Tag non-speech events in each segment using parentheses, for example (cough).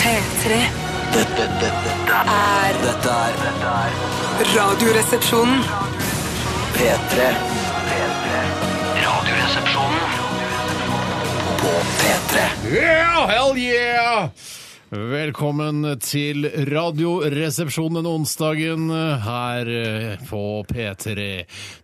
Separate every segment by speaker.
Speaker 1: P3
Speaker 2: Dette, dette, dette,
Speaker 1: er
Speaker 2: dette er dette er
Speaker 1: Radioresepsjonen.
Speaker 2: P3. P3. Radioresepsjonen på P3.
Speaker 3: Yeah, hell yeah! Velkommen til Radioresepsjonen denne onsdagen her eh, på P3.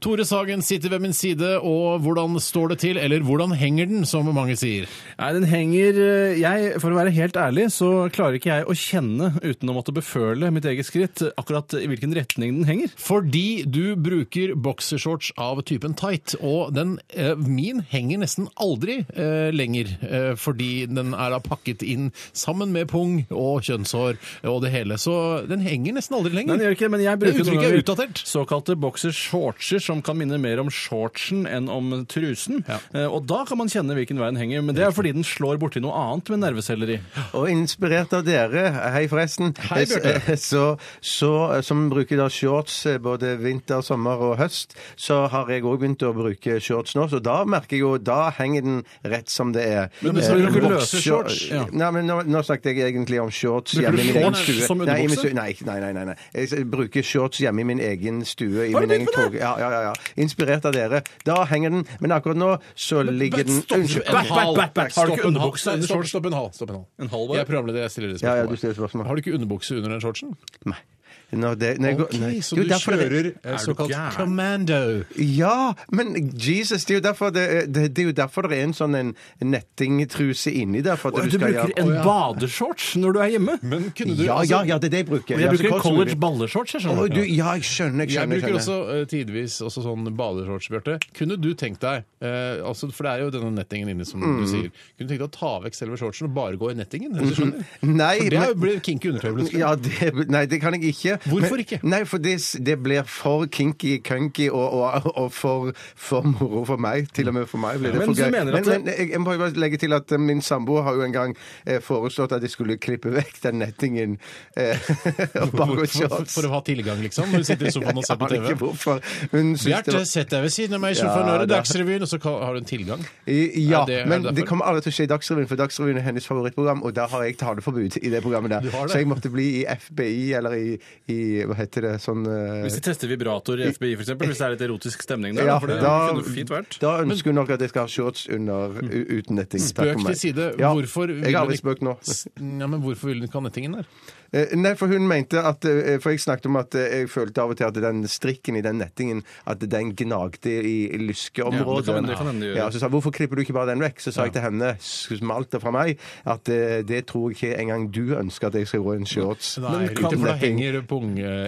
Speaker 3: Tore Sagen sitter ved min side, og hvordan står det til? Eller hvordan henger den, som mange sier?
Speaker 4: Nei, den henger eh, jeg, For å være helt ærlig, så klarer ikke jeg å kjenne uten å måtte beføle mitt eget skritt akkurat i hvilken retning den henger.
Speaker 3: Fordi du bruker boksershorts av typen tight, og den, eh, min henger nesten aldri eh, lenger, eh, fordi den er da pakket inn sammen med pung og kjønnshår og det hele, så den henger nesten aldri
Speaker 4: Nei, den
Speaker 3: lenger.
Speaker 4: gjør ikke, det, men jeg
Speaker 3: Det
Speaker 4: bruker
Speaker 3: uttrykket er utdatert.
Speaker 4: såkalte boksershortser som kan minne mer om shortsen enn om trusen.
Speaker 3: Ja.
Speaker 4: Eh, Og da kan man kjenne hvilken vei den henger, men det er fordi den slår borti noe annet med nerveceller i.
Speaker 5: Og inspirert av dere, hei forresten, Eh,
Speaker 3: Hei, Bjarte.
Speaker 5: så, så, eh, som bruker da shorts eh, både vinter, sommer og høst, så har jeg òg begynt å bruke shorts nå. Så da merker jeg jo Da henger den rett som det er.
Speaker 4: Men du
Speaker 5: Eh,
Speaker 4: bruker
Speaker 5: boks-
Speaker 4: løse shorts? Ja.
Speaker 5: Nei, men nå, nå snakket jeg egentlig om shorts
Speaker 4: Bruker du
Speaker 5: hjemme i min egen
Speaker 4: shorts
Speaker 5: stue.
Speaker 4: som
Speaker 5: Nei, i min
Speaker 4: underbukse?
Speaker 5: stue- nei, nei, nei, nei, nei. Jeg s- bruker shorts hjemme i min egen stue. I
Speaker 4: Har du
Speaker 5: min egen
Speaker 4: begynt med
Speaker 5: tog.
Speaker 4: det?
Speaker 5: Ja, ja, ja, ja. Inspirert av dere. Da henger den, men akkurat nå så ligger den
Speaker 3: Stopp,
Speaker 5: Unnskyld.
Speaker 3: en
Speaker 4: back,
Speaker 3: hal.
Speaker 4: back, back. Har du
Speaker 3: Stopp en
Speaker 4: ikke
Speaker 3: hal.
Speaker 4: underbukse
Speaker 3: Nei,
Speaker 4: under
Speaker 3: stopp,
Speaker 4: shorts?
Speaker 3: Stopp en hal. Stopp en hal.
Speaker 4: En hal bare?
Speaker 3: Jeg er programleder, jeg stiller det
Speaker 5: Ja,
Speaker 3: spørsmålet.
Speaker 5: ja, du stiller spørsmål.
Speaker 3: Har du ikke underbukse under den shortsen?
Speaker 5: Nei. Når det, når jeg går-
Speaker 3: Ok,
Speaker 5: nei.
Speaker 3: så du
Speaker 5: Det er jo derfor det-
Speaker 3: kjører eh,
Speaker 4: Er du
Speaker 3: såkalt
Speaker 4: gæren?
Speaker 3: commando.
Speaker 5: Ja, men Jesus, det er jo derfor det, det, det, er, jo derfor det er en sånn en nettingtruse inni der. For at
Speaker 4: Du,
Speaker 5: du, skal,
Speaker 4: bruker
Speaker 5: ja.
Speaker 4: en badeshorts når du er hjemme?
Speaker 3: Men kunne du
Speaker 5: Ja,
Speaker 3: altså,
Speaker 5: ja, ja, det er det jeg bruker.
Speaker 4: Jeg
Speaker 5: Ja, så
Speaker 4: bruker
Speaker 5: kort
Speaker 4: en
Speaker 5: som
Speaker 4: college
Speaker 5: mulig.
Speaker 4: balleshorts, jeg
Speaker 5: Å, du,
Speaker 4: skjønner.
Speaker 5: ja, jeg skjønner, jeg
Speaker 3: Jeg
Speaker 5: skjønner.
Speaker 3: bruker
Speaker 5: Jeg
Speaker 3: også
Speaker 5: skjønner.
Speaker 3: eh, tidvis også sånn badeshorts, Bjarte. Kunne du tenkt deg, eh, altså, for det er jo denne nettingen inne som
Speaker 5: Mm.
Speaker 3: du sier, kunne du tenkt deg å ta vekk selve shortsen og bare gå i nettingen? Hvis du skjønner?
Speaker 5: Nei,
Speaker 3: for det er jo-
Speaker 5: men-
Speaker 3: blir kinky undertøy. plutselig.
Speaker 5: (laughs) Ja, det, nei, det kan jeg ikke.
Speaker 3: Hvorfor ikke?
Speaker 5: Nei, for det, det blir for kinky, kunky og, og, og for, for moro for meg. Til og med for meg blir det
Speaker 4: Men
Speaker 5: for
Speaker 4: du
Speaker 5: gøy.
Speaker 4: mener
Speaker 5: Men,
Speaker 4: at det-
Speaker 5: men jeg, jeg må bare legge til at eh, min samboer har jo en gang eh, foreslått at jeg skulle klippe vekk den nettingen. Eh, (laughs) og bare
Speaker 3: for,
Speaker 5: gå
Speaker 3: for, for,
Speaker 5: i shorts.
Speaker 3: for å ha tilgang, liksom, når du sitter i
Speaker 5: (laughs)
Speaker 3: sofaen og ser på
Speaker 5: Jeg aner
Speaker 3: TV.
Speaker 5: ikke hvorfor. Hun syns det
Speaker 3: Bjarte,
Speaker 5: var-
Speaker 3: sett deg ved siden av meg i sofaen,
Speaker 5: Ja,
Speaker 3: nå er det
Speaker 5: det-
Speaker 3: Dagsrevyen, og så kan- har du en tilgang. Ja,
Speaker 5: Ja,
Speaker 3: det er
Speaker 5: men
Speaker 3: derfor.
Speaker 5: det kommer aldri til å skje i Dagsrevyen, for Dagsrevyen er hennes favorittprogram, og der har jeg taleforbud i det programmet der.
Speaker 3: Du har det.
Speaker 5: Så jeg måtte bli i FBI, eller i, i Hva heter det sånn eh,
Speaker 4: Hvis de tester vibrator i FBI, for eksempel, hvis det er litt erotisk stemning der,
Speaker 5: ja,
Speaker 4: for det
Speaker 5: da,
Speaker 4: kunne fint vært.
Speaker 5: da ønsker hun nok at jeg skal ha shorts under u- uten netting. Takk
Speaker 3: Spøk
Speaker 5: for
Speaker 3: til
Speaker 5: meg.
Speaker 3: side.
Speaker 5: Ja,
Speaker 3: Hvorfor
Speaker 5: Jeg har aldri
Speaker 3: (laughs)
Speaker 5: spøkt nå.
Speaker 3: Ja, men hvorfor ville du ikke ha nettingen der?
Speaker 5: Eh, Nei, for hun mente at eh, For jeg snakket om at eh, jeg følte av og til at den strikken i den nettingen At den gnagde i
Speaker 4: Ja, det kan
Speaker 5: lyskeområdet.
Speaker 4: hende- det kan hende det gjør.
Speaker 5: Ja, så sa hun, hvorfor klipper du ikke bare den vekk? Så sa jeg til henne, smalt det fra meg, at eh, det tror jeg ikke engang du ønsker at jeg skal gå i en shorts.
Speaker 3: Nei,
Speaker 5: uten
Speaker 3: for da
Speaker 5: netting.
Speaker 3: henger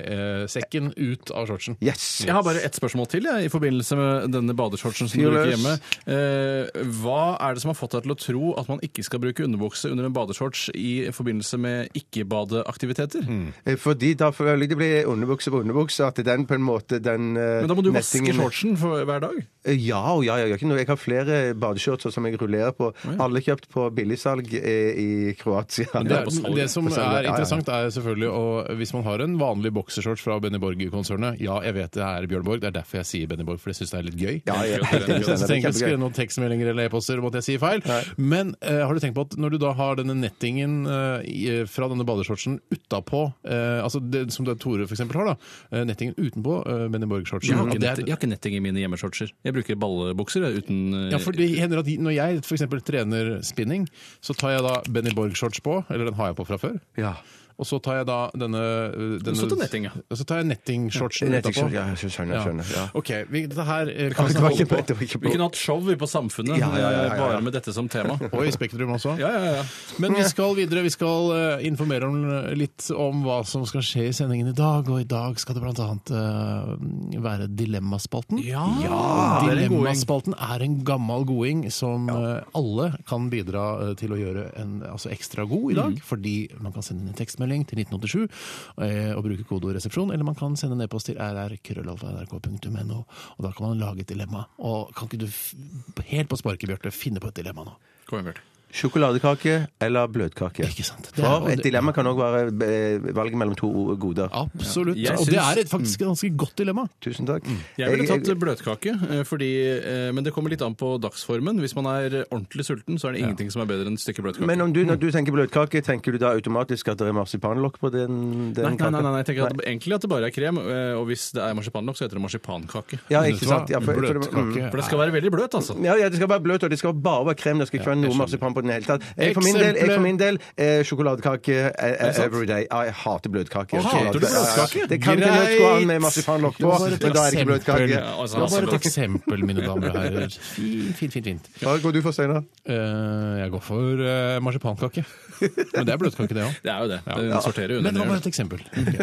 Speaker 3: pungsekken ut av shortsen.
Speaker 5: Yes!
Speaker 4: Jeg har bare ett spørsmål til jeg, i forbindelse med denne badeshortsen som du
Speaker 5: Fyr løs.
Speaker 4: bruker hjemme. Eh, hva er det som har fått deg til å tro at man ikke skal bruke underbukse under en badeshorts i forbindelse med ikke-badeaktiviteter?
Speaker 5: Eh, Fordi da føler jeg det blir underbukse på underbukse, at den på en måte, den eh,
Speaker 4: Men da må du vaske
Speaker 5: nettingen-
Speaker 4: shortsen for hver dag.
Speaker 5: Eh, Ja og ja, jeg gjør ikke noe. Jeg har flere eh, badeshortser som jeg rullerer på. Alle kjøpt på billigsalg eh, i Kroatia.
Speaker 3: Det, er, det som
Speaker 5: På salg,
Speaker 3: er
Speaker 5: ja, ja.
Speaker 3: interessant, er selvfølgelig å Hvis man har en vanlig boksershorts fra Benny Borg-konsernet Ja, jeg vet det er Bjørn Borg, det er derfor jeg sier Benny Borg, for jeg syns det er litt gøy.
Speaker 5: Ja, jeg er helt enig i
Speaker 3: Så jeg
Speaker 5: det. Det er
Speaker 3: trenger ikke å
Speaker 5: kjempegøy.
Speaker 3: skrive noen tekstmeldinger eller e-poster om at jeg sier feil. Men eh, har du tenkt på at når du da har denne nettingen eh, i- fra denne badeshortsen utapå eh, Altså det som det Tore f.eks. har, da. eh, Nettingen utenpå eh, Benny Borg-shortsen.
Speaker 4: Jeg har,
Speaker 3: og
Speaker 4: ikke
Speaker 3: det er-
Speaker 4: nett, jeg har ikke netting i mine hjemmeshortser. Jeg bruker ballebukser jeg, uten eh,
Speaker 3: ja, for det hender at Når jeg f.eks. trener spinning, så tar jeg da Benny Borg-shorts på, eller den har jeg på fra før.
Speaker 5: Ja.
Speaker 3: Og så tar jeg da denne, eh, denne
Speaker 4: så tar du netting, ja.
Speaker 3: Og så tar jeg nettingshortsen
Speaker 5: Nettingshorts,
Speaker 3: etterpå.
Speaker 5: ja, jeg skjønner, jeg skjønner, ja.
Speaker 3: OK. Vi, dette her eh, kan
Speaker 5: Det
Speaker 3: vi
Speaker 5: var
Speaker 3: holde
Speaker 5: ikke,
Speaker 3: på.
Speaker 5: det var ikke
Speaker 4: Vi kunne hatt show vi på Samfunnet
Speaker 5: Ja, ja, ja, ja, ja.
Speaker 4: eh, bare med dette som tema.
Speaker 3: Og i Spektrum også.
Speaker 4: Ja, ja, ja.
Speaker 3: Men vi skal videre. Vi skal eh, informere om, eh, litt om hva som skal skje i sendingen i dag. Og i dag skal det bl.a. Uh, være Dilemmaspalten.
Speaker 4: Ja, det er en goding.
Speaker 3: Dilemmaspalten er en gammel goding som eh, alle kan bidra eh, til å gjøre en, altså ekstra god i dag.
Speaker 4: Mm.
Speaker 3: Fordi man kan sende inn en tekstmelding til 1987 eh, og bruke kodeord resepsjon, eller man kan sende en e-post til rrkrøllalfa.nrk.no, og da kan man lage et dilemma. Og kan ikke du f helt på sparket, Bjarte, finne på et dilemma nå?
Speaker 4: Kom igjen, Bjarte.
Speaker 5: Sjokoladekake eller bløtkake?
Speaker 3: Ikke sant. Det er
Speaker 5: For
Speaker 3: jo-
Speaker 5: et dilemma kan òg være eh, valget mellom to goder.
Speaker 3: Absolutt.
Speaker 4: Ja. Jeg
Speaker 3: Og det
Speaker 4: syns-
Speaker 3: er et faktisk
Speaker 5: Mm.
Speaker 3: et ganske godt dilemma.
Speaker 5: Tusen takk.
Speaker 4: Jeg ville tatt
Speaker 5: jeg-
Speaker 4: bløtkake, eh, fordi, eh, men det kommer litt an på dagsformen. Hvis man er ordentlig sulten, så er det ingenting som er bedre enn et stykke bløtkake.
Speaker 5: men om du, når du tenker bløtkake, tenker du da automatisk at det er marsipanlokk på den,
Speaker 4: Nei,
Speaker 5: den
Speaker 4: nei, nei,
Speaker 5: kaken?
Speaker 4: nei, jeg tenker at det, egentlig at det bare er krem, eh, og hvis det er marsipanlokk, så heter det marsipankake.
Speaker 5: Ja,
Speaker 3: Vet du
Speaker 5: ikke
Speaker 3: hva?
Speaker 5: sant? Ja, for- for det- mm.
Speaker 3: Bløtkake.
Speaker 4: For det skal være veldig bløt, altså.
Speaker 5: Ja, ja, det skal være bløt, og det skal bare være krem. Det skal ikke være noe marsipan på den i hele tatt. Jeg, for min del, jeg, for min del eh, sjokoladekake eh, eh, every day. Ja, jeg hater bløtkake.
Speaker 4: Å, hater du
Speaker 5: Sjokoladekake. Ja, ja.
Speaker 4: bløtkake?
Speaker 5: Det kan ikke nødt gå an med
Speaker 3: Greit.
Speaker 5: marsipanlokk
Speaker 3: Det
Speaker 5: på,
Speaker 3: var bare et
Speaker 5: men da er det ikke bløtkake.
Speaker 3: eksempel.
Speaker 4: altså,
Speaker 3: Det var bare et
Speaker 4: altså,
Speaker 3: eksempel, mine damer og
Speaker 5: (laughs)
Speaker 3: herrer. Fint, fint, fint. fint.
Speaker 5: Hva går du for, Steinar?
Speaker 3: Eh, jeg går for eh, marsipankake. Men det er bløtkake,
Speaker 5: (laughs)
Speaker 3: det òg.
Speaker 4: Det er jo det.
Speaker 3: Ja.
Speaker 4: Den sorterer jo
Speaker 3: Men det var
Speaker 4: under.
Speaker 3: bare et eksempel. Ok.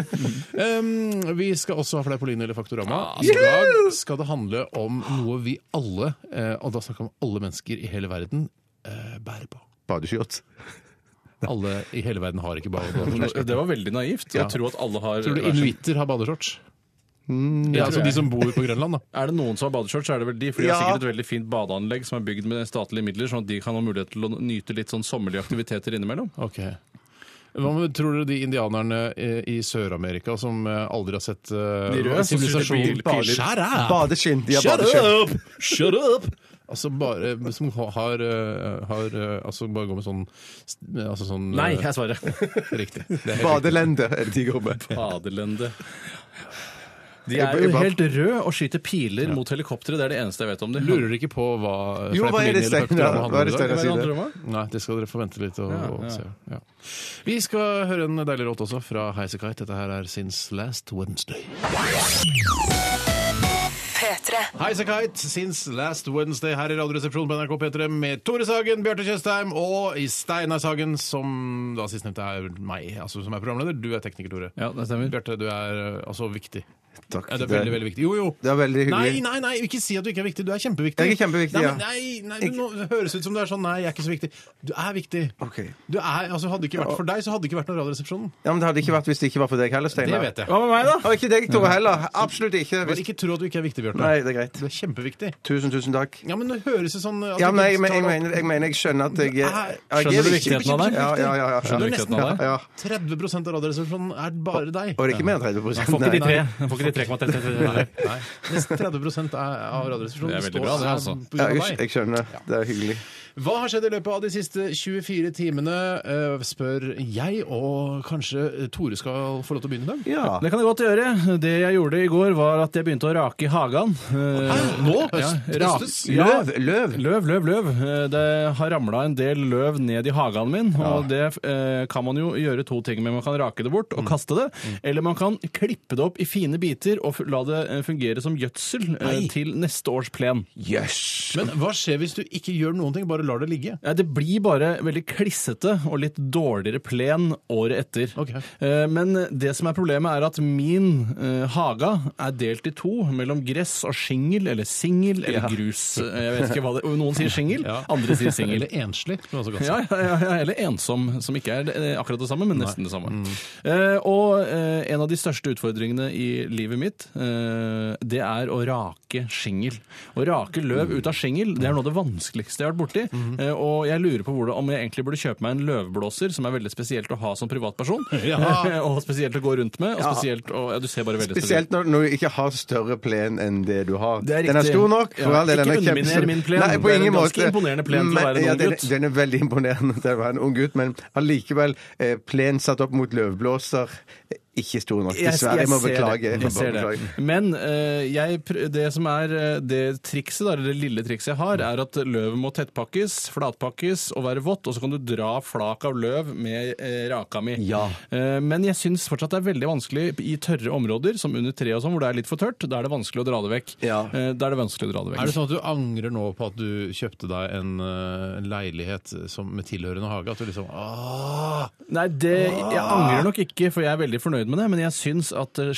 Speaker 3: Um, vi skal også ha Fleipolini eller Faktorama. Så I dag skal det handle om noe vi alle, eh, og da snakker vi om alle mennesker i hele verden, eh, bærer på.
Speaker 5: Badeskjørt.
Speaker 3: Alle i hele verden har ikke bare
Speaker 5: (laughs)
Speaker 3: badeshorts.
Speaker 4: Det var veldig naivt.
Speaker 3: Ja.
Speaker 4: Jeg tror at alle har
Speaker 3: Tror du inuitter har badeshorts? Ja, altså
Speaker 4: tror
Speaker 3: de
Speaker 4: jeg.
Speaker 3: som bor på Grønland, da.
Speaker 4: Er det noen som har badeshorts, så er det vel de. For de har
Speaker 5: Ja.
Speaker 4: sikkert et veldig fint badeanlegg som er bygd med statlige midler, sånn at de kan ha mulighet til å nyte litt sånn sommerlige aktiviteter innimellom.
Speaker 3: (laughs) Ok. Hva med, tror dere de indianerne eh, i Sør-Amerika som eh, aldri har sett eh,
Speaker 4: De røde som sitter i
Speaker 3: sivilisasjon
Speaker 4: bil- piler.
Speaker 3: Shut up!
Speaker 5: Badeskinn. De har
Speaker 3: Shut
Speaker 5: badeskinn.
Speaker 3: up! Shut up! Altså bare Som har, eh, har eh, Altså bare går med sånn altså sånn eh,
Speaker 4: (laughs) svarer.
Speaker 3: Riktig. Det er helt riktig.
Speaker 5: Badelende er det de går med.
Speaker 4: Badelende. De
Speaker 5: Jeg-
Speaker 4: er jo
Speaker 5: jeg bare-
Speaker 4: helt røde og skyter piler mot helikoptre. Det er det eneste jeg vet om dem.
Speaker 3: Lurer dere ikke på hva
Speaker 5: Jo, hva er
Speaker 3: Fleipolini
Speaker 5: det
Speaker 3: eller
Speaker 5: Steinar-
Speaker 3: Faktorama handler
Speaker 5: hva er det
Speaker 3: om i dag?
Speaker 5: Steinar sier?
Speaker 3: Nei, det skal dere få vente litt og,
Speaker 4: Ja,
Speaker 3: og
Speaker 4: ja.
Speaker 3: se. Ja. Vi skal høre en deilig låt også, fra Highasakite. Dette her er Since Last Wednesday.
Speaker 1: P3.
Speaker 3: Highasakite, Since Last Wednesday her i Radioresepsjonen på NRK P3 med Tore Sagen, Bjarte Tjøstheim og i Steinar Sagen, som da sistnevnte er meg, altså som er programleder. Du er tekniker, Tore.
Speaker 4: Ja, det stemmer.
Speaker 3: Bjarte, du er eh, altså viktig.
Speaker 5: Takk.
Speaker 3: Ja, det er veldig, veldig viktig. Jo, jo.
Speaker 5: Det er veldig
Speaker 3: Nei,
Speaker 5: hyggelig.
Speaker 3: nei, nei, ikke si at du ikke er viktig. Du er kjempeviktig.
Speaker 5: Jeg er kjempeviktig,
Speaker 3: nei,
Speaker 5: ja.
Speaker 3: men Nei, nei, du, nå, det høres ut som du er sånn Nei, jeg er ikke så viktig. Du er viktig.
Speaker 5: Ok.
Speaker 3: Du er, altså, hadde det ikke vært for deg, så hadde det ikke vært noen Radioresepsjonen.
Speaker 5: Ja, men det hadde ikke vært hvis det ikke var for deg heller,
Speaker 3: Det
Speaker 5: Steinar.
Speaker 3: vet jeg.
Speaker 4: Hva med meg, da?
Speaker 5: Og ikke deg, Tore, heller. Absolutt ikke.
Speaker 3: Bare
Speaker 5: Hvis...
Speaker 3: ikke tro at du ikke er viktig, Bjarte.
Speaker 5: Nei, det er greit.
Speaker 3: Du er kjempeviktig.
Speaker 5: Tusen, tusen takk.
Speaker 3: Ja, men det høres jo sånn at
Speaker 5: Ja,
Speaker 3: du
Speaker 5: men jeg,
Speaker 3: ikke
Speaker 5: men,
Speaker 3: tar det
Speaker 5: jeg,
Speaker 3: opp.
Speaker 5: mener, jeg mener jeg skjønner at jeg
Speaker 3: Nei.
Speaker 5: jeg
Speaker 4: Skjønner du
Speaker 5: er
Speaker 4: viktig- viktigheten av det?
Speaker 5: Ja, ja, ja. ja.
Speaker 4: Skjønner du
Speaker 5: Ja,
Speaker 4: viktigheten av det?
Speaker 5: Ja.
Speaker 3: 30 av Radioresepsjonen er bare deg.
Speaker 5: Og det er ikke mer enn 30
Speaker 4: Får ikke de
Speaker 5: Nei.
Speaker 4: tre. Jeg Får ikke de 3,33.
Speaker 3: Nei. Nesten 30 er- av Radioresepsjonen
Speaker 4: Det er veldig
Speaker 3: består
Speaker 4: bra, det,
Speaker 3: av-
Speaker 4: altså.
Speaker 3: på
Speaker 5: Ja,
Speaker 3: grunn av
Speaker 5: jeg,
Speaker 3: deg.
Speaker 5: jeg skjønner. Det er hyggelig.
Speaker 3: Hva har skjedd i løpet av de siste 24 timene, eh, spør jeg, og kanskje Tore skal få lov til å begynne i dag?
Speaker 5: Ja.
Speaker 4: Det kan jeg godt gjøre. Det jeg gjorde i går, var at jeg begynte å rake i hagen. Eh,
Speaker 3: Nå?
Speaker 4: Ja,
Speaker 3: Høst-
Speaker 4: rak-
Speaker 3: høstes?
Speaker 4: ja,
Speaker 5: Løv, løv.
Speaker 4: Løv, løv, løv. Eh, Det har ramla en del løv ned i hagen min, og det eh, kan man jo gjøre to ting med. Man kan rake det bort og kaste det, eller man kan klippe det opp i fine biter og fu- la det eh, fungere som gjødsel eh,
Speaker 3: Nei.
Speaker 4: til neste års plen.
Speaker 5: Jøss.
Speaker 3: Men hva skjer hvis du ikke gjør noen ting, bare lar det ligge?
Speaker 4: Ja, det blir bare veldig klissete og litt dårligere plen året etter.
Speaker 3: Ok.
Speaker 4: Eh, Men det som er problemet er at min eh, haga er delt i to mellom gress og singel, eller singel, eller grus. Eh, Jeg vet ikke hva det... Noen sier singel,
Speaker 3: (laughs) Ja.
Speaker 4: andre sier singel.
Speaker 3: Eller enslig, som jeg også kan si.
Speaker 5: liksom.
Speaker 4: Ja, ja, ja, ja, eller ensom, som ikke er det- eh, akkurat det samme, men nesten det samme.
Speaker 5: Mm.
Speaker 4: Eh, og eh, en av de største utfordringene i livet mitt, eh, det er å rake skingel. Å rake
Speaker 5: Mm.
Speaker 4: løv ut av skingel, det er noe av det vanskeligste jeg har vært borti. Eh, og jeg lurer på hvordan, om jeg egentlig burde kjøpe meg en løvblåser, som er veldig spesielt å ha som
Speaker 5: (laughs)
Speaker 4: privatperson. eh,
Speaker 3: Ja.
Speaker 4: og spesielt å gå rundt med, og
Speaker 5: Ja.
Speaker 4: spesielt å Ja, du ser bare veldig
Speaker 5: Spesielt når, når du ikke har større plen enn det du har.
Speaker 4: Det er
Speaker 5: Den er
Speaker 4: riktig.
Speaker 5: stor nok.
Speaker 4: Ja.
Speaker 5: For all del,
Speaker 4: Ikke
Speaker 5: den er
Speaker 4: underminer
Speaker 5: kjempestor.
Speaker 4: min plen.
Speaker 5: Nei, på
Speaker 4: Det er en
Speaker 5: ingen
Speaker 4: ganske
Speaker 5: måte.
Speaker 4: imponerende plen til å
Speaker 5: Men-
Speaker 4: være en
Speaker 5: ja,
Speaker 4: ung
Speaker 5: den,
Speaker 4: gutt.
Speaker 5: Den er veldig imponerende til å være en ung gutt, men allikevel eh, plen satt opp mot løvblåser eh, ikke stor nok. Dessverre. Jeg må
Speaker 4: ser det.
Speaker 5: beklage. må
Speaker 4: Jeg ser
Speaker 5: bare
Speaker 4: det.
Speaker 5: beklage.
Speaker 4: Men eh, jeg, pr- det som er eh, det trikset, da, eller det lille trikset jeg har, er at løvet må tettpakkes, flatpakkes og være vått, og så kan du dra flak av løv med eh, raka mi.
Speaker 5: Ja.
Speaker 4: Eh, men jeg syns fortsatt det er veldig vanskelig i tørre områder, som under tre og sånn, hvor det er litt for tørt. Da er det vanskelig å dra det vekk.
Speaker 5: Ja.
Speaker 4: Eh, da er det vanskelig å dra det vekk.
Speaker 3: Er det sånn at du angrer nå på at du kjøpte deg en eh, leilighet som, med tilhørende hage? At du liksom Åh,
Speaker 4: Nei, det, jeg
Speaker 5: Ah.
Speaker 4: angrer nok ikke, for jeg er veldig fornøyd med det. Men jeg syns at eh,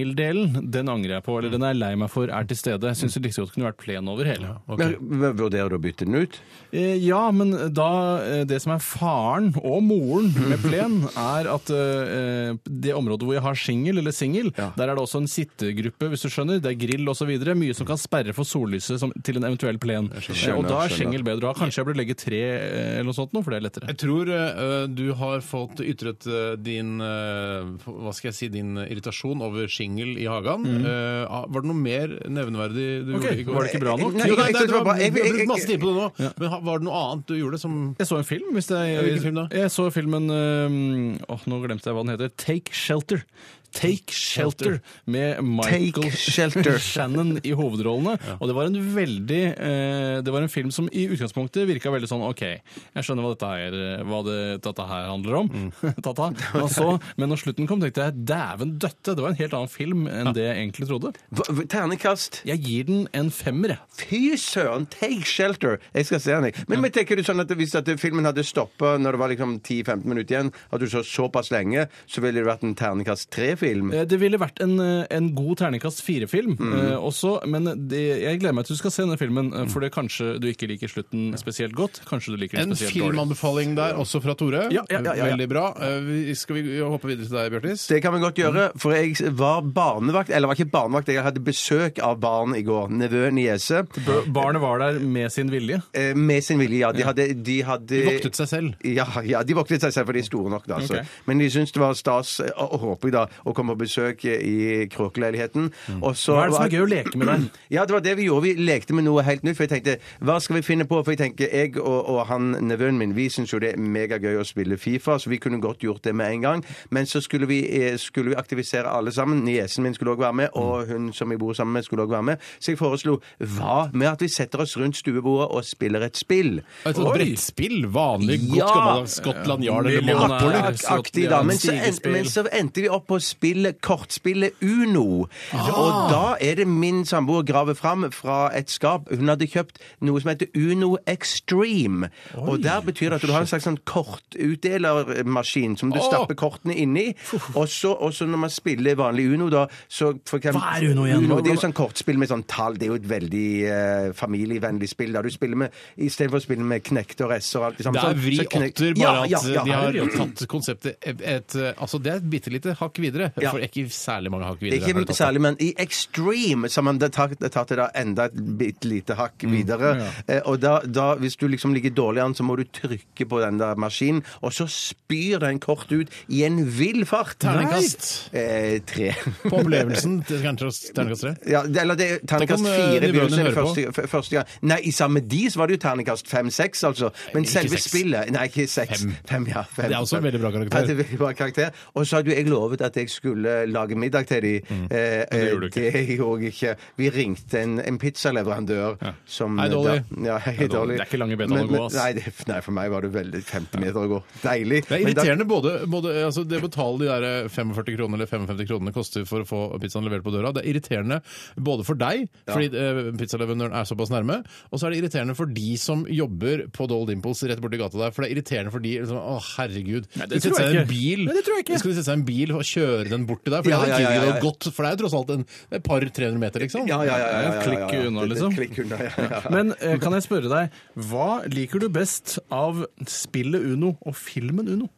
Speaker 4: shingeldelen, den angrer jeg på. Eller den er jeg lei meg for, er til stede. Jeg syns det like så godt kunne vært plen over hele.
Speaker 5: Men, v- vurderer du å bytte den ut?
Speaker 4: Eh, Ja, men da eh, Det som er faren og moren med plen, er at eh, det området hvor jeg har shingel eller singel, der er det også en sittegruppe, hvis du skjønner. Det er grill osv. Mye som kan sperre for sollyset som, til en eventuell plen. Eh, Og da
Speaker 5: Skjønner,
Speaker 4: er shingel bedre å ha. Kanskje jeg burde legge tre eh, eller noe sånt, nå, for det er lettere.
Speaker 3: Jeg tror eh, du har fått ytret eh, din eh, hva skal jeg si, din irritasjon over singel i hagen. Eh, ah, var det noe mer nevneverdig du
Speaker 4: Mm. Ok,
Speaker 3: gjorde i går?
Speaker 4: var det ikke bra nok?
Speaker 3: Nei, jo, nei,
Speaker 5: jeg
Speaker 3: nei,
Speaker 5: synes
Speaker 3: du
Speaker 5: det
Speaker 3: har
Speaker 5: var bra. Jeg- jeg-
Speaker 3: brukt
Speaker 5: jeg-
Speaker 3: masse tid på det nå. Men ha- var det noe annet du gjorde som
Speaker 4: Jeg så en film. Hvis det, jeg,
Speaker 3: Hvilken film da?
Speaker 4: Jeg så filmen øhm, Åh, nå glemte jeg hva den heter. Take Shelter. Take Shelter med Michael
Speaker 5: Take Shelter.
Speaker 4: (laughs) Shannon i hovedrollene. Og det var en veldig eh, Det var en film som i utgangspunktet virka veldig sånn OK, jeg skjønner hva dette her, hva det, dette her handler om. (laughs) Tata. Men, så, men når slutten kom, tenkte jeg dæven døtte! Det var en helt annen film enn det jeg egentlig trodde.
Speaker 5: Hva- hva- Ternekast.
Speaker 4: Jeg gir den en femmer, jeg.
Speaker 5: Fy søren, take shelter! Jeg skal se den, jeg. Men, men tenker du sånn at hvis at filmen hadde stoppa når det var liksom 10-15 minutter igjen, at du så såpass lenge, så ville det vært en ternekast tre-film?
Speaker 4: Eh, Det ville vært en, eh, en god terningkast fire-film
Speaker 5: Mm.
Speaker 4: eh, også, men det, jeg gleder meg til du skal se denne filmen, eh,
Speaker 5: Mm.
Speaker 4: for det kanskje du ikke liker slutten spesielt godt. Kanskje du liker
Speaker 3: en
Speaker 4: den spesielt dårlig.
Speaker 3: filmanbefaling der, også fra Tore.
Speaker 4: Ja, ja, ja, ja, ja.
Speaker 3: Veldig bra. Eh, vi- Skal vi hoppe videre til deg, Bjørtis?
Speaker 5: Det kan vi godt gjøre, for jeg var barnevakt, eller var ikke barnevakt, jeg hadde besøk av barn i går. Nevø niese.
Speaker 4: B- Barnet var der med sin vilje.
Speaker 5: Eh, Med sin vilje, ja. De hadde, de hadde
Speaker 3: De voktet seg selv.
Speaker 5: Ja, ja, de voktet seg selv, for de er store nok, da. Altså.
Speaker 4: Ok.
Speaker 5: Men de syntes det var stas, eh, og og håper jeg da, å komme på besøk i kråkeleiligheten. Og så
Speaker 4: Hva er det som
Speaker 5: var-
Speaker 4: er gøy å leke med der?
Speaker 5: (clears throat) Ja, det var det vi gjorde. Vi lekte med noe helt nytt. For jeg tenkte, hva skal vi finne på? For jeg tenker, jeg og, og han nevøen min, vi syns jo det er megagøy å spille Fifa, så vi kunne godt gjort det med en gang. Men så skulle vi, eh, skulle vi aktivisere alle sammen. Niesen min skulle òg være med, og hun som jeg bor sammen med, skulle òg være med. Så jeg foreslo hva med at vi setter oss rundt stuebordet og spiller et spill?
Speaker 3: Et sånt
Speaker 4: Oi!
Speaker 3: brettspill? Vanlig godt
Speaker 5: Ja!
Speaker 3: gammeldags Scotland Yard eller
Speaker 4: Millionær.
Speaker 3: Monopoly?
Speaker 4: Ak- ak-
Speaker 5: aktig da, men så, endte,
Speaker 4: Stigespill.
Speaker 5: men så endte vi opp på spillet, kortspillet Uno.
Speaker 3: Ah.
Speaker 5: Og da er det min samboer graver fram fra et skap. Hun hadde kjøpt noe som heter Uno Extreme. og der betyr det at du har en slags sånn kortutdelermaskin som du
Speaker 3: Åh!
Speaker 5: stapper kortene inni. Og så og så når man spiller vanlig Uno, da, så for eksempel,
Speaker 4: Hva er Uno igjen?
Speaker 5: det er jo sånn kortspill med sånn tall. Det er jo et veldig eh, familievennlig spill. Da du spiller med, Istedenfor å spille med knekter og s-er og alt det samme.
Speaker 3: Det er
Speaker 5: sånn,
Speaker 3: vri
Speaker 5: så knek-
Speaker 3: åtter,
Speaker 5: Ja,
Speaker 3: bare
Speaker 5: ja,
Speaker 3: at
Speaker 5: ja.
Speaker 3: de har tatt konseptet et, et, Altså, det er et bitte lite hakk videre,
Speaker 5: Ja.
Speaker 3: for ikke særlig mange hakk videre. har de
Speaker 5: Ikke
Speaker 3: tatt.
Speaker 5: særlig, men i Extreme så har man det tatt, det tatt det da enda et bitte lite hakk
Speaker 3: Mm.
Speaker 5: videre. Eh, Og da, da, hvis du liksom ligger dårlig an, så må du trykke på den der maskinen, og så spyr den kort ut i en vill fart.
Speaker 3: Terningkast
Speaker 5: Eh, tre.
Speaker 3: på opplevelsen til kanskje terningkast tre.
Speaker 5: Ja, det- eller det er
Speaker 3: Tenk
Speaker 5: terningkast
Speaker 3: om, eh,
Speaker 5: fire i
Speaker 3: nivåene
Speaker 5: begynnelsen.
Speaker 3: hører på.
Speaker 5: Første, f- første gang. Nei, i samme de så var det jo terningkast fem-seks, altså. Men
Speaker 3: Ikke
Speaker 5: selve
Speaker 3: seks.
Speaker 5: spillet Nei, ikke seks.
Speaker 3: Fem.
Speaker 5: Fem, ja. Fem.
Speaker 3: Det er også en veldig bra karakter.
Speaker 5: Ja, det er en veldig bra karakter. Og så hadde jo jeg lovet at jeg skulle lage middag til de.
Speaker 3: Mm.
Speaker 5: Eh,
Speaker 4: det gjorde du ikke.
Speaker 5: Det gjorde jeg ikke. Vi ringte en, en pizzaleverandør som
Speaker 3: Hei, Dolly.
Speaker 5: da- Ja, hei, Dolly.
Speaker 4: Det er ikke lange betaene
Speaker 5: Men-
Speaker 4: å gå, ass.
Speaker 5: Nei, det, nei, for meg var det veldig 50 meter å gå. Deilig.
Speaker 3: Det er
Speaker 5: Men da-
Speaker 3: irriterende både, både altså Det å betale de der 45 kronene eller 55 kronene koster for å få pizzaen levert på døra, det er irriterende både for deg, fordi eh, pizzaleverandøren er såpass nærme, og så er det irriterende for de som jobber på Dole Dimples rett borti gata der, for det er irriterende for de liksom, Å, herregud.
Speaker 4: Nei,
Speaker 3: de
Speaker 4: det tror
Speaker 3: setter
Speaker 4: jeg
Speaker 3: seg i
Speaker 4: ikke.
Speaker 3: en bil,
Speaker 4: Nei, det tror jeg ikke.
Speaker 3: Skal de sette seg i en bil og kjøre den bort til deg? For
Speaker 5: Ja,
Speaker 3: det hadde
Speaker 5: ja,
Speaker 3: ikke
Speaker 5: ja, ja,
Speaker 3: gått
Speaker 5: ja.
Speaker 3: godt, for det er jo tross alt en, et par 300 meter, liksom.
Speaker 5: ja, ja, ja, ja, ja, ja, ja, ja.
Speaker 4: Klikk unna,
Speaker 5: Det- det-
Speaker 4: liksom.
Speaker 5: Klikk unna, ja, (laughs) ja. ja.
Speaker 4: Men eh, kan jeg spørre deg, hva liker du best av spillet Uno og filmen Uno?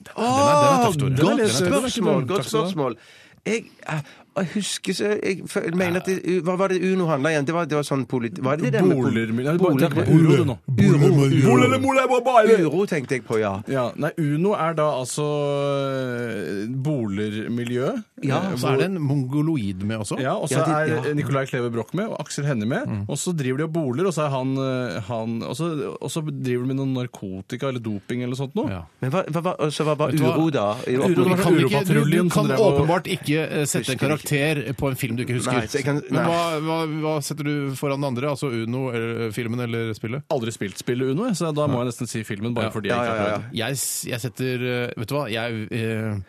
Speaker 3: er- den er tøff, Tore. Den er-
Speaker 5: Godt
Speaker 3: den er tøff.
Speaker 5: spørsmål!
Speaker 4: Takk
Speaker 5: Godt
Speaker 4: skal du ha.
Speaker 5: spørsmål. Jeg, eh, jeg husker så Jeg føl- mener at det, Hva var det Uno handla igjen? Det var, det var sånn polit... Var det det der med pol-
Speaker 4: Boler Nei, bare
Speaker 5: Boler-
Speaker 4: tenk på Uro, du nå.
Speaker 5: Uro tenkte jeg på, ja.
Speaker 4: Ja, nei, Uno er da altså eh, bolermiljøet.
Speaker 5: Ja,
Speaker 4: eh,
Speaker 3: Så er det en mongoloid med også.
Speaker 4: Ja, og så
Speaker 5: Ja, Mm. de-
Speaker 4: er Nicolai Kleve Broch med, og Aksel Hennie med. Og så driver de og boler, og så er han, eh, han og, så, og så driver de med noe narkotika eller doping eller sånt noe.
Speaker 3: Ja.
Speaker 5: Men hva, hva, hva, så hva var
Speaker 3: du hva?
Speaker 5: uro, da? I
Speaker 4: Uro, det
Speaker 5: oppmuntring?
Speaker 4: var
Speaker 3: kan du, ikke, du,
Speaker 4: Ulvepatruljen
Speaker 3: du kan
Speaker 4: som drev og-
Speaker 3: åpenbart ikke eh, sette
Speaker 5: Husker
Speaker 3: en karakter eh, på en film du ikke husker.
Speaker 5: Nei, så jeg kan-
Speaker 3: Men
Speaker 5: nei.
Speaker 3: hva, hva, hva setter du foran den andre? Altså Uno, eller filmen eller spillet?
Speaker 4: Aldri spilt spillet Uno, jeg, så da må jeg nesten si filmen, bare fordi jeg
Speaker 5: Ja,
Speaker 4: ikke
Speaker 5: ja,
Speaker 4: har
Speaker 5: ja,
Speaker 4: prøvd.
Speaker 3: Jeg, s- jeg setter eh, (laughs) Vet du hva? Jeg eh,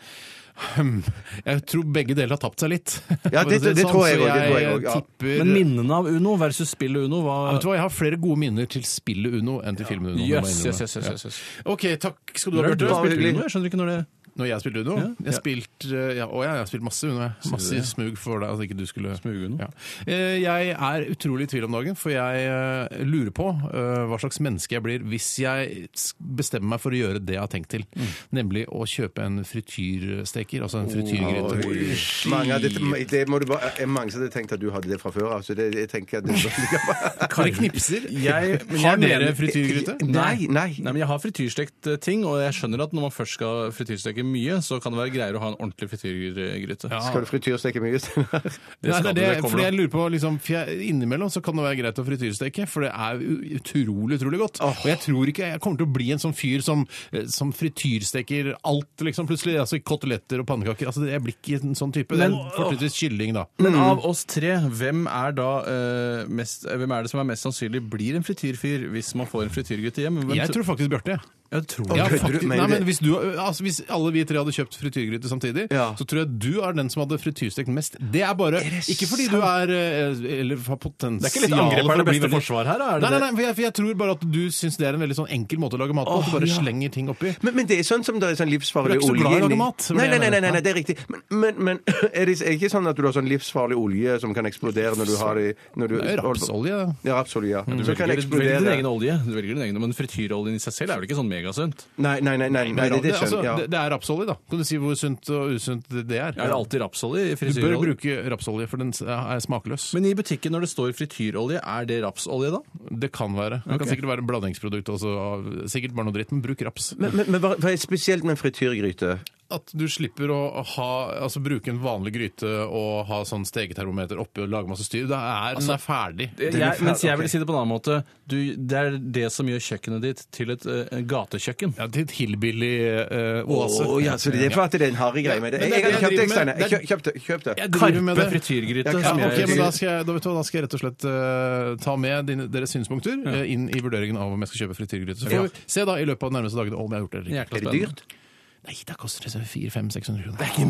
Speaker 3: Hm. Jeg tror begge deler har tapt seg litt. (laughs)
Speaker 5: Ja, det-
Speaker 3: For å si sånn,
Speaker 5: det tror jeg
Speaker 3: så
Speaker 5: også, det tror jeg også, ja.
Speaker 3: tipper
Speaker 4: Men minnene av Uno versus spillet Uno
Speaker 3: Ja, Vet
Speaker 4: var
Speaker 3: du hva, Jeg har flere gode minner til spillet Uno enn til filmen Uno. må jeg
Speaker 4: Jøss,
Speaker 3: innrømme.
Speaker 4: jøss, jøss, jøss, jøss. jøss.
Speaker 3: Ja. OK, takk skal du
Speaker 4: Du
Speaker 3: ha,
Speaker 4: har
Speaker 3: Bjarte.
Speaker 5: var
Speaker 4: spilt
Speaker 5: hyggelig.
Speaker 4: Uno? Jeg skjønner ikke når det
Speaker 3: Når jeg spilte Uno?
Speaker 4: Ja.
Speaker 3: Jeg spilte eh, ja, å, ja, jeg har spilt masse Uno. jeg. Masse smug for deg at ikke du skulle
Speaker 4: Smug Uno.
Speaker 3: Ja. Eh, Jeg er utrolig i tvil om dagen, for jeg eh, lurer på eh, hva slags menneske jeg blir hvis jeg s- bestemmer meg for å gjøre det jeg har tenkt til,
Speaker 4: Mm.
Speaker 3: nemlig å kjøpe en frityrsteker, altså en frityrgryte.
Speaker 5: Mange av dette, det må du bare, eh, mange som hadde tenkt at du hadde det fra før av. Så det, jeg tenker
Speaker 3: (laughs)
Speaker 5: at det,
Speaker 3: Dere knipser.
Speaker 4: Jeg- men
Speaker 3: har
Speaker 4: jeg
Speaker 3: dere
Speaker 4: mener-
Speaker 3: frityrgryte?
Speaker 5: Nei, nei.
Speaker 4: Nei, men Jeg har frityrstekt eh, ting, og jeg skjønner at når man først skal frityrsteke mye, så kan det være greiere å ha en ordentlig frityrgryte.
Speaker 5: Skal du frityrsteke mye? Steinar?
Speaker 4: Det
Speaker 3: Nei,
Speaker 4: skal
Speaker 3: det er
Speaker 4: du,
Speaker 3: det,
Speaker 4: det kommer
Speaker 3: fordi
Speaker 4: du.
Speaker 3: jeg lurer på, liksom, for jeg, Innimellom så kan det være greit å frityrsteke, for det er u- utrolig utrolig godt. Og jeg tror ikke jeg kommer til å bli en sånn fyr som, eh, som frityrsteker alt, liksom, plutselig. altså Koteletter og pannekaker. altså Jeg blir ikke en sånn type. Men,
Speaker 4: Men-
Speaker 3: Fortrinnsvis kylling, da.
Speaker 4: Men av oss tre, hvem er, da, eh, mest, eh, hvem er det som er mest sannsynlig blir en frityrfyr hvis man får en frityrgryte hjem? Hvem
Speaker 3: Jeg
Speaker 4: tr-
Speaker 3: tror faktisk Bjarte. jeg.
Speaker 4: jeg tror
Speaker 3: Ja,
Speaker 5: kødder du?
Speaker 3: faktisk, nei,
Speaker 5: Mener du
Speaker 3: men
Speaker 5: det?
Speaker 3: hvis, du, altså, hvis alle vi tre hadde kjøpt frityrgryte samtidig,
Speaker 5: Ja.
Speaker 3: så tror jeg du er den som hadde frityrstekt mest. Det er bare Ikke fordi du er eh, Eller har potensial
Speaker 4: Det er ikke litt angreperen
Speaker 3: for å
Speaker 4: det
Speaker 3: bli
Speaker 4: beste forsvar her, er det
Speaker 3: Nei, nei,
Speaker 4: det?
Speaker 3: nei for, jeg, for jeg tror bare at du syns det er en veldig sånn enkel måte å lage mat på. at du bare slenger ting oppi.
Speaker 5: Men, men det er sånn som det er sånn livsfarlig
Speaker 3: Du er ikke så glad i å
Speaker 5: olje
Speaker 3: lage
Speaker 5: inni-
Speaker 3: mat, var
Speaker 5: Nei,
Speaker 3: det
Speaker 5: nei,
Speaker 3: jeg
Speaker 5: nei, nei, nei,
Speaker 3: mente.
Speaker 5: det er riktig. Men, men, men (clears throat) er det er det ikke sånn at du har sånn livsfarlig olje som kan eksplodere når du har det når du,
Speaker 3: Det er jo Rapsolje. Mm.
Speaker 5: Ja, rapsolje. Ja.
Speaker 4: Du
Speaker 5: Som kan
Speaker 4: velger, du velger din egen
Speaker 5: eksplodere.
Speaker 4: olje, du velger din egen, men frityroljen i seg selv er vel ikke sånn megasunt?
Speaker 5: Nei, nei, nei, nei, nei det, det
Speaker 3: altså,
Speaker 5: skjønner jeg.
Speaker 3: det, det er rapsolje, da. Kan du si hvor sunt og usunt det- det er?
Speaker 4: Er det alltid rapsolje i
Speaker 3: Du bør
Speaker 4: frityrolje?
Speaker 3: bruke rapsolje, for den er smakløs.
Speaker 4: Men i butikken når det står frityrolje, er det rapsolje da?
Speaker 3: det kan være. Det
Speaker 4: Ok.
Speaker 3: kan sikkert være blandingsprodukt også. av- Sikkert bare noe dritt, men bruk raps.
Speaker 5: Men, men, men hva, hva er spesielt med en frityrgryte?
Speaker 3: At du slipper å ha, altså bruke en vanlig gryte og ha sånn steketermometer oppi og lage masse styr. Det er, den er ferdig.
Speaker 4: Jeg,
Speaker 5: er fæl,
Speaker 4: mens jeg vil
Speaker 5: ok.
Speaker 4: si det på en annen måte. Du, det er det som gjør kjøkkenet ditt til et eh, gatekjøkken.
Speaker 3: Ja, til et hillbilly eh, oase.
Speaker 5: Å, ja, så det er for at det er en harry greie med det.
Speaker 3: Ja, men
Speaker 5: Jeg,
Speaker 3: det er
Speaker 5: jeg,
Speaker 3: det
Speaker 5: jeg kjøpte
Speaker 3: jeg
Speaker 5: det,
Speaker 3: driver
Speaker 5: Steinar.
Speaker 3: med.
Speaker 5: Jeg kjø- kjøpte- kjøpte det.
Speaker 3: Jeg driver med
Speaker 4: Karpe
Speaker 3: det.
Speaker 4: frityrgryte.
Speaker 5: Ja,
Speaker 3: Ja,
Speaker 4: som jeg-
Speaker 3: ok, men da skal, jeg, da, vet du, hva, da skal jeg rett og slett eh, ta med dine, deres synspunkter eh, inn i vurderingen av om jeg skal kjøpe frityrgryte. Så får
Speaker 4: Ja.
Speaker 3: vi se da i løpet av de nærmeste dagene om jeg har gjort det eller ikke.
Speaker 4: Jækla
Speaker 5: Er det
Speaker 4: spennende.
Speaker 5: dyrt?
Speaker 3: Nei, da koster det 400-500-600 kroner. Det er ikke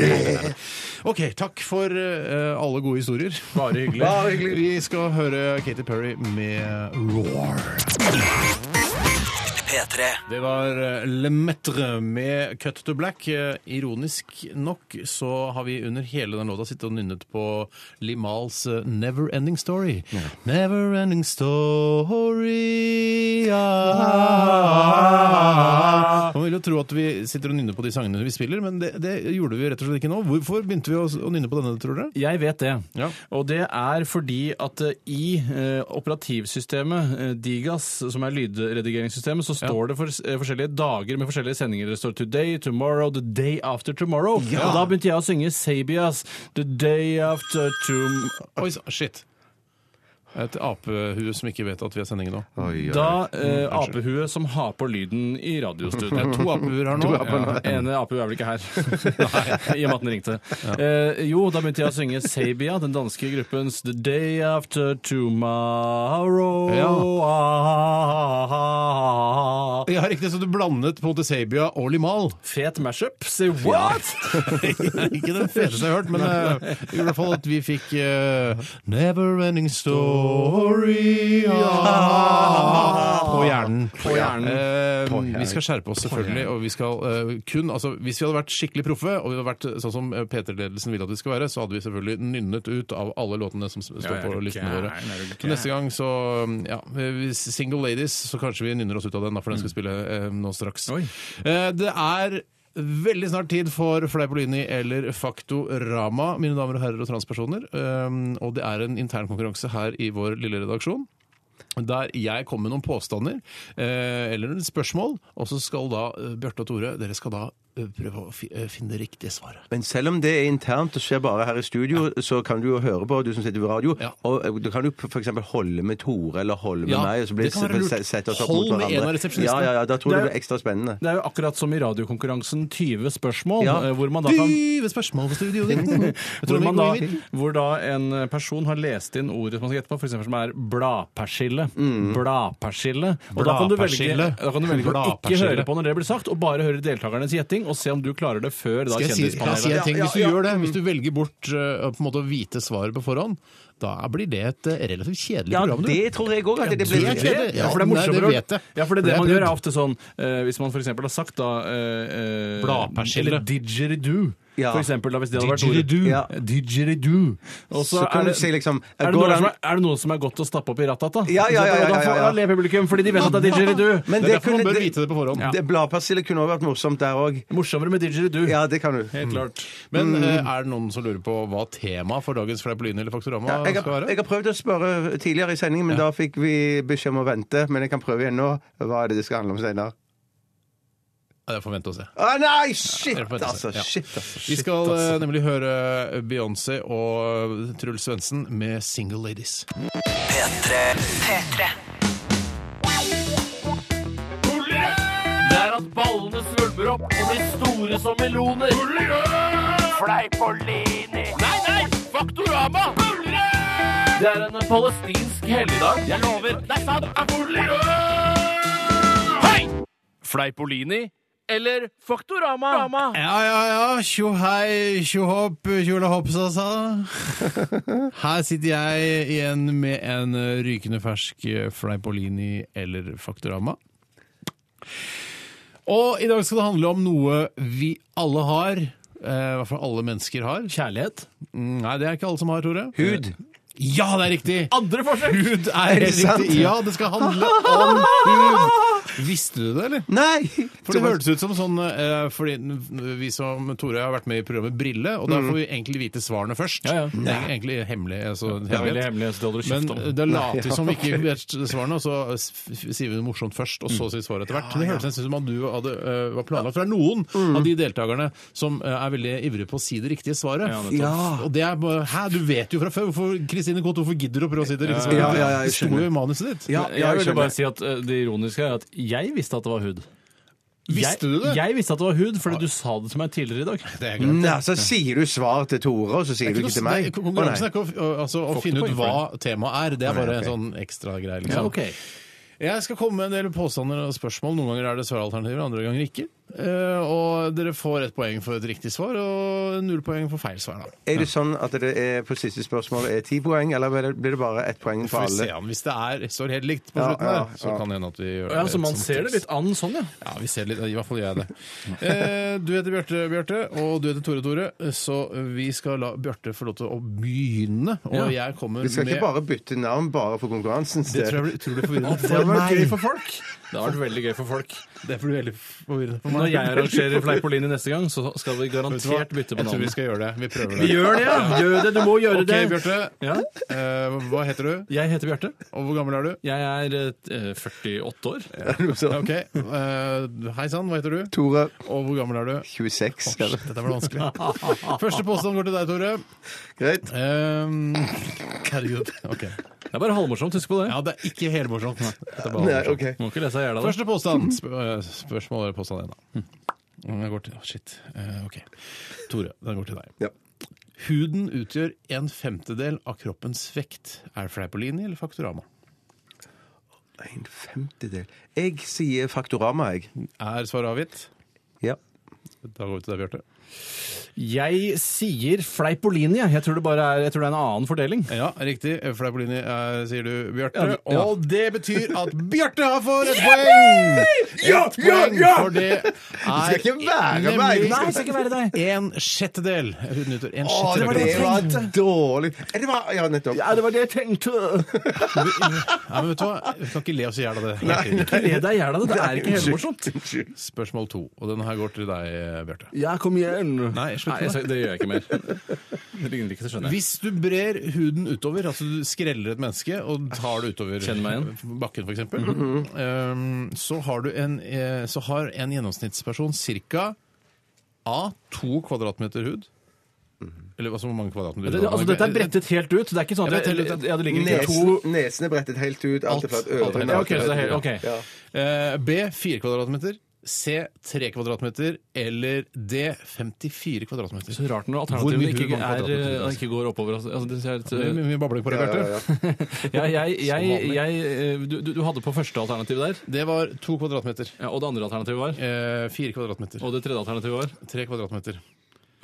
Speaker 3: mer! OK, takk for eh, alle gode historier.
Speaker 4: Bare
Speaker 3: (laughs)
Speaker 4: hyggelig.
Speaker 5: Bare hyggelig.
Speaker 3: Vi skal høre Katy Perry med Roar.
Speaker 2: P3.
Speaker 3: Det var eh, Le Metre med Cut to Black. Eh, Ironisk nok så har vi under hele den låta sittet og nynnet på Limals eh, Never Ending Story. Never Ending Story ah. Man vil jo tro at vi sitter og nynner på de sangene vi spiller, men det, det gjorde vi rett og slett ikke nå. Hvorfor begynte vi å, å nynne på denne, tror dere?
Speaker 4: Jeg vet det.
Speaker 3: Ja.
Speaker 4: Og det er fordi at eh, i eh, operativsystemet eh, Digas, som er lydredigeringssystemet, så står det for, eh, forskjellige dager med forskjellige sendinger. Det står Today, Tomorrow, The Day After Tomorrow. Og da begynte jeg å synge Sabias The Day After Tomorrow.
Speaker 3: Oi, sa- shit. Et apehue som ikke vet at vi har sending nå.
Speaker 4: Da eh, apehue som har på lyden i
Speaker 3: Det (laughs)
Speaker 4: radiostudio.
Speaker 3: er to apehuer her nå.
Speaker 4: Ja, ene apehue er vel
Speaker 3: (laughs)
Speaker 4: ikke her, Nei, i og med at den ringte. Eh, jo, da begynte jeg å synge Sabia, den danske gruppens The Day After Tomorrow.
Speaker 3: Ja.
Speaker 4: Ah,
Speaker 3: Ja, riktig. Så du blandet på en måte Sabia og Limal.
Speaker 4: Fet mashup. Say what?!
Speaker 3: Ikke den feteste jeg har hørt, men eh, i hvert fall at vi fikk eh, Never Ending Story ah, på hjernen.
Speaker 4: På hjernen.
Speaker 3: Eh, vi skal skjerpe oss, selvfølgelig. Og vi skal eh, kun Altså, hvis vi hadde vært skikkelig proffe, og vi hadde vært sånn som eh, P3-ledelsen vil at vi skal være, så hadde vi selvfølgelig nynnet ut av alle låtene som s- står
Speaker 4: er
Speaker 3: på
Speaker 4: du
Speaker 3: listene
Speaker 4: gæren,
Speaker 3: våre.
Speaker 4: er du
Speaker 3: Så neste gang så Ja, hvis Single Ladies, så kanskje vi nynner oss ut av den, da, for den skal spille eh, nå straks.
Speaker 4: Mm. Oi.
Speaker 3: Eh, det er Veldig snart tid for Fleipolini eller Faktorama, mine damer og herrer og transpersoner. Um, og det er en intern konkurranse her i vår lille redaksjon. Der jeg kommer med noen påstander eh, eller noen spørsmål, og så skal da eh, Bjarte og Tore dere skal da eh, prøve å fi, eh, finne det riktige svaret.
Speaker 5: Men selv om det er internt og skjer bare her i studio, så kan du jo høre på, du som sitter ved radio,
Speaker 3: Ja.
Speaker 5: og eh, da kan du f.eks. holde med Tore eller holde med
Speaker 3: Ja,
Speaker 5: meg, og så blir
Speaker 3: det kan være lurt.
Speaker 5: se- sette oss opp
Speaker 3: Hold
Speaker 5: mot
Speaker 3: med en
Speaker 5: hverandre.
Speaker 3: av resepsjonistene.
Speaker 5: Ja, ja, ja, da tror
Speaker 4: Det
Speaker 5: jeg
Speaker 4: er-
Speaker 5: det blir ekstra spennende.
Speaker 4: Det er jo akkurat som i radiokonkurransen 20 spørsmål,
Speaker 5: Ja.
Speaker 4: eh, hvor man da kan
Speaker 3: Dyve spørsmål på (laughs) studio!
Speaker 4: Hvor, man da,
Speaker 3: Trondheim,
Speaker 4: hvor da en eh, person har lest inn ordet som man skal gjette på, f.eks. som er bladpersille. Bladpersille. Og da kan du velge,
Speaker 3: Mm. Bladpersille.
Speaker 4: da kan du velge å ikke
Speaker 3: Bladpersille.
Speaker 4: høre på når det blir sagt, og bare høre deltakernes gjetting. og se om du klarer det før da
Speaker 3: Skal jeg si, la oss si
Speaker 4: kjendispanelet.
Speaker 3: en ting?
Speaker 5: Ja,
Speaker 3: Hvis du
Speaker 5: ja, ja.
Speaker 3: gjør det, hvis du velger bort eh, på en måte å vite svaret på forhånd, da blir det et eh, relativt kjedelig
Speaker 5: Ja,
Speaker 3: program. du.
Speaker 5: det tror jeg òg. Det, det
Speaker 3: det er
Speaker 5: blir
Speaker 3: kjedelig.
Speaker 4: Ja, for det er
Speaker 3: Nei,
Speaker 4: morsommere.
Speaker 3: det vet jeg.
Speaker 4: Ja, for det, er det
Speaker 3: For
Speaker 4: man
Speaker 3: det er
Speaker 4: gjør, er
Speaker 3: prøvd.
Speaker 4: ofte sånn eh, Hvis man f.eks. har sagt da eh, eh,
Speaker 3: Bladpersille.
Speaker 4: Eller didgeridoo.
Speaker 5: Ja.
Speaker 4: For eksempel, da, hvis det hadde vært
Speaker 3: Didgeridoo.
Speaker 4: ordet.
Speaker 5: Ja.
Speaker 4: Didgeridoo. Og så
Speaker 5: Så kan
Speaker 4: er
Speaker 5: du
Speaker 4: det-
Speaker 5: si liksom,
Speaker 4: er det,
Speaker 5: går
Speaker 4: noe
Speaker 5: an-
Speaker 4: som er, er det noe som er godt å stappe opp i rattet, da?
Speaker 5: Ja, ja, ja, ja, ja,
Speaker 4: Da, får,
Speaker 5: ja, ja.
Speaker 4: da ler publikum, fordi de vet at det er didgeridoo.
Speaker 5: Men
Speaker 3: Det er derfor
Speaker 5: kunne-
Speaker 3: man bør vite det på forhånd.
Speaker 5: Det Bladpersille kunne også vært morsomt der òg.
Speaker 4: Morsommere med didgeridoo.
Speaker 5: Ja, Mm. det kan du.
Speaker 4: Helt klart.
Speaker 3: Men eh, er det noen som lurer på hva temaet for dagens Fleipolini eller Faktorama
Speaker 5: Ja, jeg,
Speaker 3: skal
Speaker 5: har,
Speaker 3: være?
Speaker 5: jeg har prøvd å spørre tidligere i sendingen, men da fikk vi beskjed om å vente. Men jeg kan prøve igjen nå. Hva er det det skal handle om senere?
Speaker 3: Ja, Jeg får vente og se.
Speaker 5: Å nei! Shit,
Speaker 3: Jeg får vente og se,
Speaker 5: altså!
Speaker 3: ja.
Speaker 5: Shit, altså.
Speaker 3: Vi skal eh, nemlig høre Beyoncé og Truls Svendsen med 'Single Ladies'.
Speaker 2: P3.
Speaker 1: P3.
Speaker 6: Det er at ballene svulmer opp og blir store som meloner. Fleipolini. Nei, nei! Faktorama! Det er en palestinsk helligdag. Jeg lover. Det er sant. Hei! Fleipolini eller Faktorama?
Speaker 3: Ja, ja, ja. Tjo hei, tjo hopp, tjole hopp, sa sa. Her sitter jeg igjen med en eh, rykende fersk eh, Fleipolini eller Faktorama. Og i dag skal det handle om noe vi alle har. eh, I hvert fall alle mennesker har.
Speaker 4: Kjærlighet.
Speaker 3: Mm, Nei, det er ikke alle som har, Tore.
Speaker 5: Hud.
Speaker 3: Ja, det er riktig!
Speaker 4: Andre forsøk!
Speaker 3: Hud er
Speaker 5: det sant?
Speaker 3: riktig. Ja, det skal handle om hud. Visste du det, eller?
Speaker 5: Nei!
Speaker 3: For det hørtes ut som sånn eh, Fordi vi som Tore har vært med i programmet Brille, og der får vi egentlig vite svarene først.
Speaker 4: Mm. Ja, ja.
Speaker 3: Det er egentlig hemmelig. Altså,
Speaker 4: Det er veldig
Speaker 3: hemmelighet.
Speaker 4: hemmelig, så det holder du
Speaker 3: Men eh,
Speaker 4: kjeft om.
Speaker 3: det later vi som vi
Speaker 4: (laughs)
Speaker 3: ikke vet svarene, og så f- f- sier vi det morsomt først, og
Speaker 4: Mm.
Speaker 3: så sier vi svaret etter hvert. Det hørtes nesten ut som at du hadde, eh, var planlagt fra noen
Speaker 4: Mm.
Speaker 3: av de deltakerne som eh, er veldig ivrige på å si det riktige svaret.
Speaker 4: Ja, nettopp.
Speaker 5: Ja.
Speaker 3: Og det er bare Hæ, du vet jo fra før! Hvorfor Kristine Koht, hvorfor gidder du å prøve å si det riktige svaret?
Speaker 5: Ja, ja, ja, jeg
Speaker 3: det sto jo i manuset ditt.
Speaker 5: Ja, ja,
Speaker 4: jeg
Speaker 5: jeg
Speaker 4: ville
Speaker 5: skjønner.
Speaker 4: bare si at eh, det ironiske er at jeg visste at det var hud.
Speaker 3: Visste du det?
Speaker 4: Jeg, jeg visste at det var hud, fordi du sa det til meg tidligere i dag.
Speaker 3: Det er greit.
Speaker 5: Nei, så sier du svar til Tore, og så sier du ikke til meg.
Speaker 3: Nei, Konkurransen er
Speaker 5: Å,
Speaker 3: ikke å, å- altså, å
Speaker 4: Får ikke
Speaker 3: finne ut
Speaker 4: poeng for
Speaker 3: hva temaet er. Det er
Speaker 5: Nei,
Speaker 3: bare
Speaker 5: ok.
Speaker 3: en sånn ekstra greie. Liksom. Jeg skal komme med en del påstander og spørsmål. Noen ganger er det svaralternativer, andre ganger ikke. Eh, og dere får ett poeng for et riktig svar og null poeng for feil svar. Da.
Speaker 5: nei. Er det sånn at det er på siste spørsmål er ti poeng, eller blir det- blir det bare ett poeng
Speaker 3: Får
Speaker 5: for
Speaker 3: vi se
Speaker 5: alle?
Speaker 3: om hvis det er står helt likt på
Speaker 5: Ja,
Speaker 3: slutten, der,
Speaker 5: ja,
Speaker 3: så
Speaker 5: ja.
Speaker 3: kan det hende at vi gjør
Speaker 4: Ja, så man
Speaker 3: som
Speaker 4: ser det
Speaker 3: tips.
Speaker 4: litt an sånn, ja.
Speaker 3: Ja, vi ser litt, i hvert fall gjør jeg det. Eh, du heter Bjarte, Bjarte, og du heter Tore Tore, så vi skal la Bjarte få lov til å begynne. Og
Speaker 4: Ja.
Speaker 3: jeg kommer
Speaker 5: Vi skal
Speaker 3: med
Speaker 5: ikke bare bytte navn bare for konkurransens
Speaker 3: Det tror jeg
Speaker 5: del.
Speaker 3: blir utrolig forvirrende
Speaker 4: Det
Speaker 3: for
Speaker 4: hadde vært gøy
Speaker 3: meg.
Speaker 4: for folk. Det har vært veldig gøy for folk.
Speaker 3: Det blir veldig forvirrende for meg.
Speaker 4: Når jeg
Speaker 3: (laughs)
Speaker 4: arrangerer Fleipolini neste gang, så skal vi garantert bytte på
Speaker 3: Jeg tror vi
Speaker 4: navn.
Speaker 3: skal gjøre det. Vi prøver det.
Speaker 4: Vi gjør det, ja! Gjør det, du må gjøre
Speaker 3: Ok,
Speaker 4: det.
Speaker 3: Bjarte.
Speaker 4: Ja.
Speaker 3: Eh, hva heter du,
Speaker 4: Jeg heter Bjarte.
Speaker 3: og hvor gammel er du?
Speaker 4: Jeg er eh, 48 år.
Speaker 3: Ok, eh, Hei sann, hva heter du?
Speaker 5: Tore
Speaker 3: Og hvor gammel er du?
Speaker 5: 26. skal det-
Speaker 3: Dette ble vanskelig. Første påstand går til deg, Tore.
Speaker 5: Greit.
Speaker 3: Eh, Herregud. Ok.
Speaker 4: Det er bare halvmorsomt, husk på det.
Speaker 3: Ja, det er ikke helmorsomt. Dette er bare
Speaker 5: Nei,
Speaker 3: morsomt.
Speaker 5: ok.
Speaker 4: Må ikke lese deg i hjel av det.
Speaker 3: Første påstand. Sp eh, spørsmål eller påstand én, da. Mm. Den går til Shit. Eh, OK. Tore, den går til deg.
Speaker 5: Ja.
Speaker 3: Huden utgjør en femtedel av kroppens vekt. Er det Fleipolini eller Faktorama?
Speaker 5: En femtedel Jeg sier Faktorama, jeg.
Speaker 3: Er svaret avgitt?
Speaker 5: Ja.
Speaker 3: Da går vi til deg, Bjarte.
Speaker 4: Jeg sier Fleipolini, jeg. Jeg tror det bare er, jeg tror det er en annen fordeling.
Speaker 3: Ja, riktig. Fleipolini eh, sier du, Bjarte.
Speaker 4: Ja, ja.
Speaker 3: Og det betyr at Bjarte har får et poeng! Et poeng, For det er
Speaker 5: ikke være meg.
Speaker 3: nemlig
Speaker 5: Nei,
Speaker 4: det skal ikke være deg.
Speaker 3: en sjettedel. Huden utgjør en
Speaker 5: Å, det
Speaker 3: sjettedel.
Speaker 5: var
Speaker 3: av kroppens vekt.
Speaker 5: dårlig Eh, Det var, Ja, nettopp.
Speaker 4: (laughs) Ja, det var det jeg (laughs) tenkte.
Speaker 3: Nei, men vet du hva? Vi kan ikke le oss i hjel av det. Helt tydelig.
Speaker 4: Ikke le deg i hjel av det. Det er ikke helt morsomt.
Speaker 3: Spørsmål to, og denne her går til deg, Bjarte.
Speaker 4: Ja, kom igjen. Nei,
Speaker 3: Nei, slutt med
Speaker 4: jeg
Speaker 3: det.
Speaker 4: sa- det gjør jeg ikke mer. Det ligner ikke, det skjønner jeg.
Speaker 3: Hvis du brer huden utover, altså du skreller et menneske og tar det utover
Speaker 4: Kjenn meg Mhm.
Speaker 3: bakken f.eks., så har du en, eh, så har en gjennomsnittsperson ca. A. To kvadratmeter hud. Eller altså, hvor mange kvadratmeter
Speaker 4: Det,
Speaker 3: hud
Speaker 4: Mhm. altså, dette er brettet helt ut. Det er ikke sånn at
Speaker 3: Ja,
Speaker 4: jeg,
Speaker 3: brettet helt ut.
Speaker 4: ja, det ligger ikke to
Speaker 5: Nesen, nesen er brettet helt ut. Alt er fra
Speaker 3: Alt- alt er
Speaker 5: ørene.
Speaker 3: helt-
Speaker 4: ja, ok, så det er helt, ok.
Speaker 5: Ja.
Speaker 3: Eh, B. Fire kvadratmeter. C 3 kvadratmeter eller D 54 kvadratmeter.
Speaker 4: Så rart når
Speaker 3: Hvor
Speaker 4: alternativene
Speaker 3: mye bor
Speaker 4: ikke,
Speaker 3: man på
Speaker 4: er,
Speaker 3: kvadratmeter, altså?
Speaker 4: ikke går oppover. Altså, det er et,
Speaker 3: Det er mye babling på det, Bjarte.
Speaker 4: ja, jeg, jeg,
Speaker 3: vanlig.
Speaker 4: jeg, eh, du, du du hadde på første alternativ der,
Speaker 3: Det var to kvadratmeter.
Speaker 4: ja, og det andre alternativet var
Speaker 3: Eh, fire kvadratmeter.
Speaker 4: Og det tredje alternativet var
Speaker 3: Tre kvadratmeter.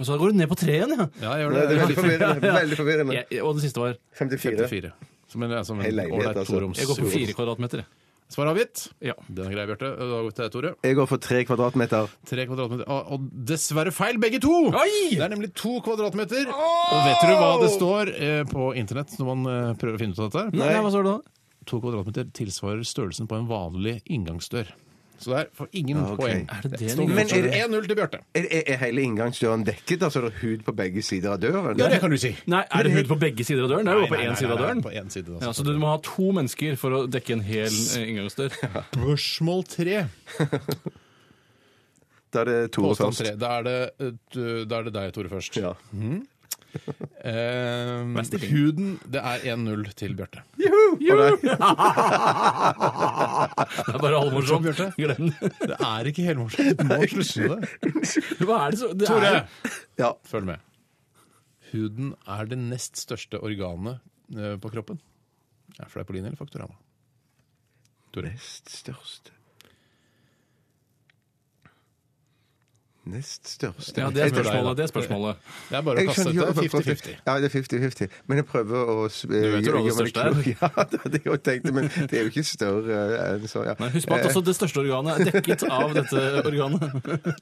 Speaker 4: Og så går du ned på treen, ja!
Speaker 3: Ja, jeg gjør
Speaker 5: Det
Speaker 3: det.
Speaker 5: er veldig forvirrende. Veldig forvirrende.
Speaker 4: Jeg, og det siste var
Speaker 5: 54.
Speaker 3: 54. Som en, som en
Speaker 5: Hei, leilighet,
Speaker 3: ålreit
Speaker 5: altså.
Speaker 3: toroms.
Speaker 4: Jeg går for fire kvadratmeter. jeg.
Speaker 3: Svar avgitt.
Speaker 4: Ja.
Speaker 3: Den er grei, Bjarte. Da går vi til deg, Tore.
Speaker 5: Jeg går for tre kvadratmeter.
Speaker 3: Tre kvadratmeter. Og, og dessverre feil, begge to!
Speaker 4: Oi!
Speaker 3: Det er nemlig to kvadratmeter. Og vet du hva det står eh, på internett når man eh, prøver å finne ut av dette? her?
Speaker 4: Nei, hva står det da?
Speaker 3: To kvadratmeter tilsvarer størrelsen på en vanlig inngangsdør. Så der får ingen
Speaker 5: ok.
Speaker 3: poeng.
Speaker 4: Ah, Er det det
Speaker 3: Det
Speaker 4: en
Speaker 3: står
Speaker 5: Men er det-
Speaker 3: 1-0 til Bjarte.
Speaker 5: Er, er, er hele inngangsdøren dekket? Altså er det hud på begge sider av døren?
Speaker 3: Ja, det kan du si.
Speaker 4: Nei, er det hud på begge sider av døren? Det er jo bare på
Speaker 3: Nei, nei,
Speaker 4: én side av
Speaker 3: nei, nei,
Speaker 4: døren.
Speaker 3: På en side,
Speaker 4: Ja,
Speaker 3: altså.
Speaker 4: Så du må ha to mennesker for å dekke en hel eh,
Speaker 3: (laughs)
Speaker 4: inngangsdør.
Speaker 3: Spørsmål tre.
Speaker 5: Da er det Tore
Speaker 3: Påstand
Speaker 5: først.
Speaker 3: tre. Da er det, eh, du- da er det deg, Tore, først.
Speaker 5: Ja.
Speaker 3: Eh,
Speaker 4: er stillingen?
Speaker 3: huden Det er 1-0 til Bjarte. (laughs)
Speaker 4: Det er bare halvmorsomt.
Speaker 3: Bjarte?
Speaker 4: Glem det.
Speaker 3: Det er ikke helmorsomt. (laughs) Du må slutte med det.
Speaker 4: Hva er det så det
Speaker 3: Tore!
Speaker 4: er-
Speaker 5: Ja.
Speaker 3: Følg med. Huden er det nest største organet eh, på kroppen. Er det Fleipolini eller Faktorama? Tore.
Speaker 5: Nest største Nest største
Speaker 4: Ja, det er
Speaker 5: Jeg tror-
Speaker 4: spørsmålet. Det er spørsmålet.
Speaker 3: Det er bare å
Speaker 5: Jeg
Speaker 3: kaste
Speaker 5: skjønner
Speaker 3: ut.
Speaker 5: ikke hva-
Speaker 3: 50-50.
Speaker 5: Ja, det er 50-50. Men jeg prøver å eh, Du
Speaker 4: vet jo hva det største er.
Speaker 5: (laughs) Ja, det hadde jeg jo tenkt, men det er jo ikke større enn så. Ja.
Speaker 4: Nei, husk på at også det største organet er dekket av dette organet.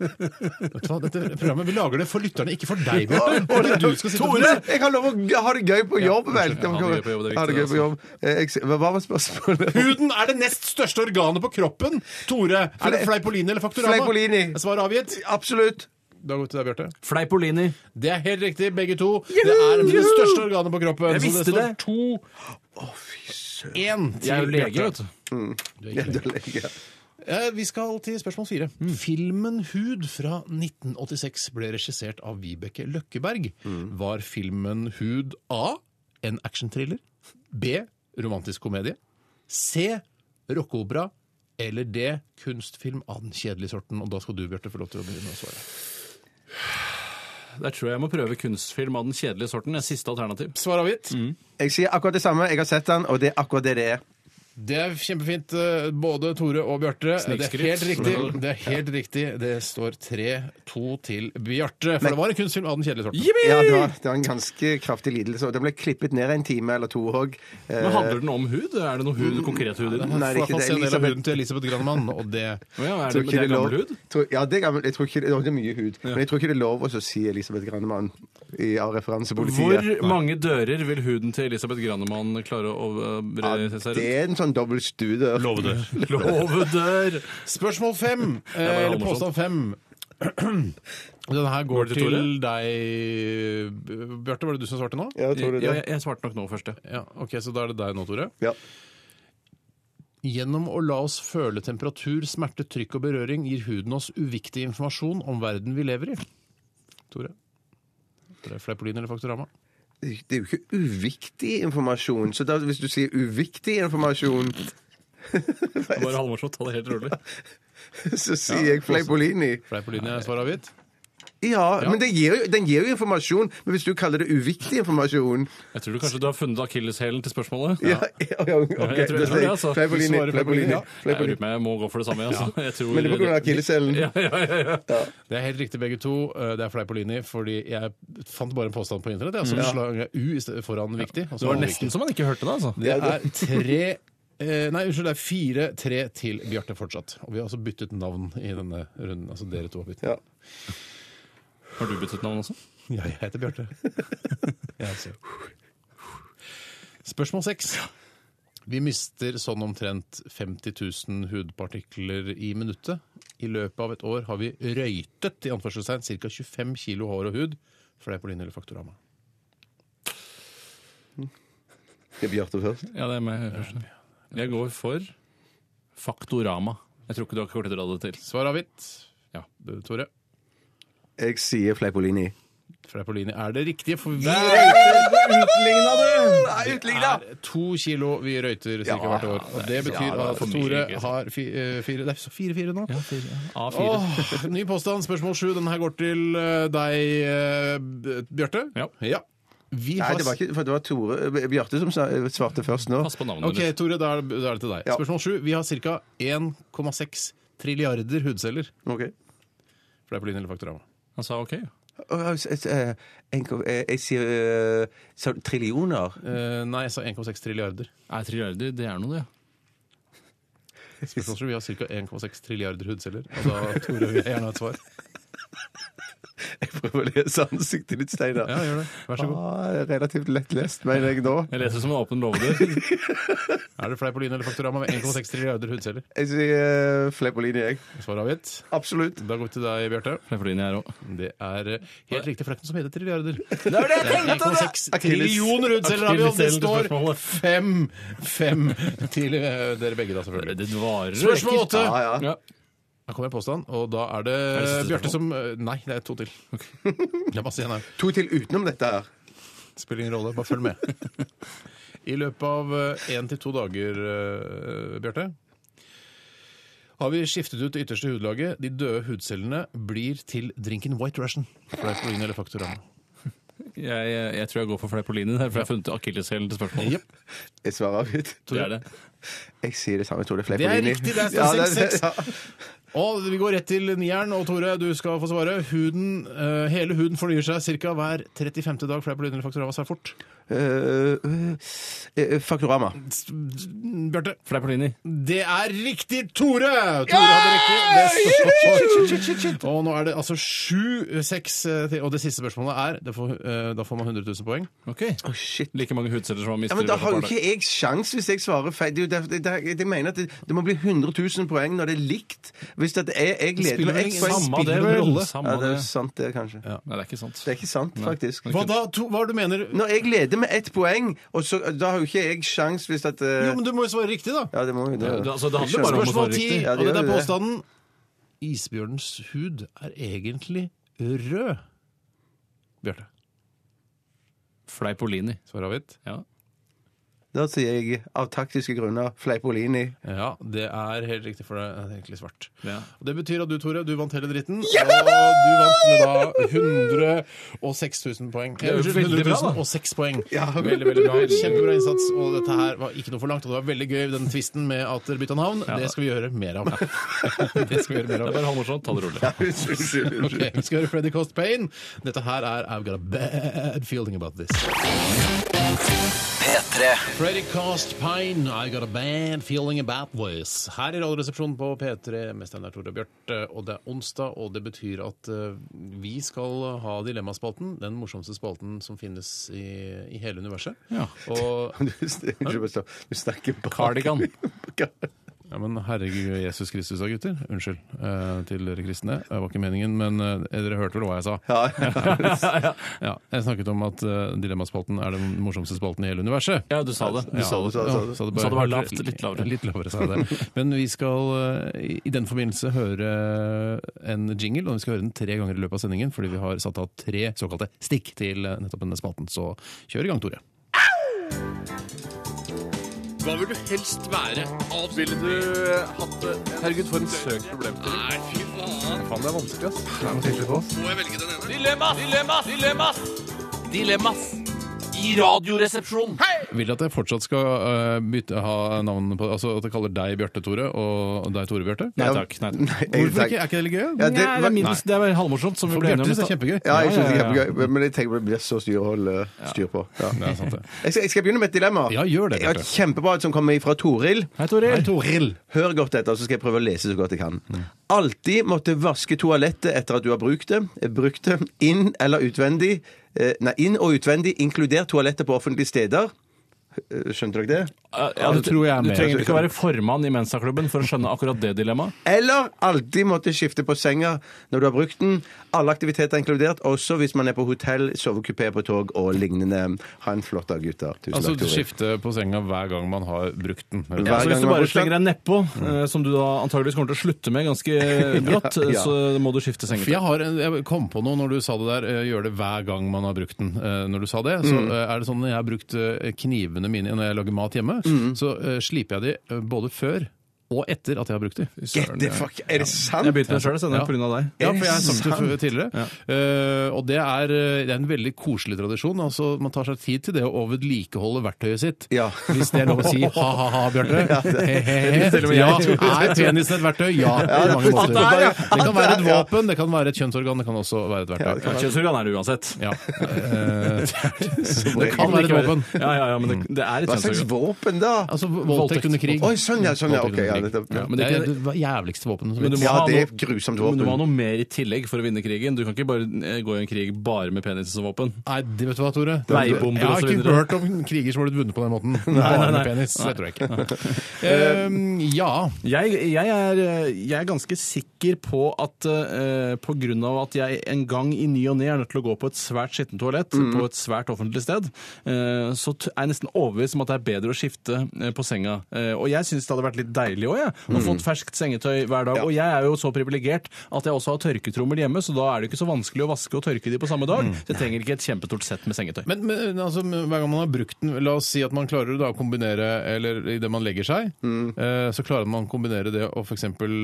Speaker 3: Vet du hva, dette programmet, Vi lager det for lytterne, ikke for (laughs) deg, Bjarte. Fordi du skal sitte
Speaker 5: Tore! Jeg har lov å g- ha det gøy på jobb, vel!
Speaker 4: unnskyld, ha det gøy på jobb, det er
Speaker 5: Ha det gøy
Speaker 4: viktig, altså.
Speaker 5: på jobb. Eh, jeg ser- Hva
Speaker 4: (laughs)
Speaker 5: var spørsmålet?
Speaker 3: Huden er det nest største organet på kroppen! Tore, er det
Speaker 5: Fle-
Speaker 3: Fleipolini eller Faktorama?
Speaker 5: Fleipolini.
Speaker 3: Svar avgitt.
Speaker 5: Absolutt!
Speaker 3: Da går vi til deg, Bjarte.
Speaker 4: Fleipolini.
Speaker 3: Det er helt riktig, begge to. Det er det største organet på kroppen.
Speaker 4: Jeg visste
Speaker 3: så det
Speaker 4: det.
Speaker 3: står to Én til
Speaker 4: Jeg er jo lege,
Speaker 3: Bjarte.
Speaker 4: vet du.
Speaker 5: Ja, det er lenge.
Speaker 3: Eh, Vi skal til spørsmål fire.
Speaker 4: Mm.
Speaker 3: Filmen Hud fra 1986 ble regissert av Vibeke Løkkeberg.
Speaker 4: Mm.
Speaker 3: Var filmen Hud A en actionthriller? B romantisk komedie? C rockeopera? Eller D kunstfilm av den kjedelige sorten? Og da skal du, Bjarte, få lov til å begynne å svare.
Speaker 4: Der tror jeg jeg må prøve kunstfilm av den kjedelige sorten. Det er siste alternativ.
Speaker 3: Svar avgitt.
Speaker 5: Jeg sier akkurat det samme. Jeg har sett den, og det er akkurat det det er.
Speaker 3: Det er kjempefint, eh, både Tore og Bjarte. Det er
Speaker 4: Snikskryt.
Speaker 3: helt riktig. Det er helt riktig. Det står 3-2 til Bjarte. For det var en kunstfilm av den kjedelige sorten.
Speaker 5: Ja, det var, det var en ganske kraftig lidelse. Og den ble klippet ned en time eller to Eh, òg.
Speaker 4: Men handler den om hud? Er det noe hud, konkret hud i den?
Speaker 5: Nei, det er ikke
Speaker 3: Får jeg
Speaker 5: det.
Speaker 3: få se en del av
Speaker 5: Elisabeth-
Speaker 3: huden til Elisabeth Granemann, og det
Speaker 4: Å Ja, er
Speaker 5: Tror
Speaker 4: det,
Speaker 5: ikke
Speaker 4: det er
Speaker 5: lov-
Speaker 4: gammel hud?
Speaker 5: Tror, ja, det er gammel. Jeg tror ikke, det det er mye hud. Men jeg tror ikke det er lov å så si Elisabeth Grannemann i, av
Speaker 4: Hvor
Speaker 5: referansepolitiet.
Speaker 4: mange dører vil huden til Elisabeth Granemann klare å øh, bre seg
Speaker 5: Det er en sånn dobbel studie.
Speaker 4: rundt? Låvedør!
Speaker 3: Spørsmål fem, eh,
Speaker 4: var
Speaker 3: eller
Speaker 4: halvmorsomt.
Speaker 3: påstand fem. (clears throat) Den her går
Speaker 4: det til
Speaker 3: til deg B- Bjarte, var det du som svarte nå?
Speaker 5: Ja, tror du
Speaker 4: Ja,
Speaker 5: det?
Speaker 4: jeg, jeg svarte nok nå først, ja.
Speaker 3: Ja, ok, Så da er det deg nå, Tore.
Speaker 5: Ja.
Speaker 3: Gjennom å la oss føle temperatur, smerte, trykk og berøring gir huden oss uviktig informasjon om verden vi lever i. Tore? Er det Fleipolin eller Faktorama?
Speaker 5: Det er jo ikke uviktig informasjon. Så da, hvis du sier uviktig informasjon, (laughs)
Speaker 4: Det var halvmorsomt. Det er helt rolig.
Speaker 5: så sier jeg Fleipolini.
Speaker 3: Fleipolin er svaret avgitt.
Speaker 5: Ja, men det gir jo, den gir jo informasjon. Men hvis du kaller det uviktig informasjon
Speaker 4: Jeg tror du kanskje du har funnet akilleshælen til spørsmålet.
Speaker 5: Ja, ja, ja,
Speaker 4: jeg
Speaker 5: ok,
Speaker 4: tror-
Speaker 5: da
Speaker 4: jeg tror
Speaker 5: sier
Speaker 4: det,
Speaker 5: jeg
Speaker 4: altså.
Speaker 5: Fleipolini.
Speaker 3: Svarer Fleipolini,
Speaker 5: Fleipolini.
Speaker 3: ja.
Speaker 4: Jeg, lurer
Speaker 5: Fleipolini.
Speaker 4: på om jeg må gå for det samme. Altså. Jeg tror,
Speaker 5: Men det er på grunn av akilleshælen.
Speaker 3: Det er helt riktig, begge to. Eh, Det er Fleipolini, fordi jeg fant bare en påstand på internett. Jeg, så slang jeg U i stedet foran viktig. og så
Speaker 4: det var
Speaker 3: den viktig.
Speaker 4: nesten så man ikke hørte det, altså.
Speaker 3: Det er tre eh, Nei, unnskyld, det er fire-tre til Bjarte fortsatt. Og vi har altså byttet navn i denne runden. Altså dere to har byttet.
Speaker 5: Ja.
Speaker 4: Har du byttet navn også?
Speaker 3: Ja, jeg heter (laughs) Bjarte. Jeg altså. Spørsmål seks. Vi mister sånn omtrent 50 000 hudpartikler i minuttet. I løpet av et år har vi røytet i anførselstegn ca. 25 kilo hår og hud. For det er på linje eller Faktorama.
Speaker 5: Det er Bjarte først.
Speaker 4: Ja, det er meg først. Jeg går for Faktorama. Jeg tror ikke du har kortet radet til.
Speaker 3: Svar avgitt.
Speaker 4: Ja.
Speaker 3: Tore.
Speaker 5: Jeg sier Fleipolini.
Speaker 3: Fleipolini er det riktige, for vi
Speaker 4: Utligna du!
Speaker 3: er to kilo vi røyter ca. hvert år. Og det betyr
Speaker 4: det er
Speaker 3: at
Speaker 4: for mye,
Speaker 3: Tore
Speaker 4: gutt.
Speaker 3: har fi- eh, fire Det er så fire-fire nå.
Speaker 4: A4.
Speaker 3: Åh, (laughs) ny påstand, spørsmål sju. Den her går til eh, deg, eh, B- Bjarte.
Speaker 4: Ja.
Speaker 3: Vi
Speaker 5: Nei,
Speaker 3: har
Speaker 5: det var ikke, for det var Tore eh, Bjarte som sa- svarte først nå.
Speaker 4: Pass på navnet
Speaker 3: Ok,
Speaker 4: ditt.
Speaker 3: Tore, da er det, da er det til deg.
Speaker 5: Ja.
Speaker 3: Spørsmål sju. Vi har ca. 1,6 trilliarder hudceller.
Speaker 5: Ok.
Speaker 3: Fleipolini eller Faktorama?
Speaker 4: Han sa OK.
Speaker 5: Åh, jeg- jeg- jeg- eh, en- jeg- Jeg sier eh, sa du trillioner. (laughs)
Speaker 3: Eh, nei, jeg sa 1,6 trilliarder.
Speaker 4: Er trilliarder, det er noe, det.
Speaker 3: Spørsmål sju. Vi har ca. 1,6 trilliarder hudceller. Og da, Tore, vil jeg gjerne ha et svar.
Speaker 5: Jeg prøver å lese ansiktet ditt, Steinar.
Speaker 4: Ja, gjør det.
Speaker 3: Vær så god.
Speaker 5: Ah, relativt lettlest, mener jeg nå.
Speaker 4: Jeg leser som en åpen låvedør.
Speaker 3: Er det Fleipolini eller Faktorama med 1,6 trilliarder hudceller?
Speaker 5: Jeg sier uh, Fleipolini, jeg.
Speaker 3: Svar avgitt.
Speaker 5: Absolutt.
Speaker 3: Da går vi til deg, Bjarte.
Speaker 4: Fleipolini her òg.
Speaker 3: Det er eh, helt riktig, for det er ikke noe som heter trilliarder.
Speaker 5: Det var det jeg
Speaker 3: Det er 1,6 trillioner hudceller, har vi, og det står fem, fem til eh, dere begge, da, selvfølgelig.
Speaker 4: Det varer
Speaker 3: Spørsmål åtte!
Speaker 5: Ja, ja.
Speaker 4: Ja.
Speaker 3: Her kommer en påstand, og da er det,
Speaker 4: det siste
Speaker 3: Bjarte som eh, Nei, det er to til. (laughs) Det er masse igjen her.
Speaker 5: To til utenom dette her.
Speaker 3: Spiller ingen rolle, bare følg (laughs) med. I løpet av eh, én til to dager, eh, Bjarte, har vi skiftet ut det ytterste hudlaget. De døde hudcellene blir til drinken White Russian. Fleipolini eller Faktorama.
Speaker 4: Jeg, jeg, jeg tror jeg går for Fleipolini der, for jeg har funnet akilleshælen til spørsmålet.
Speaker 3: Jep.
Speaker 5: Jeg svarer avgitt.
Speaker 4: Det er det.
Speaker 5: Jeg sier det samme, Tore
Speaker 3: Det er
Speaker 5: Fleipolini.
Speaker 3: riktig, det er
Speaker 5: Ja, det
Speaker 3: 6-6.
Speaker 5: ja.
Speaker 3: Og vi går rett til nieren, og Tore, du skal få svare. Huden, eh, hele huden fornyer seg ca. hver 35. dag. Fleipolini eller Faktorama svar fort.
Speaker 5: Eh, eh, eh, Faktorama.
Speaker 3: Bjarte.
Speaker 4: Fleipolini.
Speaker 3: Det er riktig, Tore! Tore hadde riktig. Det står. Og nå er det altså sju, seks eh, til. Og det siste spørsmålet er det får, eh, Da får man 100 000 poeng.
Speaker 4: Ok.
Speaker 5: shit.
Speaker 4: Like mange hudceller som han mister.
Speaker 5: Ja, men Da
Speaker 4: i løpet av
Speaker 5: har jo
Speaker 4: et par dager.
Speaker 5: ikke jeg sjans hvis jeg svarer feil. Det, er jo derfor- det, det, det mener at det, det må bli 100 000 poeng når det er likt. Hvis det er, jeg gleder
Speaker 3: spiller
Speaker 5: meg ett
Speaker 3: ingen-
Speaker 5: poeng.
Speaker 4: Samme det,
Speaker 3: Spiller noen
Speaker 4: vel.
Speaker 3: rolle.
Speaker 5: Ja,
Speaker 4: Samme
Speaker 5: det er
Speaker 4: det.
Speaker 5: sant, det, kanskje.
Speaker 4: Nei, det er ikke sant.
Speaker 5: Det er ikke sant, faktisk.
Speaker 3: Hva da? To, hva er det du mener?
Speaker 5: Når jeg leder med ett poeng, og så, da har jo ikke jeg sjans hvis at eh,
Speaker 3: Jo, men du må jo svare riktig, da.
Speaker 5: Ja, det må jo
Speaker 4: Ja, det- altså, det handler bare om å
Speaker 5: Spørsmål-
Speaker 4: svare
Speaker 3: Spørsmål ti,
Speaker 4: riktig.
Speaker 5: Ja,
Speaker 3: og
Speaker 5: det
Speaker 3: dette
Speaker 5: gjør
Speaker 3: er
Speaker 5: det.
Speaker 3: påstanden. Isbjørnens hud er egentlig rød. Bjarte.
Speaker 4: Fleipolini.
Speaker 3: Svar avgitt?
Speaker 4: Ja.
Speaker 5: Da sier jeg av taktiske grunner Fleipolini.
Speaker 3: (laughs) Ja, det er helt riktig, for det er egentlig svart.
Speaker 4: Ja.
Speaker 3: Og Det betyr at du, Tore, du vant hele dritten. Og du vant med da 106 000 poeng.
Speaker 4: er jo
Speaker 3: Unnskyld,
Speaker 4: veldig bra,
Speaker 3: 100
Speaker 4: da.
Speaker 3: 006 poeng. Veldig, veldig bra. Kjempebra innsats. Og dette her var ikke noe for langt, og det var veldig gøy, den tvisten med at dere bytta navn. Det skal vi gjøre mer av. (laughs) det skal vi gjøre mer
Speaker 4: Det er
Speaker 3: av.
Speaker 4: bare halvmorsomt. Ta det rolig.
Speaker 5: Unnskyld.
Speaker 3: Ok, vi skal høre Freddy Cost Payne. Dette her er I've Got A Bad Feeling About This.
Speaker 2: P3
Speaker 3: Freddy Cost Pine, I got a bad feeling about this. Her i Radioresepsjonen på P3 med Steinar Tore og Bjarte. Og det er onsdag, og det betyr at eh, vi skal ha Dilemmaspalten. Den morsomste spalten som finnes i, i hele universet.
Speaker 4: Ja.
Speaker 3: Og,
Speaker 5: Du snakker- du snakker bak.
Speaker 4: Cardigan.
Speaker 3: (laughs) ja, men herregud Jesus Kristus da, gutter. Unnskyld eh, til dere kristne. Det var ikke meningen, men eh, dere hørte vel hva jeg sa?
Speaker 5: (laughs) Ja, ja.
Speaker 3: (laughs) Ja, jeg snakket om at eh, Dilemmaspalten er den morsomste spalten i hele universet.
Speaker 4: Ja, du sa det.
Speaker 5: Du sa det, sa det, sa det.
Speaker 3: Så det
Speaker 4: Så det var lavt, litt lavere.
Speaker 3: Litt lavere, sa jeg
Speaker 5: (laughs)
Speaker 3: det. Men vi skal eh, i- i den forbindelse høre en jingle, og vi skal høre den tre ganger i løpet av sendingen, fordi vi har satt av tre såkalte stikk til eh, nettopp denne spalten. Så kjør i gang, Tore.
Speaker 6: Hva vil du helst være? Ville du hatt det? Herregud, for en søk problemstilling. Nei, fy faen. Faen, det er vanskelig, ass. Må jeg velge den ene? Dilemmas! Dilemmas! Dilemmas! Dilemmas! I radioresepsjonen.
Speaker 3: Vil du at jeg fortsatt skal eh, bytte, ha navn på Altså at jeg kaller deg Bjarte Tore, og deg Tore Bjarte?
Speaker 4: Nei takk. Nei, takk.
Speaker 5: Nei, jeg-
Speaker 3: Hvorfor ikke? Er ikke det litt gøy?
Speaker 5: Ja,
Speaker 4: Nei,
Speaker 5: det-
Speaker 4: det, er minst, det er vel halvmorsomt, som vi
Speaker 3: For
Speaker 4: ble enige
Speaker 3: Bjarte syns
Speaker 4: om. i
Speaker 3: det er
Speaker 4: stad.
Speaker 3: kjempegøy.
Speaker 5: Ja, jeg synes det
Speaker 4: Ja,
Speaker 5: er
Speaker 4: ja, ja.
Speaker 5: kjempegøy, men jeg tenker det blir så styr å holde styr på. Ja.
Speaker 3: Det er sant, det.
Speaker 5: Jeg, skal, jeg skal begynne med et dilemma.
Speaker 3: Ja, gjør det,
Speaker 5: Jeg har
Speaker 3: Bjarte.
Speaker 5: et kjempebra et som kommer fra Toril.
Speaker 4: Hei, Toril.
Speaker 3: Toril.
Speaker 5: Hør godt etter, så skal jeg prøve å lese så godt jeg kan.
Speaker 3: Mm.
Speaker 5: Alltid måtte vaske toalettet etter at du har brukt det. Eh, Brukt det inn eller utvendig. Eh, Nei, inn og utvendig, inkludert toalettet på offentlige steder. Eh, Skjønte dere det?
Speaker 4: Ja,
Speaker 3: det tror jeg er
Speaker 4: Du
Speaker 3: med.
Speaker 4: trenger ikke å være formann i Mensa-klubben for å skjønne akkurat det dilemmaet.
Speaker 5: Eller alltid måtte skifte på senga når du har brukt den. Alle aktiviteter inkludert, også hvis man er på hotell, sovekupé på tog og lignende. Ha en flott dag, gutter. Tusen
Speaker 3: Altså
Speaker 5: takk, Tore.
Speaker 3: skifte på senga hver gang man har brukt den.
Speaker 5: Ja,
Speaker 4: Så Altså,
Speaker 5: Hver
Speaker 4: hvis du
Speaker 5: gang man
Speaker 4: bare
Speaker 5: har bursdag.
Speaker 4: slenger deg nedpå, eh, som du da antageligvis kommer til å slutte med
Speaker 5: (laughs)
Speaker 4: ganske eh, brått,
Speaker 5: Ja, ja.
Speaker 4: så må du skifte
Speaker 3: For
Speaker 4: sengetøy.
Speaker 3: jeg, har en, jeg kom på noe når du sa det der. eh, Gjør det hver gang man har brukt den. Eh, Når du sa det, så eh, er det sånn når jeg har brukt eh, knivene mine når jeg lager mat hjemme, så eh, sliper jeg de eh, både før og etter at jeg har brukt de.
Speaker 5: Get the fuck Er det sant?
Speaker 4: Jeg begynte med det sjøl, så det
Speaker 3: Ja.
Speaker 4: er på grunn av deg.
Speaker 3: Ja, for jeg har sagt det før- tidligere. Eh, og det er, eh, det er en veldig koselig tradisjon. Altså, man tar seg tid til det å vedlikeholde verktøyet sitt.
Speaker 5: Ja.
Speaker 3: Hvis det er lov å
Speaker 5: (laughs)
Speaker 3: si ha-ha-ha, Bjarte. He-he-he.
Speaker 4: til og med
Speaker 3: Ja,
Speaker 4: jeg.
Speaker 3: er penisen et verktøy? Ja, på mange måter. Det kan være et våpen, det kan være et kjønnsorgan, det kan også være et verktøy.
Speaker 4: Kjønnsorgan er det uansett.
Speaker 3: Ja. (laughs) Eh, det
Speaker 5: Det
Speaker 3: kan være et våpen.
Speaker 4: Ja, ja, ja, men det, det er et
Speaker 5: Mm. Hva slags
Speaker 4: kjønnsorgan.
Speaker 5: våpen, da?
Speaker 3: Altså voldtekt under krig.
Speaker 5: Oi, sånn ja, sånn ja. Ok, ja,
Speaker 3: Voldtekt under
Speaker 5: nettopp.
Speaker 3: krig.
Speaker 5: Ja,
Speaker 3: men det er det jævligste våpenet som
Speaker 4: Men du
Speaker 3: finnes.
Speaker 4: må
Speaker 5: Ja,
Speaker 4: ha
Speaker 5: det er
Speaker 4: noe-
Speaker 5: et grusomt
Speaker 4: Men du må ha
Speaker 5: våpen.
Speaker 4: noe mer i tillegg for å vinne krigen. Du kan ikke bare eh, gå i en krig bare med penis som våpen.
Speaker 3: Nei, det vet du hva, Tore?
Speaker 4: Veibomber
Speaker 3: Jeg har
Speaker 4: og så
Speaker 3: ikke
Speaker 4: videre.
Speaker 3: hørt om kriger som har blitt vunnet på den måten. (laughs) Bare med
Speaker 4: nei.
Speaker 3: penis. Det tror jeg ikke. Eh, ja.
Speaker 4: Jeg, jeg, er, eh, jeg er ganske sikker på at eh, på grunn av at jeg en gang i ny og ne er nødt til å gå på et svært skittent toalett på et svært offentlig sted, eh, så t- er jeg nesten overbevist om at det er bedre å skifte eh, på senga. Eh, og jeg syns det hadde vært litt deilig òg, jeg. Å få et ferskt sengetøy hver dag. Og jeg er jo så privilegert at jeg også har tørketrommel hjemme, så da er det jo ikke så vanskelig å vaske og tørke de på samme dag. Så jeg trenger ikke et kjempestort sett med sengetøy.
Speaker 3: Men, men altså, hver gang man har brukt den, la oss si at man klarer da å kombinere Eller idet man legger seg,
Speaker 5: Mm.
Speaker 3: eh, så klarer man å kombinere det og f.eks. Eh,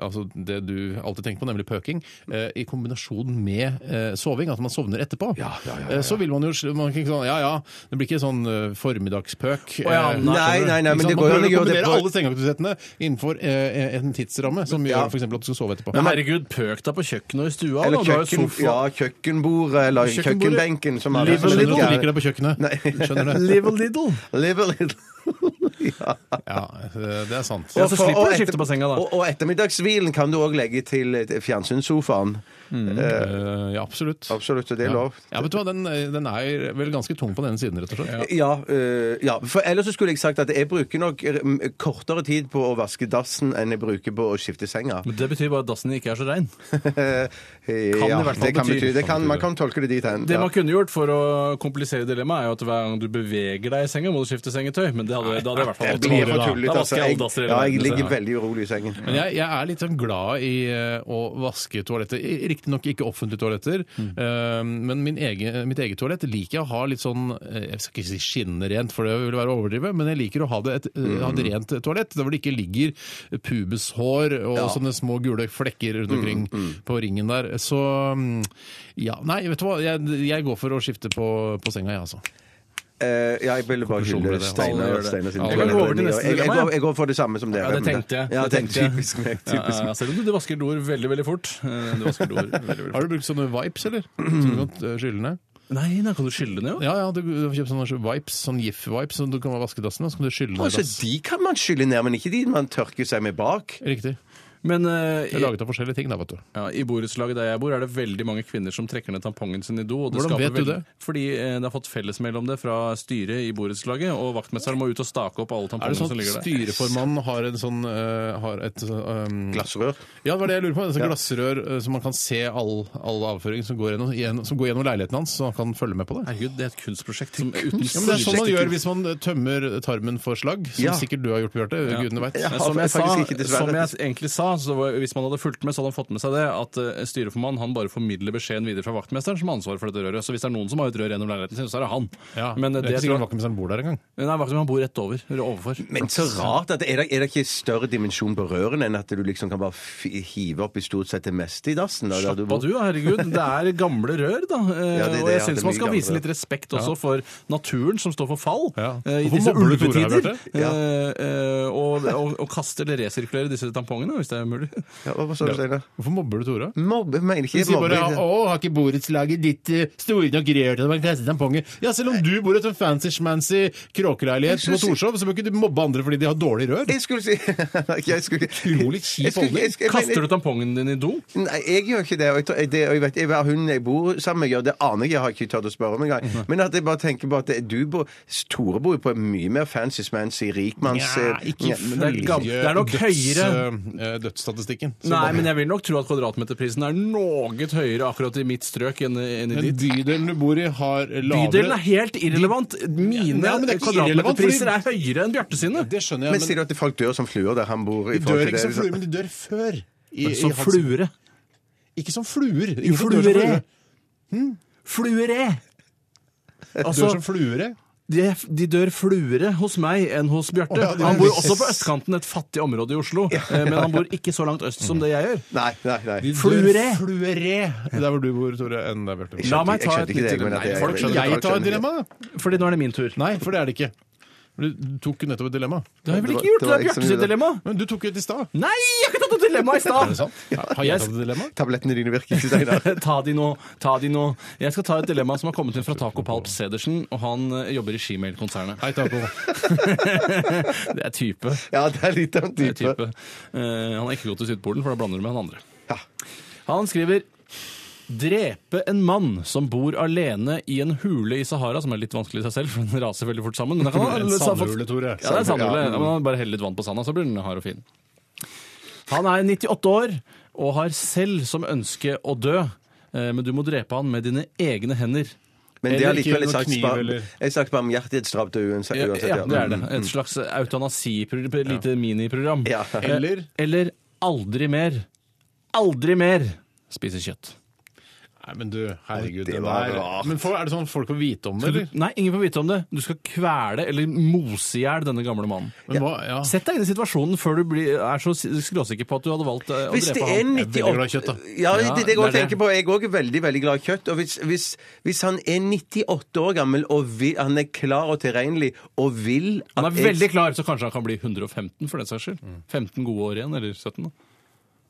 Speaker 3: altså det du alltid tenker på, nemlig pøking, eh, i kombinasjon med eh, soving. At man sovner etterpå. Eh, så vil man jo sl- man kan ikke sånn, Ja ja, det blir ikke sånn eh, formiddagspøk. eh,
Speaker 4: ja, nei,
Speaker 3: skjønner du?
Speaker 5: nei, nei,
Speaker 3: Ikke
Speaker 5: men
Speaker 3: sant?
Speaker 5: det
Speaker 3: man
Speaker 5: går
Speaker 3: prøver
Speaker 5: jo an
Speaker 3: å
Speaker 5: å gjøre det
Speaker 3: kombinere
Speaker 5: på-
Speaker 3: alle sengeaktivitetene innenfor eh, en tidsramme, som gjør for eksempel at du skal sove etterpå.
Speaker 4: Men herregud, pøk deg på kjøkkenet og i stua.
Speaker 5: Eller
Speaker 4: da. Du har jo
Speaker 5: kjøkken,
Speaker 4: sofa.
Speaker 5: ja, kjøkkenbordet eller
Speaker 3: Kjøkkenbordet.
Speaker 5: kjøkkenbenken. som alle
Speaker 3: Jeg skjønner at
Speaker 5: som
Speaker 3: du
Speaker 5: liker.
Speaker 3: ikke liker deg på kjøkkenet. Skjønner det.
Speaker 4: (laughs)
Speaker 5: (laughs)
Speaker 4: Live a little.
Speaker 5: Live a little. ja.
Speaker 3: Ja, eh, det er sant.
Speaker 4: Ja, så
Speaker 5: For-
Speaker 4: slipper
Speaker 5: og
Speaker 4: du å skifte
Speaker 5: etter-
Speaker 4: på senga, da.
Speaker 5: Og, og ettermiddagshvilen kan du òg legge til til fjernsynssofaen.
Speaker 4: Mm.
Speaker 5: Eh,
Speaker 3: Eh, ja, absolutt.
Speaker 5: absolutt, og det er
Speaker 3: Ja.
Speaker 5: lov.
Speaker 3: Ja, vet du hva, den, eh, den er vel ganske tung på den ene siden, rett og slett.
Speaker 5: Ja, øh, ja, for ellers så skulle jeg sagt at jeg bruker nok mm, kortere tid på å vaske dassen enn jeg bruker på å skifte senga. (laughs)
Speaker 4: Men Det betyr bare at dassen ikke er så rein.
Speaker 5: Kan
Speaker 4: i hvert fall
Speaker 5: det kan
Speaker 4: bety.
Speaker 5: bety. Det kan, man kan tolke det dit hen.
Speaker 4: Det
Speaker 5: ja.
Speaker 4: man kunne gjort for å komplisere dilemmaet, er jo at hver gang du beveger deg i senga, må du skifte sengetøy. Men det hadde, da hadde jeg i hvert fall
Speaker 5: Jeg
Speaker 4: holdt
Speaker 5: blir
Speaker 4: til.
Speaker 5: for
Speaker 4: Da
Speaker 5: tullet, altså.
Speaker 4: vasker jeg
Speaker 5: Jeg,
Speaker 4: alle dasser i
Speaker 5: ja, jeg
Speaker 4: verden,
Speaker 5: ligger
Speaker 4: så-
Speaker 5: veldig urolig i sengen.
Speaker 3: Men jeg, jeg er litt sånn glad i eh, å vaske toaletter. Riktignok ikke offentlige toaletter, eh, men min egen, mitt eget toalett liker jeg å ha litt sånn eh, Jeg skal ikke si skinnende rent, for det vil være å overdrive, men jeg liker å ha det et, eh, ha et rent toalett der hvor det ikke ligger pubeshår og sånne små gule flekker rundt omkring på ringen der. Så mm, ja Nei, vet du hva, jeg, jeg går for å skifte på, på senga, jeg, altså.
Speaker 5: Eh, ja, jeg ville bare
Speaker 3: Konklusjonen ble
Speaker 5: hylle
Speaker 3: det.
Speaker 4: Alle gjør
Speaker 5: Steinar
Speaker 4: det.
Speaker 5: Steinar sin
Speaker 4: Ja,
Speaker 5: toalett.
Speaker 4: vi går over til neste
Speaker 5: Jeg- jeg,
Speaker 4: dilemma,
Speaker 5: går-
Speaker 4: ja.
Speaker 5: jeg går for det samme som dere.
Speaker 4: Ja, det tenkte jeg.
Speaker 5: Ja,
Speaker 4: Det
Speaker 5: tenk,
Speaker 4: tenkte jeg.
Speaker 5: typisk meg.
Speaker 4: Ja,
Speaker 5: Typisk
Speaker 4: ja, ja.
Speaker 5: meg.
Speaker 4: Selv om du- du vasker doer veldig, veldig fort. Eh, Du vasker doer veldig, veldig fort.
Speaker 3: Har du brukt sånne vipes, eller? Som du kan eh, skylle ned?
Speaker 4: Nei, da kan du skylle ned, jo.
Speaker 3: Ja, ja, du, du får kjøpt sånne vipes, sånn GIF-vipes, som du kan vaske dassen med, så kan du skylle
Speaker 5: Og
Speaker 3: ned
Speaker 5: så
Speaker 3: dass.
Speaker 5: Altså, de kan man skylle ned, men ikke de man tørker seg med bak.
Speaker 3: Riktig.
Speaker 4: Men eh,
Speaker 3: Det er laget av forskjellige ting, da, vet du.
Speaker 4: Ja, I borettslaget der jeg bor, er det veldig mange kvinner som trekker ned tampongen sin i do. Og det
Speaker 3: Hvordan
Speaker 4: skaper
Speaker 3: vet du det?
Speaker 4: Fordi eh, det har fått fellesmeld om det fra styret i borettslaget, og vaktmesteren må ut og stake opp
Speaker 3: Er
Speaker 4: alle
Speaker 3: det
Speaker 4: tampongene
Speaker 3: sånn
Speaker 4: som
Speaker 3: at
Speaker 4: ligger der.
Speaker 3: styreformannen har en sånn eh, har et eh,
Speaker 5: Glassrør.
Speaker 3: Ja, det var det jeg lurer på. En sånn glassrør eh, så man kan se all, all avføring som går, gjennom, igjen- som går gjennom leiligheten hans, så han kan følge med på det.
Speaker 4: Herregud, det er et kunstprosjekt som uten
Speaker 3: Ja, men Det er sånn man
Speaker 4: sidestykke-
Speaker 3: gjør hvis man tømmer tarmen for slagg, som
Speaker 5: Ja.
Speaker 3: sikkert du har gjort, Bjarte. Gudene veit.
Speaker 5: Ja.
Speaker 4: Men Som
Speaker 5: fa-
Speaker 4: jeg, sånn, sa,
Speaker 5: faktisk ikke, dessverre.
Speaker 4: som jeg egentlig sa, så var- hvis man hadde fulgt med, så hadde han fått med seg det at eh, styreformannen han bare formidler beskjeden videre fra vaktmesteren, som har ansvaret for dette røret. Så hvis det er noen som har et rør gjennom leiligheten sin, så er det han.
Speaker 3: Ja.
Speaker 4: Men eh,
Speaker 3: det er
Speaker 4: det
Speaker 3: ikke
Speaker 4: tror
Speaker 3: sikkert
Speaker 4: jeg
Speaker 3: vaktmesteren bor der engang.
Speaker 4: Nei, vaktmesteren han bor rett over. Eller overfor.
Speaker 5: Men så rart at er det, er det ikke større dimensjon på rørene enn at du liksom kan bare f hive opp i stort sett det meste i dassen? da, der
Speaker 4: Slapp
Speaker 5: bor?
Speaker 4: av du, da, herregud. Det er gamle rør, da. Eh,
Speaker 5: (laughs) Ja, det er det,
Speaker 4: og jeg
Speaker 5: ja, det
Speaker 4: syns
Speaker 5: er
Speaker 4: man
Speaker 5: mye
Speaker 4: skal
Speaker 5: gamle
Speaker 4: vise litt
Speaker 5: rør.
Speaker 4: respekt også for naturen som står for fall
Speaker 3: Ja.
Speaker 4: eh, i
Speaker 3: Hvorfor
Speaker 4: disse
Speaker 3: mobber du Tore her,
Speaker 4: ulvetider.
Speaker 3: Bjarte?
Speaker 4: Eh, eh, Og, og, og kaste eller resirkulere disse tampongene hvis det det er umulig.
Speaker 5: Ja, hva sa du, Steinar?
Speaker 3: Hvorfor mobber du Tora?
Speaker 5: Mobbe? Mener
Speaker 3: Du
Speaker 5: ikke jeg
Speaker 3: sier bare
Speaker 5: mobbe.
Speaker 3: 'Å, har ikke borettslaget ditt eh, store nok rør til at man kan kaste tamponger?' Ja, selv om du bor i en fancy-schmancy kråkeleilighet på
Speaker 5: Jeg synes-
Speaker 3: Torshov, så bør ikke du mobbe andre fordi de har dårlig rør.
Speaker 5: Jeg skulle si (laughs) jeg skulle,
Speaker 3: Utrolig kjip
Speaker 5: jeg skulle- jeg skulle-
Speaker 4: Kaster du tampongen din i do?
Speaker 5: Nei, jeg gjør ikke det. Og jeg, tror- det, og jeg vet jeg, hun jeg bor sammen med, gjør det aner jeg. Jeg har ikke tørt å spørre om engang. Men at jeg bare tenker på at det- du bor Tore bor jo på en mye mer fancy smancy rikmanns... eh,
Speaker 3: Nja, ikke
Speaker 5: men
Speaker 4: det er gammel- Det er nok
Speaker 3: eh, dødsstatistikken. Så
Speaker 4: Nei,
Speaker 3: bare-
Speaker 4: men jeg vil nok tro at kvadratmeterprisen er noe høyere akkurat i mitt strøk enn enn i
Speaker 3: Den
Speaker 4: ditt.
Speaker 3: bydelen du bor i, har lavere
Speaker 4: Bydelen er helt irrelevant. Mine
Speaker 3: Ja, men det er ikke irrelevant,
Speaker 4: kvadratmeterpriser er
Speaker 3: fordi-
Speaker 4: høyere enn Bjarte sine.
Speaker 3: Det skjønner jeg,
Speaker 5: sier du at folk dør som fluer der han bor? i
Speaker 3: men de dør
Speaker 5: forhold
Speaker 3: ikke
Speaker 5: til
Speaker 3: som
Speaker 5: det, liksom?
Speaker 3: fluer, men de dør før. I- i
Speaker 4: Som
Speaker 3: Hans-
Speaker 4: Altså, fluere.
Speaker 3: Ikke som fluer.
Speaker 4: Jo,
Speaker 3: Ikke som dør som
Speaker 4: fluere.
Speaker 3: fluer.
Speaker 4: Fluere!
Speaker 3: Dør
Speaker 4: Altså,
Speaker 3: som fluere.
Speaker 4: de, de dør fluere hos meg enn hos Bjarte.
Speaker 3: Å, ja, det er
Speaker 4: han bor
Speaker 3: det.
Speaker 4: også på østkanten, et fattig område i Oslo. eh, Men han bor ikke så langt øst som det jeg gjør.
Speaker 5: Nei, nei, nei.
Speaker 3: De dør
Speaker 4: Fluere.
Speaker 3: fluere. Der hvor du bor, Tore, enn der Bjarte bor.
Speaker 4: La meg ta
Speaker 5: Jeg skjønte
Speaker 4: et
Speaker 5: ikke det,
Speaker 4: nytt
Speaker 5: men at
Speaker 4: Nei,
Speaker 5: jeg-
Speaker 4: folk
Speaker 3: Skal
Speaker 4: skjønner.
Speaker 5: jeg
Speaker 3: jeg ta
Speaker 5: skjønner
Speaker 3: et dilemma? da?
Speaker 4: Fordi nå er det min tur.
Speaker 3: Nei, for det er det ikke. Du du tok jo nettopp et dilemma.
Speaker 4: Det har jeg vel ikke
Speaker 5: Det var-
Speaker 4: gjort? Det
Speaker 5: det var
Speaker 4: er
Speaker 5: ikke
Speaker 4: Bjarte
Speaker 5: så mye,
Speaker 4: sitt
Speaker 5: da.
Speaker 4: dilemma!
Speaker 3: Men du tok jo et i stad.
Speaker 4: Nei, jeg har ikke tatt noe dilemma i
Speaker 3: Er
Speaker 4: stad!
Speaker 3: det sant? Har jeg tatt et dilemma?
Speaker 5: Tablettene dine virker ikke,
Speaker 4: (laughs)
Speaker 5: Steinar.
Speaker 4: ta de nå, ta de nå. Jeg skal ta et dilemma som har kommet inn fra Taco Palp Sedersen, og han eh, jobber i Gmail-konsernet.
Speaker 3: Hei, Taco.
Speaker 4: Det er type.
Speaker 5: Ja, det er litt av en
Speaker 4: Det er
Speaker 5: type.
Speaker 4: type. Eh, han er ikke god til Sydpolen, for da blander du med han andre.
Speaker 5: Ja.
Speaker 4: Han skriver Drepe en mann som bor alene i en hule i Sahara, som er litt vanskelig i seg selv, for den raser veldig fort sammen. Men da kan han-
Speaker 3: En sandhule, Tore.
Speaker 4: Ja, det er sandhule.
Speaker 5: Ja.
Speaker 4: Ja, men han bare heller litt vann på sanda, så blir den hard og fin. Han er 98 år og har selv som ønske å dø, eh, men du må drepe han med dine egne hender.
Speaker 5: Men det
Speaker 4: Eller
Speaker 5: er likevel
Speaker 3: ikke
Speaker 5: et
Speaker 3: noe
Speaker 5: slags
Speaker 3: kniv,
Speaker 5: barm-
Speaker 3: eller-
Speaker 5: et slags barmhjertighetsdrap til uansett.
Speaker 4: Ja,
Speaker 5: uansett, Mm.
Speaker 4: ja, det er det. Et slags eutanasiprogram, et lite miniprogram.
Speaker 5: Ja.
Speaker 3: Eller-
Speaker 4: Eller aldri mer. Aldri mer spise kjøtt.
Speaker 3: Nei, men du, herregud.
Speaker 5: det
Speaker 3: den
Speaker 5: var
Speaker 3: der-
Speaker 5: rart.
Speaker 3: Men for, er det sånn folk får vite om det,
Speaker 4: Du,
Speaker 3: eller?
Speaker 4: nei, ingen får vite om det. Du skal kvele eller mose i hjel denne gamle mannen.
Speaker 3: Men hva, ja.
Speaker 4: Sett deg inn i situasjonen før du blir, er så skråsikker på at du hadde valgt eh, å
Speaker 5: Hvis det
Speaker 4: drepe
Speaker 5: er
Speaker 4: ham.
Speaker 5: 98
Speaker 3: Jeg er veldig glad i kjøtt, da.
Speaker 5: Ja, det, det, er det jeg
Speaker 4: Ja,
Speaker 5: også
Speaker 4: det er
Speaker 5: tenker på. Jeg er også veldig veldig glad i kjøtt. Og hvis, hvis, hvis han er 98 år gammel og vil, han er klar og tilregnelig og vil at
Speaker 4: Han er veldig klar, så kanskje han kan bli 115 for den saks skyld. 15 gode år igjen, eller 17.
Speaker 5: (laughs)
Speaker 4: da.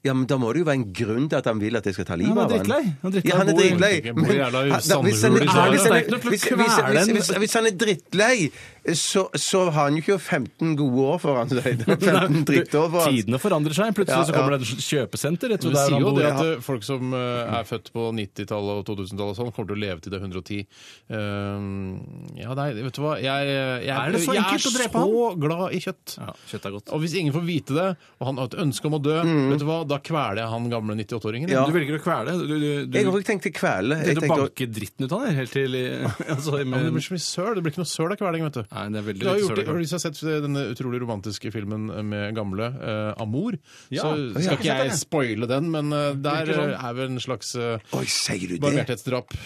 Speaker 5: Ja, men Da må det jo være en grunn til at han vil at jeg skal ta livet
Speaker 4: Han er
Speaker 5: av han.
Speaker 4: drittlei. Han er drittlei.
Speaker 5: Ja, han er
Speaker 4: Han bor i-
Speaker 5: drittlei.
Speaker 3: Han bor i
Speaker 5: Men
Speaker 3: jævla liksom.
Speaker 5: han- da- hvis han
Speaker 3: sandhule i
Speaker 5: er- hvis han
Speaker 4: Sahara. Det er ikke noe
Speaker 5: er-
Speaker 4: til å
Speaker 5: hvis- hvis-
Speaker 4: kvele
Speaker 5: hvis-
Speaker 4: en-
Speaker 5: hvis- hvis han er drittlei, så, så har han jo ikke 15 gode år foran
Speaker 3: (laughs)
Speaker 5: seg.
Speaker 4: (laughs)
Speaker 5: 15 drittår foran seg.
Speaker 4: Tidene forandrer seg. Plutselig
Speaker 5: Ja,
Speaker 4: så kommer det et kjøpesenter. Rett
Speaker 3: Men
Speaker 4: ved
Speaker 3: Det
Speaker 4: der
Speaker 3: sier
Speaker 4: han
Speaker 3: jo
Speaker 4: bor.
Speaker 3: det at eh, folk som eh, er født på 90-tallet og 2000-tallet og sånn, kommer til å leve til det er 110. Ehm, ja, nei, vet du hva Jeg, eh, jeg,
Speaker 4: Er det så
Speaker 3: jeg er
Speaker 4: enkelt å drepe
Speaker 3: så glad i kjøtt.
Speaker 4: Ja, kjøtt er godt.
Speaker 3: Og hvis ingen får vite det, og han har et ønske om å dø,
Speaker 4: Mm.
Speaker 3: vet du hva, da kveler jeg han gamle 98-åringen.
Speaker 5: Ja.
Speaker 4: Du velger å kvele. Du, du, du,
Speaker 5: Jeg har også tenkt å kvele.
Speaker 4: tenkte
Speaker 5: Jeg
Speaker 4: å
Speaker 5: tenkte å-
Speaker 4: banke dritten ut av deg helt til (laughs) altså,
Speaker 3: Men det
Speaker 4: men,
Speaker 3: blir så mye søl. Det blir ikke noe søl av kveling, vet du.
Speaker 4: Nei, det er veldig
Speaker 3: Du har
Speaker 4: lite
Speaker 3: gjort det,
Speaker 4: søl av
Speaker 3: Hvis jeg har sett eh, denne utrolig romantiske filmen med gamle eh, Amor,
Speaker 4: Ja.
Speaker 3: så skal
Speaker 4: Jeg har ikke
Speaker 3: ikke
Speaker 4: sett den,
Speaker 3: jeg
Speaker 4: jeg.
Speaker 3: spoile den, men eh, der
Speaker 4: Virker sånn.
Speaker 3: eh, er vel en slags eh,
Speaker 5: Oi, sier du det?
Speaker 3: barmhjertighetsdrap.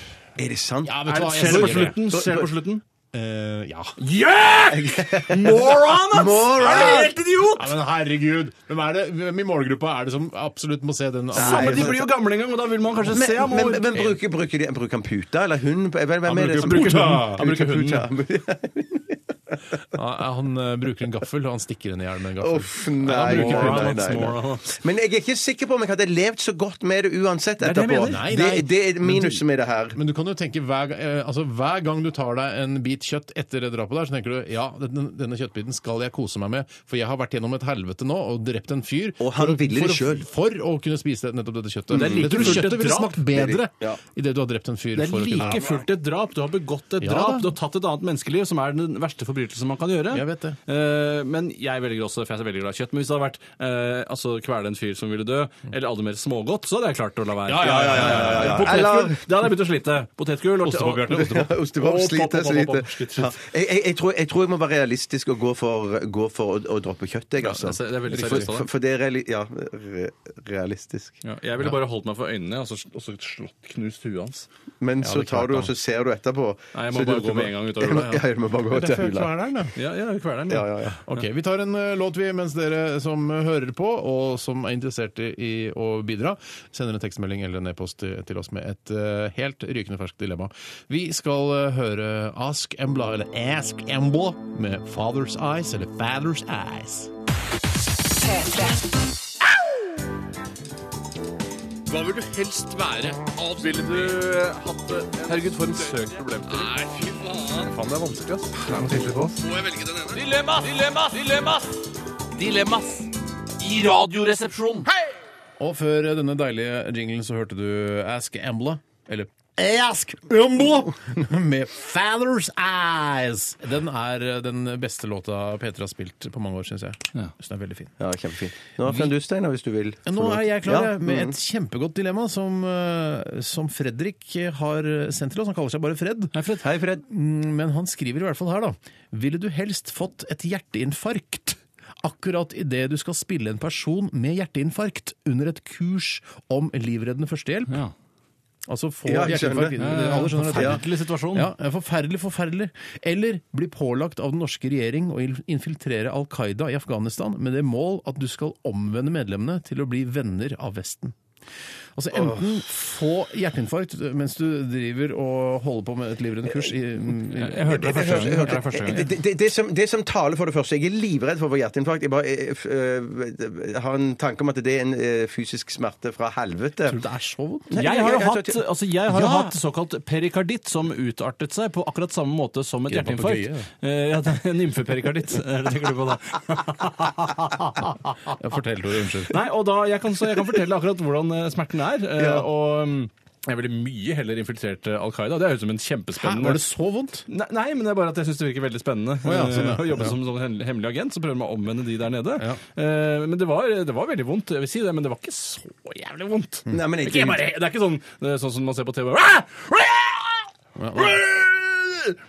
Speaker 5: Er det sant?
Speaker 3: Ja, vet du hva, jeg
Speaker 4: Skjer det på
Speaker 3: sier det.
Speaker 4: slutten? Skjer det på slutten?
Speaker 3: Eh, ja.
Speaker 4: (laughs) Yeah! Moron, ass!
Speaker 5: Moron!
Speaker 4: Er du helt idiot?
Speaker 3: Ja, men herregud! Hvem er det hvem i målgruppa er det som absolutt må se den?
Speaker 4: Samme,
Speaker 5: Nei,
Speaker 4: de blir jo gamle en gang, og da vil man kanskje
Speaker 5: Men,
Speaker 4: se ham.
Speaker 5: men,
Speaker 4: og-
Speaker 5: men bruker, bruker, de, bruker han puta eller hund? Hvem hvem er det
Speaker 3: bruker puta.
Speaker 5: som
Speaker 4: Han bruker
Speaker 5: puta. (laughs)
Speaker 3: Ja, han eh, bruker en gaffel, og han stikker henne i hjel med en gaffel.
Speaker 5: Uff, nei,
Speaker 3: Han bruker
Speaker 5: nei,
Speaker 4: Moron,
Speaker 5: nei,
Speaker 4: ass,
Speaker 5: nei, nei.
Speaker 4: moron, ass.
Speaker 5: Men jeg er ikke sikker på om jeg hadde levd så godt med det uansett
Speaker 4: er det jeg
Speaker 5: etterpå.
Speaker 4: mener.
Speaker 3: Nei,
Speaker 5: Det,
Speaker 3: nei.
Speaker 5: det er minuset med det her.
Speaker 3: Men du kan jo tenke hver, ga- eh, altså, hver gang du tar deg en bit kjøtt etter det drapet der, så tenker du ja, denne, denne kjøttbiten skal jeg kose meg med, for jeg har vært gjennom et helvete nå og drept en fyr
Speaker 5: Og han
Speaker 3: for, å-
Speaker 5: ville det
Speaker 3: for, å-
Speaker 5: selv.
Speaker 3: for å kunne spise det- nettopp dette kjøttet.
Speaker 4: det er like
Speaker 3: jeg tror
Speaker 4: fullt et
Speaker 3: kjøttet ville
Speaker 4: drap.
Speaker 3: smakt bedre
Speaker 5: Ja.
Speaker 3: idet du har drept en fyr.
Speaker 4: Det er
Speaker 3: for å kunne-
Speaker 4: like fullt et drap. Du har begått et
Speaker 3: Ja,
Speaker 4: drap.
Speaker 3: da.
Speaker 4: Du har tatt et annet menneskeliv, som er den verste forbrytelsen man kan gjøre.
Speaker 3: Jeg vet det.
Speaker 4: Eh, men jeg velger også, for jeg er veldig glad i kjøtt. Men hvis det hadde vært eh, altså, kvele en fyr som ville dø, eller aldri mer smågodt, så hadde jeg klart å la være.
Speaker 3: Ja, ja, ja, ja, ja, ja.
Speaker 4: Potetgull,
Speaker 5: Eller-
Speaker 4: Da hadde jeg begynt å slite. Potetgull og
Speaker 3: Ostepop, Bjarte, ostepop.
Speaker 4: Å,
Speaker 5: Ostepop
Speaker 4: pop, pop,
Speaker 5: sliter,
Speaker 4: pop,
Speaker 5: sliter.
Speaker 4: pop, slitt,
Speaker 5: Ja.
Speaker 4: slitt.
Speaker 5: Jeg, jeg, jeg, tror, jeg tror jeg må være realistisk og gå for, gå for å, å droppe kjøtt, jeg, altså.
Speaker 4: det er- det er veldig
Speaker 5: for,
Speaker 4: seriøst av deg.
Speaker 5: for, for det er reali ja, re realistisk.
Speaker 4: Ja, jeg ville bare holdt meg for øynene og så og så slått knust huet hans.
Speaker 5: Men så
Speaker 3: det er klart,
Speaker 5: tar du, og
Speaker 3: da.
Speaker 5: så ser du etterpå.
Speaker 4: Nei, jeg må
Speaker 5: Så
Speaker 4: bare
Speaker 5: du-
Speaker 4: gå med en gang ut av
Speaker 5: Ja,
Speaker 4: hula, ja.
Speaker 5: Ja, du må bare gå
Speaker 3: Det
Speaker 5: ut
Speaker 3: er
Speaker 5: av
Speaker 3: derfor
Speaker 5: hula.
Speaker 3: jeg er der, da.
Speaker 4: Ja, ja, kveleren.
Speaker 5: Ja, ja, ja.
Speaker 3: Ok, Vi tar en eh, låt, vi, mens dere som eh, hører på og som er interessert i, i å bidra, sender en tekstmelding eller en e-post til, til oss med et eh, helt rykende ferskt dilemma. Vi skal eh, høre Ask Embla, eller Ask Embla, med Father's Eyes, eller Father's Eyes.
Speaker 1: P3.
Speaker 6: Hva vil du helst være? Ville du hatt det? Herregud, for en søk problem. Nei, fy faen. Faen, det er vanskelig, ass. Det er noe tydelig på oss. Må jeg velge den ene? Dilemmas! Dilemmas! Dilemmas! Dilemmas! I radioresepsjonen. Hei!
Speaker 3: Og før eh, denne deilige jinglen så hørte du Ask Embla, eller Ask Embla (laughs) med Father's Eyes. Den er eh, den beste låta Petra har spilt på mange år, syns jeg.
Speaker 4: Ja.
Speaker 3: Så den er veldig fin.
Speaker 5: Ja, kjempefint. Nå kan du, Steinar, hvis du vil.
Speaker 3: Nå er jeg klar
Speaker 5: Ja,
Speaker 3: jeg, med
Speaker 5: mm.
Speaker 3: et kjempegodt dilemma som, eh, som Fredrik har sendt til oss. Han kaller seg bare Fred.
Speaker 5: Hei, Fred.
Speaker 3: Mm, Men han skriver i hvert fall her, da. Ville du helst fått et hjerteinfarkt akkurat idet du skal spille en person med hjerteinfarkt under et kurs om livreddende førstehjelp?
Speaker 4: Ja.
Speaker 3: Altså få
Speaker 5: Ja, jeg
Speaker 3: hjerteinfarkt.
Speaker 5: skjønner.
Speaker 3: Det- Alle skjønner dette.
Speaker 4: Forferdelig situasjon.
Speaker 3: Ja, ja, forferdelig, forferdelig. Eller bli pålagt av den norske regjering å il- infiltrere Al Qaida i Afghanistan med det mål at du skal omvende medlemmene til å bli venner av Vesten. Altså Enten få hjerteinfarkt mens du driver og holder på med et livrende kurs i, i
Speaker 4: Jeg hørte det første gang. Jeg hørte det første gang.
Speaker 5: Det, det, det, som, det som taler for det første Jeg er livredd for å få hjerteinfarkt. Jeg bare eh, f- eh, har en tanke om at det er en eh, fysisk smerte fra helvete.
Speaker 3: Tror du det er så vondt?
Speaker 5: Nei,
Speaker 4: Jeg har jo
Speaker 5: jeg- jeg-
Speaker 4: hatt, altså jeg har jo hatt såkalt perikarditt som utartet seg på akkurat samme måte som et
Speaker 3: Ikke en
Speaker 4: hjerteinfarkt.
Speaker 3: papegøye,
Speaker 4: Eh, Ja, det er Nymfeperikarditt, er det tenker du på da? (laughs)
Speaker 3: Ja, fortell, Tore. Unnskyld.
Speaker 4: Nei, og da, jeg kan, så jeg kan fortelle akkurat hvordan eh, smerten er. eh, Og mm, jeg ville mye heller infiltrert eh, Al Qaida. Det høres ut som en
Speaker 3: Hæ,
Speaker 4: kjempespennende
Speaker 3: var det så vondt?
Speaker 4: Nei, nei, men det er bare at jeg syns det virker veldig spennende
Speaker 3: ja, sånn, ja.
Speaker 4: eh, å jobbe
Speaker 3: Ja.
Speaker 4: som sånn hem- hemmelig agent som prøver meg å omvende de der nede.
Speaker 3: Ja.
Speaker 4: Eh, men det var, det var veldig vondt, jeg vil si det, men det var ikke så jævlig vondt.
Speaker 5: Mm. Nei, men
Speaker 4: Det er
Speaker 5: ikke-
Speaker 4: ikke bare, det er ikke sånn, det er sånn som man ser på TV. Ah! Ah!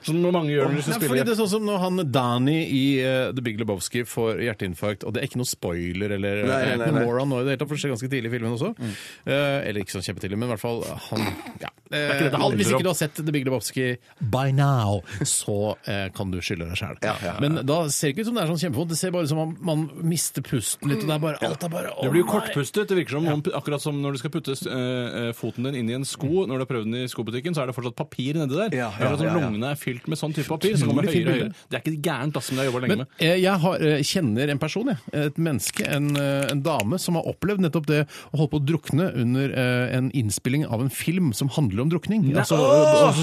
Speaker 4: Som mange gjør når de
Speaker 3: Nei,
Speaker 4: skal
Speaker 3: fordi
Speaker 4: spille.
Speaker 3: det er sånn som når han Danny i eh, The Big Lebowski får hjerteinfarkt, og det er ikke noe spoiler eller eh,
Speaker 5: Nei, nei, nei,
Speaker 3: noe
Speaker 5: nei.
Speaker 3: moron nå i det hele tatt, for det skjer ganske tidlig i filmen også. Eh, eller ikke så kjempetidlig, men i hvert fall han ja. Eh,
Speaker 4: ikke dette handler
Speaker 3: Hvis ikke
Speaker 4: om.
Speaker 3: du har sett The Big Lebowski by now, så eh, kan du skylde deg sjæl.
Speaker 5: Ja, ja, ja.
Speaker 3: Men da ser det ikke ut som det er sånn kjempevondt, det ser bare ut som man, man mister pusten litt, og det er bare alt er bare
Speaker 4: Du blir
Speaker 3: å,
Speaker 4: jo
Speaker 3: nei.
Speaker 4: kortpustet. Det virker som om, akkurat som når du skal putte eh, eh, foten din inn i en
Speaker 3: Mm.
Speaker 4: sko når du har prøvd den i skobutikken, så er det fortsatt papir nedi der.
Speaker 5: Ja, ja,
Speaker 4: Akkurat som
Speaker 5: ja, ja.
Speaker 4: lungene er fylt med sånn type papir. Så kommer det
Speaker 3: Utrolig fint
Speaker 4: høyere og
Speaker 3: bilde.
Speaker 4: høyere. Det er ikke gærent, ass, men det har jeg jobba lenge
Speaker 3: Men
Speaker 4: med.
Speaker 3: eh, jeg har, eh, kjenner en person, jeg. Et menneske, en, eh, en dame, som har opplevd nettopp det å holde på å drukne under eh, en innspilling av en film som handler om drukning.
Speaker 4: åh,
Speaker 3: altså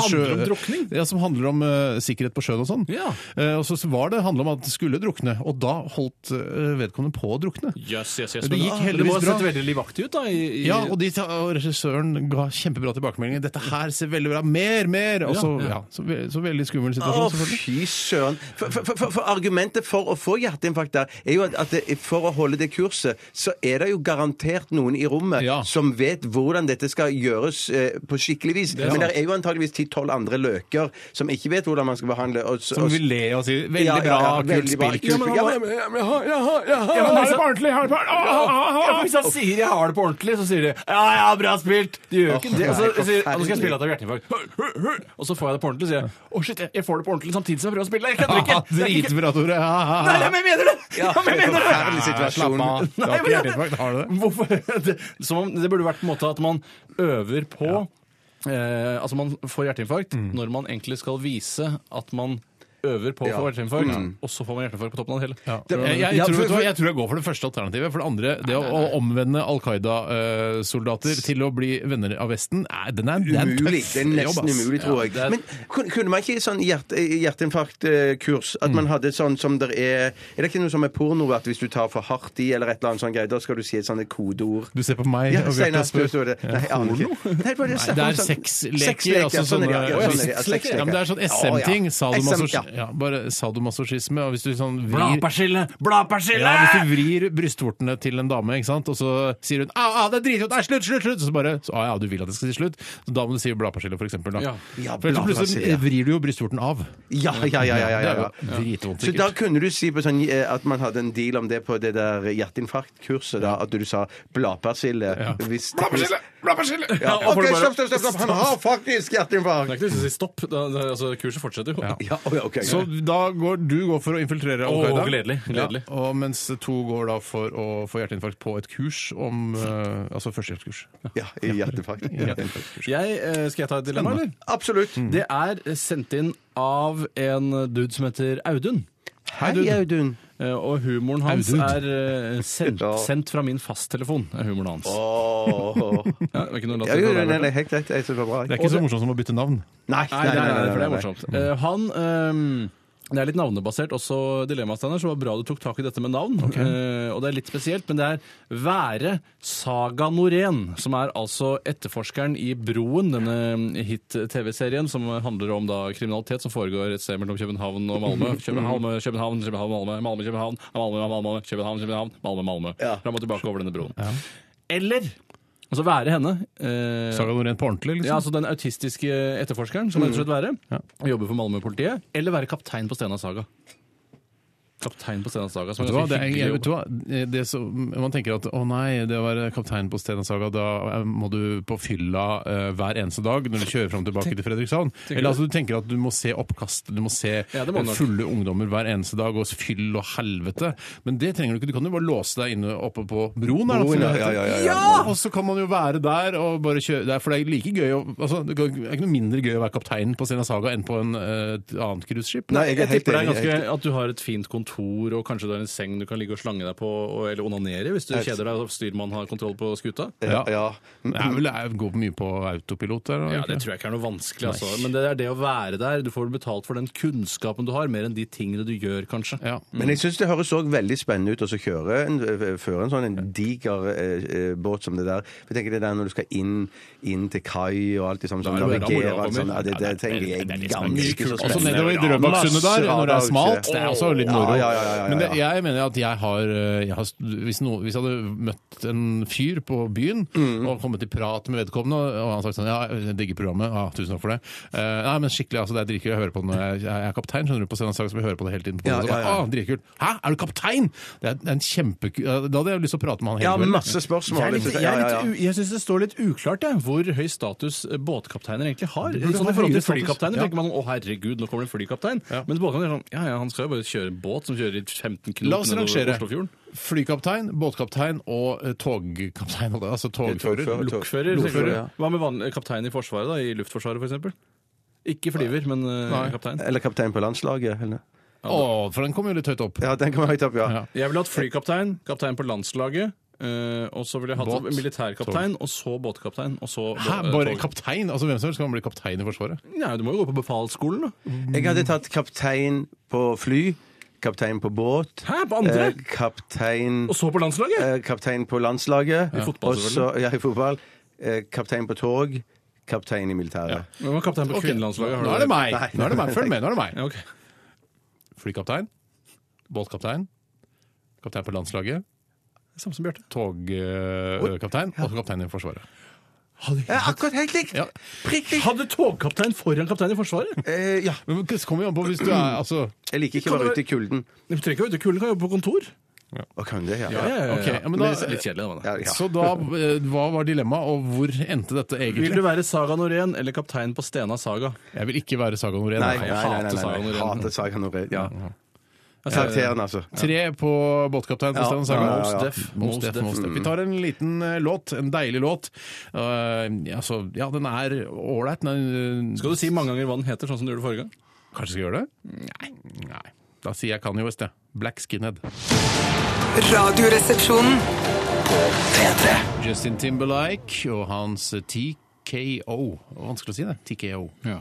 Speaker 3: sjø-
Speaker 4: handler om drukning?
Speaker 3: Ja, som handler om eh, sikkerhet på sjøen og sånn.
Speaker 4: Ja.
Speaker 3: Eh, og så var det handla om at det skulle drukne, og da holdt eh, vedkommende på å drukne.
Speaker 4: Yes, yes,
Speaker 3: Det
Speaker 4: yes. Men
Speaker 3: gikk
Speaker 4: ah,
Speaker 3: heldigvis
Speaker 4: Det må
Speaker 3: bra.
Speaker 4: ha sett veldig livaktig ut, da. I, i,
Speaker 3: Ja, og, de, ta- og regissøren ga kjempebra tilbakemeldinger. 'Dette her ser veldig bra Mer, mer!' Og så,
Speaker 4: Ja, ja.
Speaker 3: ja, så, ve så veldig skummel situasjon,
Speaker 5: Å,
Speaker 3: sånn, selvfølgelig.
Speaker 5: fy søren. For, for, for, for argumentet for å få hjerteinfarkt der, er jo at, at det, for å holde det kurset, så er det jo garantert noen i rommet
Speaker 3: Ja.
Speaker 5: som vet hvordan dette skal gjøres eh, på skikkelig vis.
Speaker 4: er
Speaker 5: Men det
Speaker 4: sant.
Speaker 5: er jo antageligvis 10-12 andre løker som ikke vet hvordan man skal behandle. Og, så-
Speaker 3: Som
Speaker 5: og,
Speaker 3: (laughs) vil le og si 'veldig
Speaker 5: Ja, ja,
Speaker 3: bra,
Speaker 5: ja,
Speaker 3: kult
Speaker 5: veldig bra,
Speaker 3: spill'.
Speaker 5: kult. Ja, men-
Speaker 4: jeg har
Speaker 5: altså-
Speaker 3: det på ordentlig! Har det på
Speaker 4: Ja, for Hvis han sier 'jeg har det på ordentlig', så sier de 'ja, ja, bra spilt'. De gjør jo ikke det. Og så
Speaker 5: Åh, nei,
Speaker 4: sier «Ja, nå skal jeg spille at jeg har hjerteinfarkt. Og så får jeg det på ordentlig, sier jeg 'å shit, jeg- jeg får det på ordentlig samtidig som jeg prøver å
Speaker 5: (laughs)
Speaker 4: spille'. Jeg kødder
Speaker 3: (laughs)
Speaker 4: ikke. Det er ikke-
Speaker 3: Dritbra, Tore!
Speaker 4: Nei, nei, men jeg mener det! Ja, men jeg mener det!
Speaker 5: Forferdelig situasjon.
Speaker 3: Slapp av. Du
Speaker 4: Nei,
Speaker 3: har ikke
Speaker 4: men-
Speaker 3: hjerteinfarkt, har du det?
Speaker 4: Hvorfor? (laughs) Det, som om, det burde vært på en måte at man øver på eh, Altså, man får hjerteinfarkt
Speaker 5: Mm.
Speaker 4: når man egentlig skal vise at man øver på å få hjerteinfarkt, og så får man hjerteinfarkt på toppen av det hele.
Speaker 3: Jeg, jeg,
Speaker 5: Mm. Ja,
Speaker 3: tror,
Speaker 5: for-
Speaker 3: vet du hva, jeg tror jeg går for det første alternativet. For det andre, det å, å omvende Al Qaida-soldater til å bli venner av Vesten, nei, den er, det er en tøff
Speaker 5: Umulig. Det er nesten
Speaker 3: jobb, ass.
Speaker 5: umulig, tror jeg.
Speaker 4: Ja, det er-
Speaker 5: Men kun- kunne man ikke sånn hjerte, hjerteinfarktkurs
Speaker 3: Mm.
Speaker 5: At man hadde sånn som der er Er det ikke noe som er porno, at hvis du tar for hardt i eller et eller annet sånn greie, da skal du si et sånt kodeord?
Speaker 3: Du ser på meg
Speaker 5: Ja,
Speaker 3: og Bjarte
Speaker 5: Steinar
Speaker 3: og spør
Speaker 5: spør det. Nei, jeg aner ikke. Nei, bare
Speaker 3: Nei, det er sexleker. Altså sånne, ja,
Speaker 5: sånn er det, ja, sånn er det, ja,
Speaker 3: sexleker. ja, men det er sånn SM-ting.
Speaker 5: SM, ja.
Speaker 3: Sadomasochisme. Ja, bare sadomasochisme. Og hvis du sånn vrir
Speaker 4: Blaperskille! Blaperskille!
Speaker 3: Ja, hvis du vrir brystvortene til en dame, ikke sant? og så sier hun «Au, au, det er dritvondt! Nei, slutt, slutt, slutt! Så bare så, «Au, ja, du vil at det skal si slutt. Så da må du si bladpersille, for eksempel. Da.
Speaker 4: Ja.
Speaker 5: Ja,
Speaker 3: for ellers plutselig
Speaker 5: bladpersille.
Speaker 3: vrir du jo brystvorten av.
Speaker 5: Ja, ja, ja. ja, ja, ja,
Speaker 3: Det er jo dritvondt,
Speaker 5: Så da
Speaker 3: sikkert.
Speaker 5: kunne du si på sånn, eh, at man hadde en deal om det på det der hjerteinfarktkurset, da, at du sa bladpersille. hvis- Ja,
Speaker 4: og får
Speaker 5: OK,
Speaker 4: du bare-
Speaker 5: stopp, stopp, stopp! stopp. Han har faktisk
Speaker 4: Det er
Speaker 5: hjerteinfarkt!
Speaker 4: ikke noe å si stopp. Da, da, altså, kurset fortsetter jo.
Speaker 5: Ja, oh, ja, ok.
Speaker 3: Så da går du går for å infiltrere Al
Speaker 4: Å,
Speaker 3: Qaida.
Speaker 4: gledelig, gledelig.
Speaker 3: Ja, og mens to går da for å få hjerteinfarkt på et kurs om eh, Altså førstehjelpskurs.
Speaker 5: Ja, i
Speaker 4: (laughs)
Speaker 5: hjerteinfarkt.
Speaker 4: Jeg, eh, skal jeg ta et dilemma, eller?
Speaker 5: Absolutt.
Speaker 4: Det er sendt inn av en dude som heter Audun.
Speaker 5: Hei, Audun.
Speaker 4: Eh, Og humoren hans
Speaker 3: Audun.
Speaker 4: er eh, sendt,
Speaker 5: (laughs) Ja.
Speaker 4: sendt fra min fasttelefon. er humoren hans.
Speaker 5: (laughs) Åh.
Speaker 4: Ja, det er ikke noe
Speaker 5: Ja,
Speaker 4: latter
Speaker 5: jo, nei,
Speaker 4: for
Speaker 5: nei,
Speaker 4: deg,
Speaker 5: nei, helt rett. Jeg synes det var
Speaker 3: Det
Speaker 5: bra.
Speaker 3: er ikke så morsomt som å bytte navn.
Speaker 5: Nei,
Speaker 4: Nei, nei, nei, for det er morsomt. Eh, han ehm, det er litt navnebasert også dilemmaet, Steinar, så det var bra du tok tak i dette med navn. Eh, og det er litt spesielt, men det er Være Saga Norén, som er altså etterforskeren i Broen, denne hit-TV-serien som handler om da kriminalitet som foregår et sted mellom København og (laughs) Malmö. København, København, København, Malmö, Malmö, København, Malmö, Malmö, København, København, Malmö, Malmö. Fram og tilbake over denne broen. Eller altså være henne. eh,
Speaker 3: Saga Norén på ordentlig,
Speaker 4: ja,
Speaker 3: liksom.
Speaker 4: altså Den autistiske etterforskeren, som ønsker å
Speaker 3: Mm.
Speaker 4: være. Jobbe for Malmö-politiet. Eller være kaptein på Stena Saga. Kaptein på Stena Saga. Som
Speaker 3: Vet
Speaker 4: er
Speaker 3: du hva,
Speaker 4: ganske
Speaker 3: det er,
Speaker 4: hyggelig
Speaker 3: jeg, vet
Speaker 4: jobb.
Speaker 3: du hva? Det som, man tenker at å nei, det å være kaptein på Stena Saga, da eh, må du på fylla eh, hver eneste dag når du kjører fram og tilbake til Fredrikshavn.
Speaker 4: du?
Speaker 3: Eller altså, du tenker at du må se oppkast, du må se eh,
Speaker 4: Ja, det må du nok.
Speaker 3: fulle ungdommer hver eneste dag, og fyll og helvete. Men det trenger du ikke, du kan jo bare låse deg inne oppe på broen. her, da, som
Speaker 5: Broen,
Speaker 3: det
Speaker 5: ja,
Speaker 3: heter.
Speaker 5: ja, ja, ja.
Speaker 3: Og så kan man jo være der og bare kjøre der, For det er like gøy å altså, Det er ikke noe mindre gøy å være kaptein på Stena Saga enn på en, eh, et annet cruiseskip.
Speaker 5: Nei, jeg er
Speaker 4: Jeg
Speaker 5: helt
Speaker 4: tipper det er
Speaker 5: enig. jeg er
Speaker 4: ganske,
Speaker 5: helt-
Speaker 4: at du har et fint kontor og kanskje du har en seng du kan ligge og slange deg på og, eller onanere hvis du
Speaker 5: Helt.
Speaker 4: kjeder deg og styrmannen har kontroll på skuta.
Speaker 5: Ja, ja.
Speaker 3: Det er vel det er- går mye på autopilot der?
Speaker 4: Ja, Det tror jeg ikke er noe vanskelig, altså. men det er det å være der. Du får betalt for den kunnskapen du har, mer enn de tingene du gjør, kanskje.
Speaker 3: Ja.
Speaker 5: Men jeg syns det høres òg veldig spennende ut å så kjøre en, ø, føre en sånn en diger eh, eh, båt som det der. For jeg tenker det der når du skal inn, inn til kai og alt det samme,
Speaker 4: Da
Speaker 5: sånn,
Speaker 4: er det bare moro å
Speaker 5: navigere og alt
Speaker 4: komme.
Speaker 5: sånn, ja, det, det tenker jeg
Speaker 4: Det er
Speaker 5: er
Speaker 4: liksom mye
Speaker 5: ganske
Speaker 4: kult.
Speaker 5: så
Speaker 3: Og så
Speaker 5: spennende.
Speaker 3: nedover i Drøbaksundet der,
Speaker 5: Masse
Speaker 3: når det er smalt.
Speaker 5: radarkjø.
Speaker 3: Det er også litt moro.
Speaker 5: Ja, ja, ja, ja, ja, ja.
Speaker 3: Men det, jeg mener at jeg har, eh, jeg har hvis, no, hvis jeg hadde møtt en fyr på byen
Speaker 5: Mm.
Speaker 3: og kommet i prat med vedkommende, og han sagt sånn Ja, jeg digger programmet. Ja, tusen takk for det. Eh, nei, men skikkelig, altså, det er dritkult. Jeg hører på det når jeg, jeg er kaptein, skjønner du. På Stena Saga skal vi høre på det hele tiden. På ja,
Speaker 5: Ja,
Speaker 3: ja,
Speaker 5: ja, ja.
Speaker 3: Dritkult. Hæ, er du kaptein?! Det er det er en kjempeku... Da hadde jeg lyst til å prate med han
Speaker 5: Ja,
Speaker 3: hele kvelden.
Speaker 5: masse spørsmål.
Speaker 4: Jeg, er litt,
Speaker 5: liksom.
Speaker 4: jeg,
Speaker 5: Ja,
Speaker 4: er
Speaker 5: ja, ja.
Speaker 4: litt, u- jeg synes det står litt uklart jeg, hvor høy status eh, båtkapteiner egentlig har.
Speaker 3: burde
Speaker 4: Sånn
Speaker 3: ha
Speaker 4: I forhold
Speaker 3: høyere
Speaker 4: til
Speaker 3: status.
Speaker 4: flykapteiner
Speaker 3: Ja.
Speaker 4: tenker man sånn, å herregud, nå kommer det en flykaptein.
Speaker 3: Ja.
Speaker 4: Men båtkaptein er sånn, ja ja, han skal jo bare kjøre en båt som kjører i 15 knop
Speaker 3: La oss
Speaker 4: nedover
Speaker 3: rangere
Speaker 4: Oslofjorden.
Speaker 3: flykaptein, båtkaptein og eh, togkaptein. Altså togfører.
Speaker 5: Togfører.
Speaker 4: Lokfører.
Speaker 5: Lokfører,
Speaker 4: selvfølgelig.
Speaker 5: ja.
Speaker 4: Hva med vanlig kaptein i Forsvaret, da? I Luftforsvaret f.eks.? Ikke flyver, men eh,
Speaker 3: Nei.
Speaker 4: kaptein.
Speaker 5: Eller kaptein på landslaget. Eller?
Speaker 3: Å, for den kom jo litt høyt opp.
Speaker 5: Ja, den kommer høyt opp, ja.
Speaker 3: Ja.
Speaker 4: Jeg ville hatt flykaptein, kaptein på landslaget. eh, og så ville jeg hatt
Speaker 3: Båt.
Speaker 4: militærkaptein, og så båtkaptein, og så
Speaker 3: Hæ,
Speaker 4: eh,
Speaker 3: bare
Speaker 4: tog-
Speaker 3: kaptein? Altså Hvem som helst kan bli kaptein i Forsvaret?
Speaker 4: Nei, du må jo gå på befalsskolen, da.
Speaker 5: Jeg hadde tatt kaptein på fly, kaptein på båt,
Speaker 4: Hæ, på andre?
Speaker 5: eh, kaptein
Speaker 4: Og så på landslaget?
Speaker 5: eh, kaptein på landslaget.
Speaker 4: I fotball,
Speaker 5: og så-
Speaker 4: selvfølgelig.
Speaker 5: Ja, i fotball. Eh, Kaptein på tog. Kaptein i militæret.
Speaker 4: Hvem var kaptein på
Speaker 3: Ok,
Speaker 4: kvinnelandslaget? Har
Speaker 3: Nå
Speaker 4: du
Speaker 3: er det meg!
Speaker 5: Nei.
Speaker 3: Nå er det meg. Følg med, nå er det meg.
Speaker 4: Ja, ok.
Speaker 3: Flykaptein, båtkaptein, kaptein på landslaget,
Speaker 4: Samme som Bjarte.
Speaker 3: togkaptein og kaptein i Forsvaret.
Speaker 5: Ja, akkurat helt likt!
Speaker 3: Ja.
Speaker 5: Prikk likt!
Speaker 4: Hadde togkaptein foran kaptein i Forsvaret?
Speaker 5: Eh, ja.
Speaker 3: Men det kommer jo an på hvis du er altså
Speaker 5: Jeg liker ikke å være ute i kulden.
Speaker 4: Du trenger ikke å ute i kulden, kan jobbe på kontor.
Speaker 5: Å, kan det, ja.
Speaker 3: ok, ja, men
Speaker 4: Men
Speaker 3: da,
Speaker 4: det er litt kjedelig, det var det.
Speaker 5: Ja, ja.
Speaker 3: Så da, eh, hva var dilemmaet, og hvor endte dette
Speaker 4: Vil du
Speaker 3: egentlig?
Speaker 4: være Saga Norén eller kaptein på Stena Saga?
Speaker 3: Jeg vil ikke være Saga Norén.
Speaker 5: Nei, nei,
Speaker 3: Jeg
Speaker 5: nei. nei,
Speaker 3: hater Saga
Speaker 5: nei,
Speaker 3: Norén.
Speaker 5: nei. Hater Saga Norén. Ja. Karakteren, altså.
Speaker 3: Tre på båtkaptein på Stena Saga.
Speaker 5: ja, ja,
Speaker 3: Most
Speaker 4: Most
Speaker 5: ja.
Speaker 3: deaf.
Speaker 4: Def.
Speaker 3: Most Def, Most Def. Vi tar en liten eh, låt, en deilig låt. Eh, altså, ja, den er ålreit. den er, eh,
Speaker 4: Skal du si mange ganger hva den heter, sånn som du gjorde forrige gang?
Speaker 3: Kanskje skal gjøre det? Nei. Da sier jeg Kanye West, jeg. Black Skinhead.
Speaker 1: Radioresepsjonen.
Speaker 2: P3
Speaker 3: Justin Timberlake og hans TKO. Vanskelig å si det. TKO.
Speaker 4: Ja.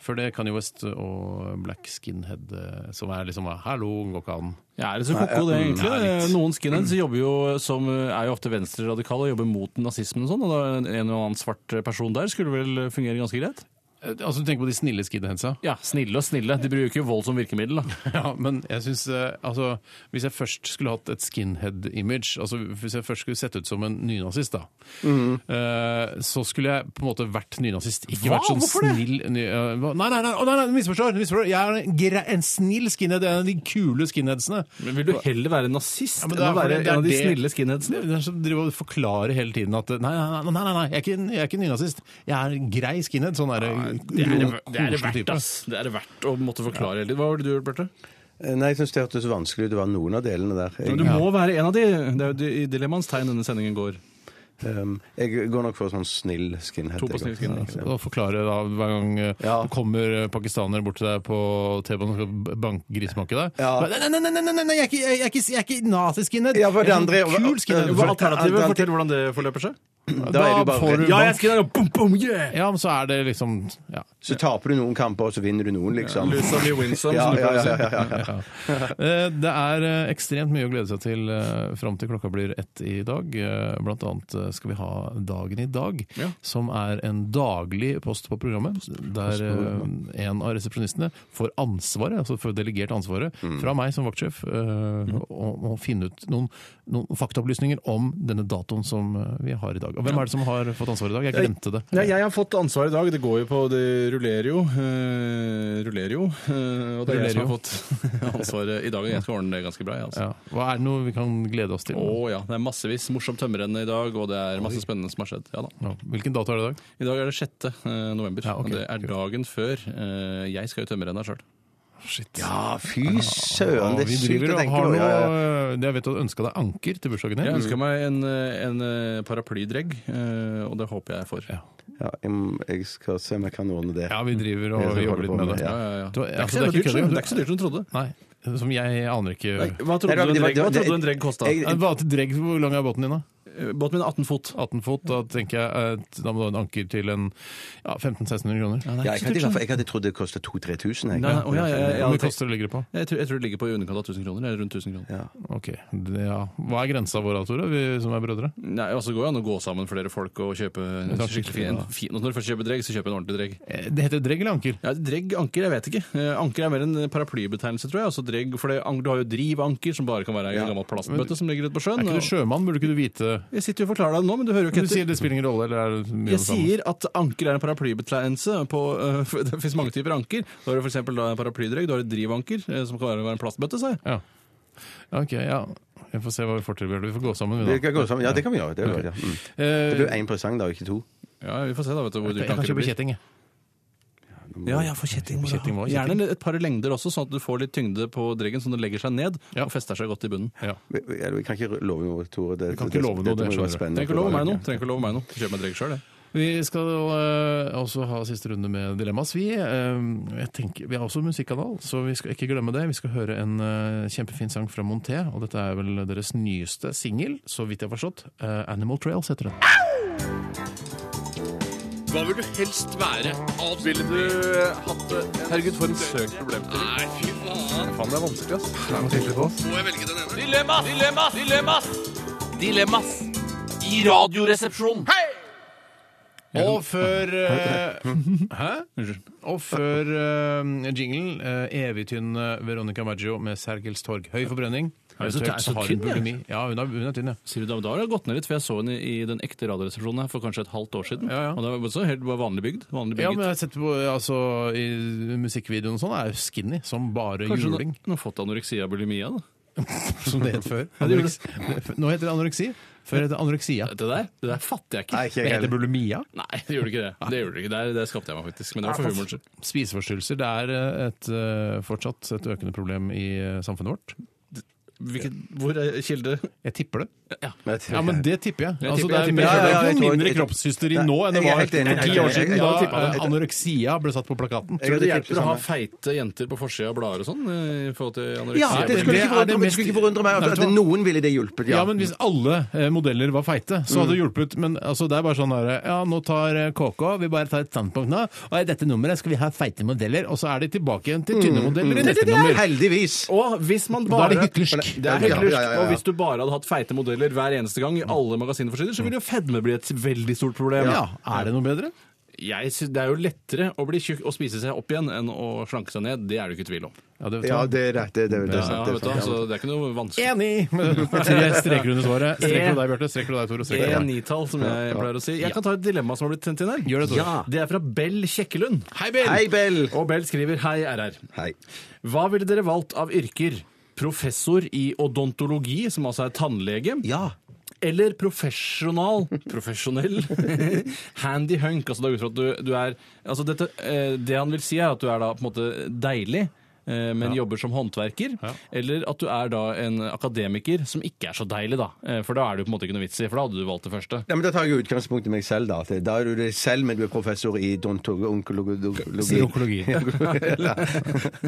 Speaker 3: Før Hm. det Kanye West og Black Skinhead, eh, som er liksom Hallo, går ikke an.
Speaker 4: Ja, er det så koko det egentlig?
Speaker 3: Nei, litt.
Speaker 4: Eh, Noen skinheads jobber jo som eh, er jo ofte venstreradikale og jobber mot nazismen og sånn, og da en og annen svart person der skulle vel fungere ganske greit?
Speaker 3: Eh, Altså, du tenker på de snille skinheadsa?
Speaker 4: Ja, snille og snille. De bruker jo vold som virkemiddel, da.
Speaker 3: (laughs) Ja, men jeg synes, eh, altså, hvis jeg først skulle hatt et skinhead-image, altså hvis jeg først skulle sett ut som en nynazist, da,
Speaker 4: Mm.
Speaker 3: eh, så skulle jeg på en måte vært nynazist. Ikke
Speaker 4: Hva?
Speaker 3: vært sånn
Speaker 4: Hvorfor det?
Speaker 3: snill ny, eh, hva- Nei, nei, nei, å, nei, nei, du misforstår, du misforstår. Jeg er en, gre- en snill skinhead, en av de kule skinheadsene.
Speaker 4: Men vil du heller være nazist
Speaker 3: Ja, men
Speaker 4: enn å
Speaker 3: det er
Speaker 4: være
Speaker 3: fordi det er
Speaker 4: en av de
Speaker 3: det-
Speaker 4: snille skinheadsene?
Speaker 3: Det er den som driver og forklarer hele tiden at eh, nei, nei, nei, nei, nei, nei jeg, er ikke, jeg er ikke nynazist. Jeg er en grei skinhead. Sånn derre
Speaker 4: Det er det, det er det
Speaker 3: koselig type.
Speaker 4: verdt, ass. Det er det verdt å måtte forklare litt. Hva var det du gjorde, Bjarte?
Speaker 5: Eh, Nei, jeg syns det hørtes vanskelig ut. Det var noen av delene der.
Speaker 4: Men du må være en av de. Det er jo de- i dilemmaens tegn denne sendingen går.
Speaker 5: Um, jeg går nok for sånn snill skinhead.
Speaker 4: To på snill
Speaker 5: jeg også.
Speaker 4: skinhead.
Speaker 5: Ja,
Speaker 3: Og forklare da hver gang eh,
Speaker 5: Ja.
Speaker 3: det kommer eh, pakistanere bort til deg på T-banen og skal b- banke grisebanke deg.
Speaker 5: Ja.
Speaker 3: Nei, nei, nei, nei, nei, nei, nei, jeg er ikke, jeg er ikke, jeg er ikke nazi-skinhead.
Speaker 5: Ja, for det
Speaker 3: Jeg er
Speaker 5: andre-
Speaker 3: sånn Kul skinhead.
Speaker 4: Hva er alternativet? Fortell hvordan det forløper seg.
Speaker 5: ja. Da
Speaker 3: Da
Speaker 5: er du bare
Speaker 3: får du
Speaker 5: redd.
Speaker 4: Ja, jeg skriver bom, bom, yeah!
Speaker 3: Ja, men så er det liksom ja.
Speaker 5: Så taper du noen kamper, og så vinner du noen, liksom.
Speaker 4: Lose some, you win some,
Speaker 5: Ja,
Speaker 4: som du
Speaker 5: ja,
Speaker 4: pleier å
Speaker 5: ja,
Speaker 4: si.
Speaker 5: ja, ja, ja.
Speaker 3: Eh, Det er eh, ekstremt mye å glede seg til eh, fram til klokka blir ett i dag. Eh, Blant annet eh, skal vi ha Dagen i dag,
Speaker 4: Ja.
Speaker 3: som er en daglig post på programmet. Der eh, en av resepsjonistene får ansvaret, altså får delegert ansvaret fra meg som vaktsjef, eh, om å finne ut noen, noen faktaopplysninger om denne datoen som eh, vi har i dag. Og hvem er det som har fått ansvaret i dag? Jeg glemte det.
Speaker 4: Nei, jeg har fått ansvar i dag. Det går jo på Det ruller jo. eh, ruller jo. eh, og det er jeg som har fått (laughs) ansvaret i dag. og Jeg skal ordne det ganske bra. jeg, Altså.
Speaker 3: Ja. Hva er det noe vi kan glede oss til?
Speaker 4: Å ja. Det er massevis morsomt tømmerrenne i dag, og det er masse spennende som har skjedd. Ja, da.
Speaker 3: Ja. Hvilken dato er det i dag?
Speaker 4: I dag er det 6. eh, november.
Speaker 3: Ja, ok.
Speaker 4: og Det er dagen før. eh, jeg skal jo tømmerrenna sjøl.
Speaker 5: Ja, fy søren,
Speaker 3: Ja,
Speaker 5: det er
Speaker 3: vi
Speaker 5: sykt
Speaker 3: driver
Speaker 5: å
Speaker 3: og
Speaker 5: tenke
Speaker 3: har
Speaker 5: på.
Speaker 3: noe
Speaker 5: Ja, ja.
Speaker 3: Jeg vet du har ønska deg anker til bursdagen
Speaker 4: Jeg
Speaker 3: din.
Speaker 4: ønsker meg en, eh, en eh, paraplydregg, eh, og det håper jeg jeg får.
Speaker 3: Ja.
Speaker 5: Ja, jeg- jeg skal se om jeg kan ordne det.
Speaker 3: Ja, vi driver
Speaker 5: Jeg
Speaker 3: og
Speaker 5: skal
Speaker 3: jobber
Speaker 5: holde på
Speaker 3: litt med
Speaker 5: med
Speaker 3: det.
Speaker 5: det,
Speaker 4: Ja, ja, ja.
Speaker 3: Du-
Speaker 4: Det
Speaker 3: altså, det
Speaker 4: er ikke så-
Speaker 3: er
Speaker 4: det
Speaker 3: ikke
Speaker 4: er ikke så-
Speaker 3: kødd.
Speaker 4: det er ikke så dyrt som du trodde.
Speaker 3: Nei, som jeg aner ikke
Speaker 4: Hva trodde
Speaker 5: Nei,
Speaker 4: du en
Speaker 5: det var-
Speaker 4: dregg, hva
Speaker 5: det- det-
Speaker 4: trodde du en dregg kosta?
Speaker 5: jeg-
Speaker 3: Eh, Hva til dregg, Hvor lang er båten din, da?
Speaker 4: Båten min er 18 fot.
Speaker 3: 18 fot? Da tenker jeg at da må du ha en anker til en ja, 1500-1600 kroner.
Speaker 4: Ja, det er
Speaker 5: Ja,
Speaker 4: ikke
Speaker 5: jeg,
Speaker 4: så
Speaker 5: hadde, i
Speaker 4: dyrt,
Speaker 5: hvert
Speaker 4: sånn.
Speaker 5: fall- jeg hadde trodd det kosta 2000-3000.
Speaker 4: Nei, nei, å, ja, ja,
Speaker 5: Eh,
Speaker 4: ja,
Speaker 3: Hvor
Speaker 4: ja,
Speaker 3: mye
Speaker 4: det-
Speaker 3: koster det ligger det på?
Speaker 4: Jeg tror, jeg tror det ligger på i underkant av 1000 kroner. Eller rundt 1000 kroner.
Speaker 3: Ok, det, ja. Hva er grensa vår, da, Tore, vi som er brødre?
Speaker 4: Nei, altså går det an å gå sammen flere folk og kjøpe en
Speaker 3: Det er
Speaker 4: skikkelig fin, fin Når du først kjøper dregg, så kjøper en ordentlig dregg.
Speaker 3: Eh, Det heter dregg eller anker?
Speaker 4: Ja, Dregg, anker, jeg vet ikke. Eh, Anker er mer en paraplybetegnelse, tror jeg. Altså dregg, for det, an- Du har jo drivanker, som bare kan være ei gammel plastbøtte som ligger ute på
Speaker 3: Er
Speaker 4: sjøen.
Speaker 3: ikke du
Speaker 4: og-
Speaker 3: sjømann? Burde ikke du vite
Speaker 4: Jeg sitter jo og forklarer deg nå, men du hører jo ikke
Speaker 3: Du sier
Speaker 4: etter.
Speaker 3: det spiller ingen rolle, eller er det mye
Speaker 4: Jeg
Speaker 3: det samme?
Speaker 4: sier at anker er en paraplybetegnelse. På, eh, for det fins mange typer anker. Da har du for eksempel da en paraplydregg, du har et drivanker, eh, som kan være være en plastbøtte, sa jeg.
Speaker 3: Ja. Ja, Ok, ja. Jeg får se hva vi får til. Bjørn. Vi får gå sammen, vi,
Speaker 5: Det
Speaker 3: da.
Speaker 5: kan gå sammen. Ja, det kan vi gjøre. Det, er jo- ja. mm.
Speaker 3: Eh,
Speaker 5: det blir én presang, da, ikke to.
Speaker 4: Ja, Vi får se da, vet du, hvor
Speaker 3: jeg
Speaker 4: dyrt
Speaker 3: kan
Speaker 4: anker det
Speaker 3: kjøpe
Speaker 4: blir.
Speaker 3: kjetting, jeg.
Speaker 4: Ja, ja, for kjetting må du
Speaker 3: Kjetting må
Speaker 4: ha.
Speaker 3: ha kjetting.
Speaker 4: Gjerne et par lengder også, sånn at du får litt tyngde på dreggen, sånn at det legger seg ned
Speaker 3: Ja.
Speaker 4: og fester seg godt i bunnen.
Speaker 3: Ja.
Speaker 5: Vi, vi- eller vi kan ikke love noe, Tore. Det,
Speaker 3: kan ikke love noe, det
Speaker 5: må jo være
Speaker 3: skjønner du.
Speaker 5: spennende
Speaker 4: Trenger ikke love meg noe.
Speaker 5: for
Speaker 4: Trenger ikke love meg noe. Kjøp meg dregg sjøl, jeg.
Speaker 3: Vi skal eh, også ha siste runde med Dilemmas. Vi, eh, jeg tenker, vi er også musikkanal, så vi skal ikke glemme det. Vi skal høre en eh, kjempefin sang fra Monté, og dette er vel deres nyeste singel, så vidt jeg har forstått. Eh, Animal Trails heter den.
Speaker 6: Hva vil du helst være? Ville du hatt det? Herregud, for en søk problemstilling. Nei, fy faen. Faen, det er vanskelig, ass. Må jeg velge den ene? Dilemmas! Dilemmas! Dilemmas! Dilemmas! I radioresepsjonen. Hei!
Speaker 3: Og før eh, Hæ?
Speaker 4: Hm? Unnskyld.
Speaker 3: Og før eh, jinglen, uh, evig tynn eh, Veronica Maggio med Sergels Torg. Høy forbrenning.
Speaker 4: Er det så-
Speaker 3: Eventuelt
Speaker 4: er det så
Speaker 3: har hun
Speaker 4: tynn, ja?
Speaker 3: bulimi. Ja, hun er, hun er tynn, ja.
Speaker 4: Sier du da, da har det gått ned litt, for jeg så henne i den ekte radioresepsjonen her for kanskje et halvt år siden.
Speaker 3: Ja, ja.
Speaker 4: Og det var også helt bare vanlig bygd. Vanlig
Speaker 3: Ja, men
Speaker 4: bygget.
Speaker 3: jeg har sett på altså, i musikkvideoen og sånn, er jo skinny som bare
Speaker 4: Kanskje
Speaker 3: juling.
Speaker 4: hun hun har fått anoreksia og bulimia, da.
Speaker 3: som det het
Speaker 5: (laughs)
Speaker 3: før.
Speaker 4: det gjorde
Speaker 3: Anoreksi. (laughs) Nå heter det anoreksi. Før het det anoreksia.
Speaker 4: Det der, det der fatter jeg ikke.
Speaker 5: Nei, ikke jeg heller.
Speaker 3: bulimia?
Speaker 4: Nei, det gjorde ikke det. Det gjorde det ikke. Der, der skapte jeg meg faktisk. Men det var for humorens skyld.
Speaker 3: Spiseforstyrrelser det er eh, et, eh, fortsatt et økende problem i eh, samfunnet vårt.
Speaker 4: Hvilket- Hvor er kilde?
Speaker 3: Jeg tipper det.
Speaker 4: Ja.
Speaker 3: Ja, men det tipper jeg.
Speaker 4: Jeg
Speaker 3: altså,
Speaker 4: tipper-
Speaker 3: det er,
Speaker 4: jeg
Speaker 3: mer,
Speaker 5: tipper- ja, ja,
Speaker 3: det
Speaker 5: ja,
Speaker 3: er
Speaker 5: jeg
Speaker 3: ikke noe
Speaker 5: tror-
Speaker 3: mindre
Speaker 5: jeg-
Speaker 3: kroppshysteri
Speaker 5: Nei,
Speaker 3: nå enn det
Speaker 5: jeg er
Speaker 3: var
Speaker 5: helt enig.
Speaker 3: for ti år
Speaker 5: Jeg- jeg- jeg-
Speaker 3: siden,
Speaker 5: jeg- jeg-
Speaker 3: da
Speaker 5: jeg-
Speaker 3: eh,
Speaker 5: jeg-
Speaker 3: anoreksia ble satt på plakaten.
Speaker 5: Jeg-
Speaker 4: Tror
Speaker 5: hadde
Speaker 4: du det
Speaker 5: tenkt det sånn
Speaker 4: hjelper å ha
Speaker 5: samme.
Speaker 4: feite jenter på forsida av blader og sånn? eh, i forhold til
Speaker 5: Ja,
Speaker 4: anoreksia?
Speaker 5: det skulle
Speaker 3: det er
Speaker 5: ikke
Speaker 3: det
Speaker 5: forundre, meg- det
Speaker 3: mest-
Speaker 5: skulle ikke forundre meg at,
Speaker 3: Nei, vet du
Speaker 5: at noen ville det hjulpet.
Speaker 3: Ja, men hvis alle eh, modeller var feite, så hadde det hjulpet. Men altså, det er bare sånn der, ja, nå tar eh, KK, vi bare tar et standpunkt nå, og i dette nummeret skal vi ha feite modeller, og så er de tilbake igjen til tynne modeller i neste nummer.
Speaker 5: Heldigvis.
Speaker 4: Og hvis man
Speaker 3: Da er
Speaker 4: bare
Speaker 3: det hyklersk.
Speaker 4: Det er hyklersk.
Speaker 5: Ja, Mm. ja, ja, ja.
Speaker 4: Og hvis du bare hadde hatt feite modeller hver eneste gang i alle magasinforsider, så ville jo fedme bli et veldig stort problem.
Speaker 3: Ja, er det noe bedre?
Speaker 4: Jeg synes Det er jo lettere å bli tjukk og spise seg opp igjen enn å slanke seg ned. Det er det jo ikke tvil om.
Speaker 3: Ja, det vet
Speaker 5: Ja,
Speaker 3: jeg.
Speaker 5: det er rett. Det, det, det, er
Speaker 4: Ja,
Speaker 5: sant,
Speaker 4: vet
Speaker 5: det,
Speaker 4: du,
Speaker 5: er sant.
Speaker 4: altså, det er ikke noe vanskelig.
Speaker 3: Enig! (laughs) Med tre streker under svaret. Streker du deg, Bjarte? Streker du deg, Tore? Streker du deg?
Speaker 4: E9-tall, som jeg pleier å si. Jeg kan ta et dilemma som har blitt sendt inn her.
Speaker 3: Gjør det, Tore.
Speaker 4: Ja. Det er fra Bell Kjekkelund. Hei, Bell!
Speaker 5: Hei, Bell!
Speaker 4: Og Bell skriver Hei, RR.
Speaker 5: Hei.
Speaker 4: Hva ville dere valgt av yrker? Professor i odontologi, som altså er tannlege.
Speaker 5: Ja.
Speaker 4: Eller profesjonal Profesjonell (laughs) Handy hunk, altså det er ut fra at du, du er altså dette, eh, Det han vil si er at du er da på en måte deilig eh, men jobber som håndverker. Eller at du er da en akademiker som ikke er så deilig, da. Eh, For da er det jo på en måte ikke noe vits i, for da hadde du valgt det første.
Speaker 5: Ja, men Da tar jeg utgangspunkt i meg selv, da. At Da er du deg selv, men du er professor i
Speaker 3: Onkologi.
Speaker 5: onkologi.
Speaker 3: (laughs)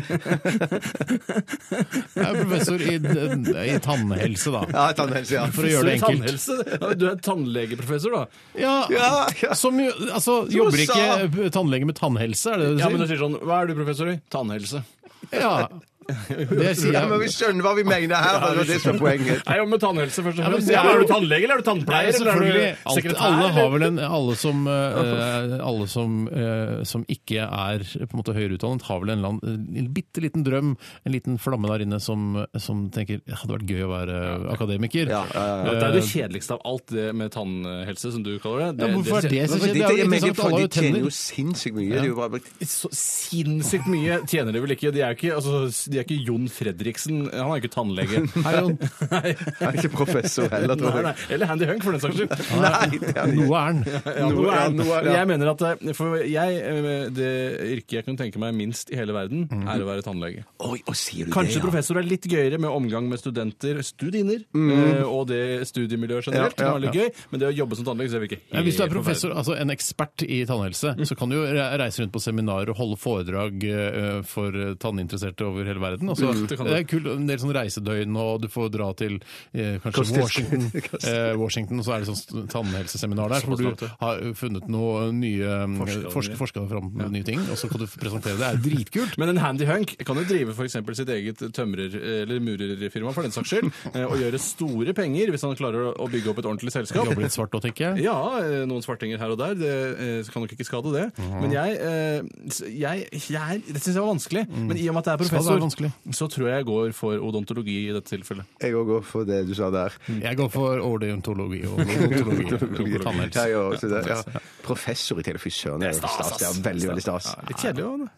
Speaker 3: Jeg er professor i, i tannhelse, da.
Speaker 5: Ja, tannhelse, ja.
Speaker 3: For å gjøre det
Speaker 4: Så
Speaker 3: enkelt.
Speaker 4: tannhelse, (laughs) Du er tannlegeprofessor, da.
Speaker 3: Ja,
Speaker 5: Ja, ja.
Speaker 3: Som jo altså, Jobber ikke eh, tannlege med tannhelse, er det
Speaker 4: Ja, men
Speaker 3: det du sier?
Speaker 4: du sier sånn Hva er du professor i? Tannhelse.
Speaker 3: Ja. Det sier
Speaker 5: Ja, men vi
Speaker 3: jeg.
Speaker 5: skjønner hva vi mener her, og det er det som er poenget.
Speaker 4: Nei, jo, med tannhelse først og
Speaker 3: Ja, men
Speaker 4: fremst.
Speaker 3: det er
Speaker 4: Ja, er
Speaker 3: jo-
Speaker 4: du tannlege, eller er
Speaker 3: Nei,
Speaker 4: du tannpleier, eller
Speaker 3: selvfølgelig.
Speaker 4: er du
Speaker 3: Alt,
Speaker 4: sekretær?
Speaker 3: alle har
Speaker 4: eller?
Speaker 3: vel en Alle som, eh, alle som, eh, som ikke er på en måte høyere utdannet, har vel en, eller annen- en bitte liten drøm, en liten flamme der inne, som, som tenker det hadde vært gøy å være akademiker.
Speaker 5: Ja, ja, ja.
Speaker 4: Ja, Det er det kjedeligste av alt, det med tannhelse, som du kaller
Speaker 3: Ja,
Speaker 4: det. det
Speaker 3: hvorfor er det så
Speaker 5: For
Speaker 3: kjedelig?
Speaker 5: de,
Speaker 3: Det er jo
Speaker 5: jeg mener,
Speaker 3: interessant,
Speaker 5: for
Speaker 3: alle har
Speaker 5: de
Speaker 3: jo
Speaker 5: tjener jo
Speaker 3: tenner.
Speaker 5: sinnssykt mye. Det er jo bare (laughs)
Speaker 4: så sinnssykt mye tjener de vel ikke. De er jo ikke, altså, de er ikke Jon Fredriksen. Han er jo ikke tannlege.
Speaker 3: Hei, Jon.
Speaker 4: Nei.
Speaker 5: Han er ikke professor heller, tror
Speaker 4: Nei,
Speaker 5: jeg.
Speaker 4: nei. Eller Handy Hunk, for den saks skyld.
Speaker 5: Nei, det er det
Speaker 3: Noe
Speaker 5: ikke.
Speaker 3: er den.
Speaker 4: (laughs) Ja,
Speaker 5: Noe
Speaker 4: noe
Speaker 5: er-
Speaker 4: er,
Speaker 5: noe er- ja.
Speaker 4: Jeg mener at eh, for jeg, eh, det yrket jeg kunne tenke meg minst i hele verden, er å være tannlege.
Speaker 5: Oi, og sier du
Speaker 4: Kanskje
Speaker 5: det, ja?
Speaker 4: professor er litt gøyere med omgang med studenter, studiner, eh, og det studiemiljøet generelt. det
Speaker 5: Ja, ja,
Speaker 4: er litt gøy, men det å jobbe som tannlege, så virker helt
Speaker 3: Ja, hvis du er professor,
Speaker 4: forferdelig.
Speaker 3: altså en ekspert i tannhelse,
Speaker 4: Mm.
Speaker 3: så kan du jo re- reise rundt på seminarer og holde foredrag eh, for eh, tanninteresserte over hele verden. Altså,
Speaker 4: Mm, det
Speaker 3: det,
Speaker 4: kan du.
Speaker 3: er kult, en del sånn reisedøgn, og du får dra til eh, kanskje
Speaker 5: Kostisk.
Speaker 3: Washington,
Speaker 4: (laughs)
Speaker 3: eh, Washington, og så er det sånn st- tannhelseseminar der, hvor du har funnet noe nye
Speaker 4: Forsker
Speaker 3: forsker, forsker, fram nye ting, og så kan du presentere det. Det er
Speaker 4: (laughs)
Speaker 3: dritkult.
Speaker 4: Men en handy hunk kan jo drive for eksempel sitt eget tømrer- eller murerfirma for den saks skyld, eh, og gjøre store penger hvis han klarer å- å bygge opp et ordentlig selskap.
Speaker 3: Jobber litt svart nå, tenker jeg.
Speaker 4: Ja, eh, noen svartinger her og der. Det eh, kan nok ikke skade det. Men jeg, eh, s- jeg, jeg er- Det syns jeg var vanskelig. Men i og med at jeg
Speaker 3: Skal det
Speaker 4: er
Speaker 3: være
Speaker 4: professor,
Speaker 3: vanskelig?
Speaker 4: så tror jeg jeg går for odontologi i dette tilfellet.
Speaker 5: Jeg òg går for det du sa der.
Speaker 3: Jeg går for ordeontologi
Speaker 4: (laughs)
Speaker 3: og odontologi.
Speaker 5: Ja,
Speaker 3: Tannhelse.
Speaker 5: jeg også det, ja. Professor i telefy søren, det er jo stas. Det er veldig, veldig stas.
Speaker 4: Ja, litt kjedelig òg, det.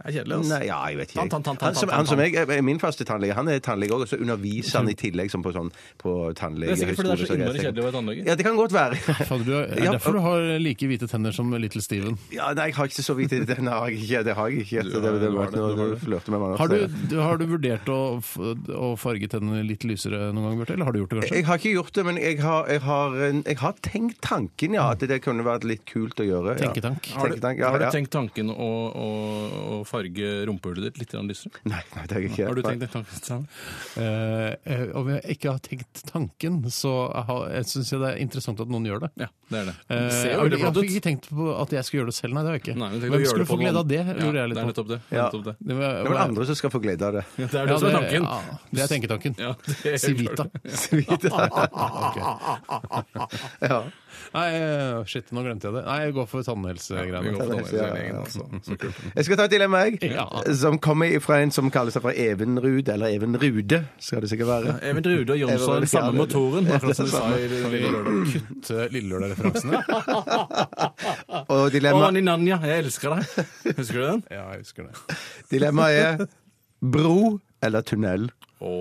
Speaker 4: Det er kjedelig, altså.
Speaker 5: Nei, ja, jeg vet ikke.
Speaker 4: Tann, tann, tann,
Speaker 5: Han som,
Speaker 4: tann,
Speaker 5: han som
Speaker 4: tann.
Speaker 5: jeg, er min faste tannlege, han er tannlege òg, og så underviser han i tillegg som på sånn på tannlege.
Speaker 4: Det er sikkert fordi det er så
Speaker 5: høyskole,
Speaker 4: innmari
Speaker 5: jeg tenker-
Speaker 4: kjedelig å være tannlege.
Speaker 5: Ja, det kan godt være.
Speaker 3: Fader, du er, er
Speaker 5: Ja,
Speaker 3: derfor du har like hvite tenner som Little Steven.
Speaker 5: Ja, nei, jeg har ikke så vidt i det. Nei, jeg har ikke, det har jeg ikke. Det, det, det,
Speaker 4: det var
Speaker 5: var
Speaker 4: det, det
Speaker 5: noe
Speaker 4: var
Speaker 5: du
Speaker 4: det.
Speaker 5: flørte med meg nå.
Speaker 3: Har du, du- har du vurdert å, f- å farge tennene litt lysere noen gang, Bjarte? Eller har du gjort det, kanskje?
Speaker 5: Jeg har ikke gjort det, men jeg har, jeg har, jeg har tenkt tanken, ja. At det kunne vært litt kult å gjøre. Ja.
Speaker 3: Tenketank.
Speaker 5: Har du, tenketank, ja,
Speaker 4: Har du
Speaker 5: ja.
Speaker 4: tenkt tanken å, å, å farge rumpehullet ditt litt grann lysere?
Speaker 5: Nei, nei, det har jeg ikke.
Speaker 4: Har du tenkt det? tanken?
Speaker 3: Eh, eh, om jeg ikke har tenkt tanken, så syns jeg det er interessant at noen gjør det.
Speaker 4: Ja, det er det.
Speaker 3: Eh,
Speaker 4: Det ser
Speaker 3: jeg
Speaker 4: jo
Speaker 3: har
Speaker 4: veldig flott ut.
Speaker 3: ikke tenkt på at jeg skulle gjøre det selv, nei. det har jeg ikke.
Speaker 4: Nei, men tenk å
Speaker 3: Hvem
Speaker 4: gjøre
Speaker 3: skulle
Speaker 4: det på
Speaker 3: få glede
Speaker 4: noen-
Speaker 3: av det, lurer
Speaker 4: ja,
Speaker 3: jeg litt
Speaker 4: Det er
Speaker 3: på.
Speaker 4: nettopp det.
Speaker 5: Ja.
Speaker 4: Nettopp det.
Speaker 3: Det var,
Speaker 5: Det er vel andre som skal få glede av det.
Speaker 4: det er det
Speaker 3: Ja,
Speaker 4: som er
Speaker 3: det-
Speaker 4: tanken.
Speaker 3: ja, det er tenketanken.
Speaker 4: Ja, det er-
Speaker 3: Civita.
Speaker 5: (laughs) Ja.
Speaker 3: Nei, eh, shit, nå glemte jeg det. Nei, jeg går for tannhelsegreiene.
Speaker 4: Vi går for
Speaker 5: det er-
Speaker 4: tannhelse,
Speaker 5: ja, ja.
Speaker 4: altså. Så kult.
Speaker 5: Jeg skal ta et dilemma, jeg.
Speaker 3: Ja.
Speaker 5: Som kommer fra en som kaller seg fra Evenrud, eller Evenrude, skal det sikkert være.
Speaker 4: Even Rude og Jonsson har den samme motoren, akkurat som du sa i Lille Lørdag.
Speaker 3: Kutte eh, Lille Lørdag-referansene.
Speaker 5: Og
Speaker 4: Å,
Speaker 5: dilemma,
Speaker 4: Ninanja, jeg elsker deg. Husker du den?
Speaker 3: Ja, jeg husker det.
Speaker 5: dilemmaet er bro eller tunnel.
Speaker 4: Å,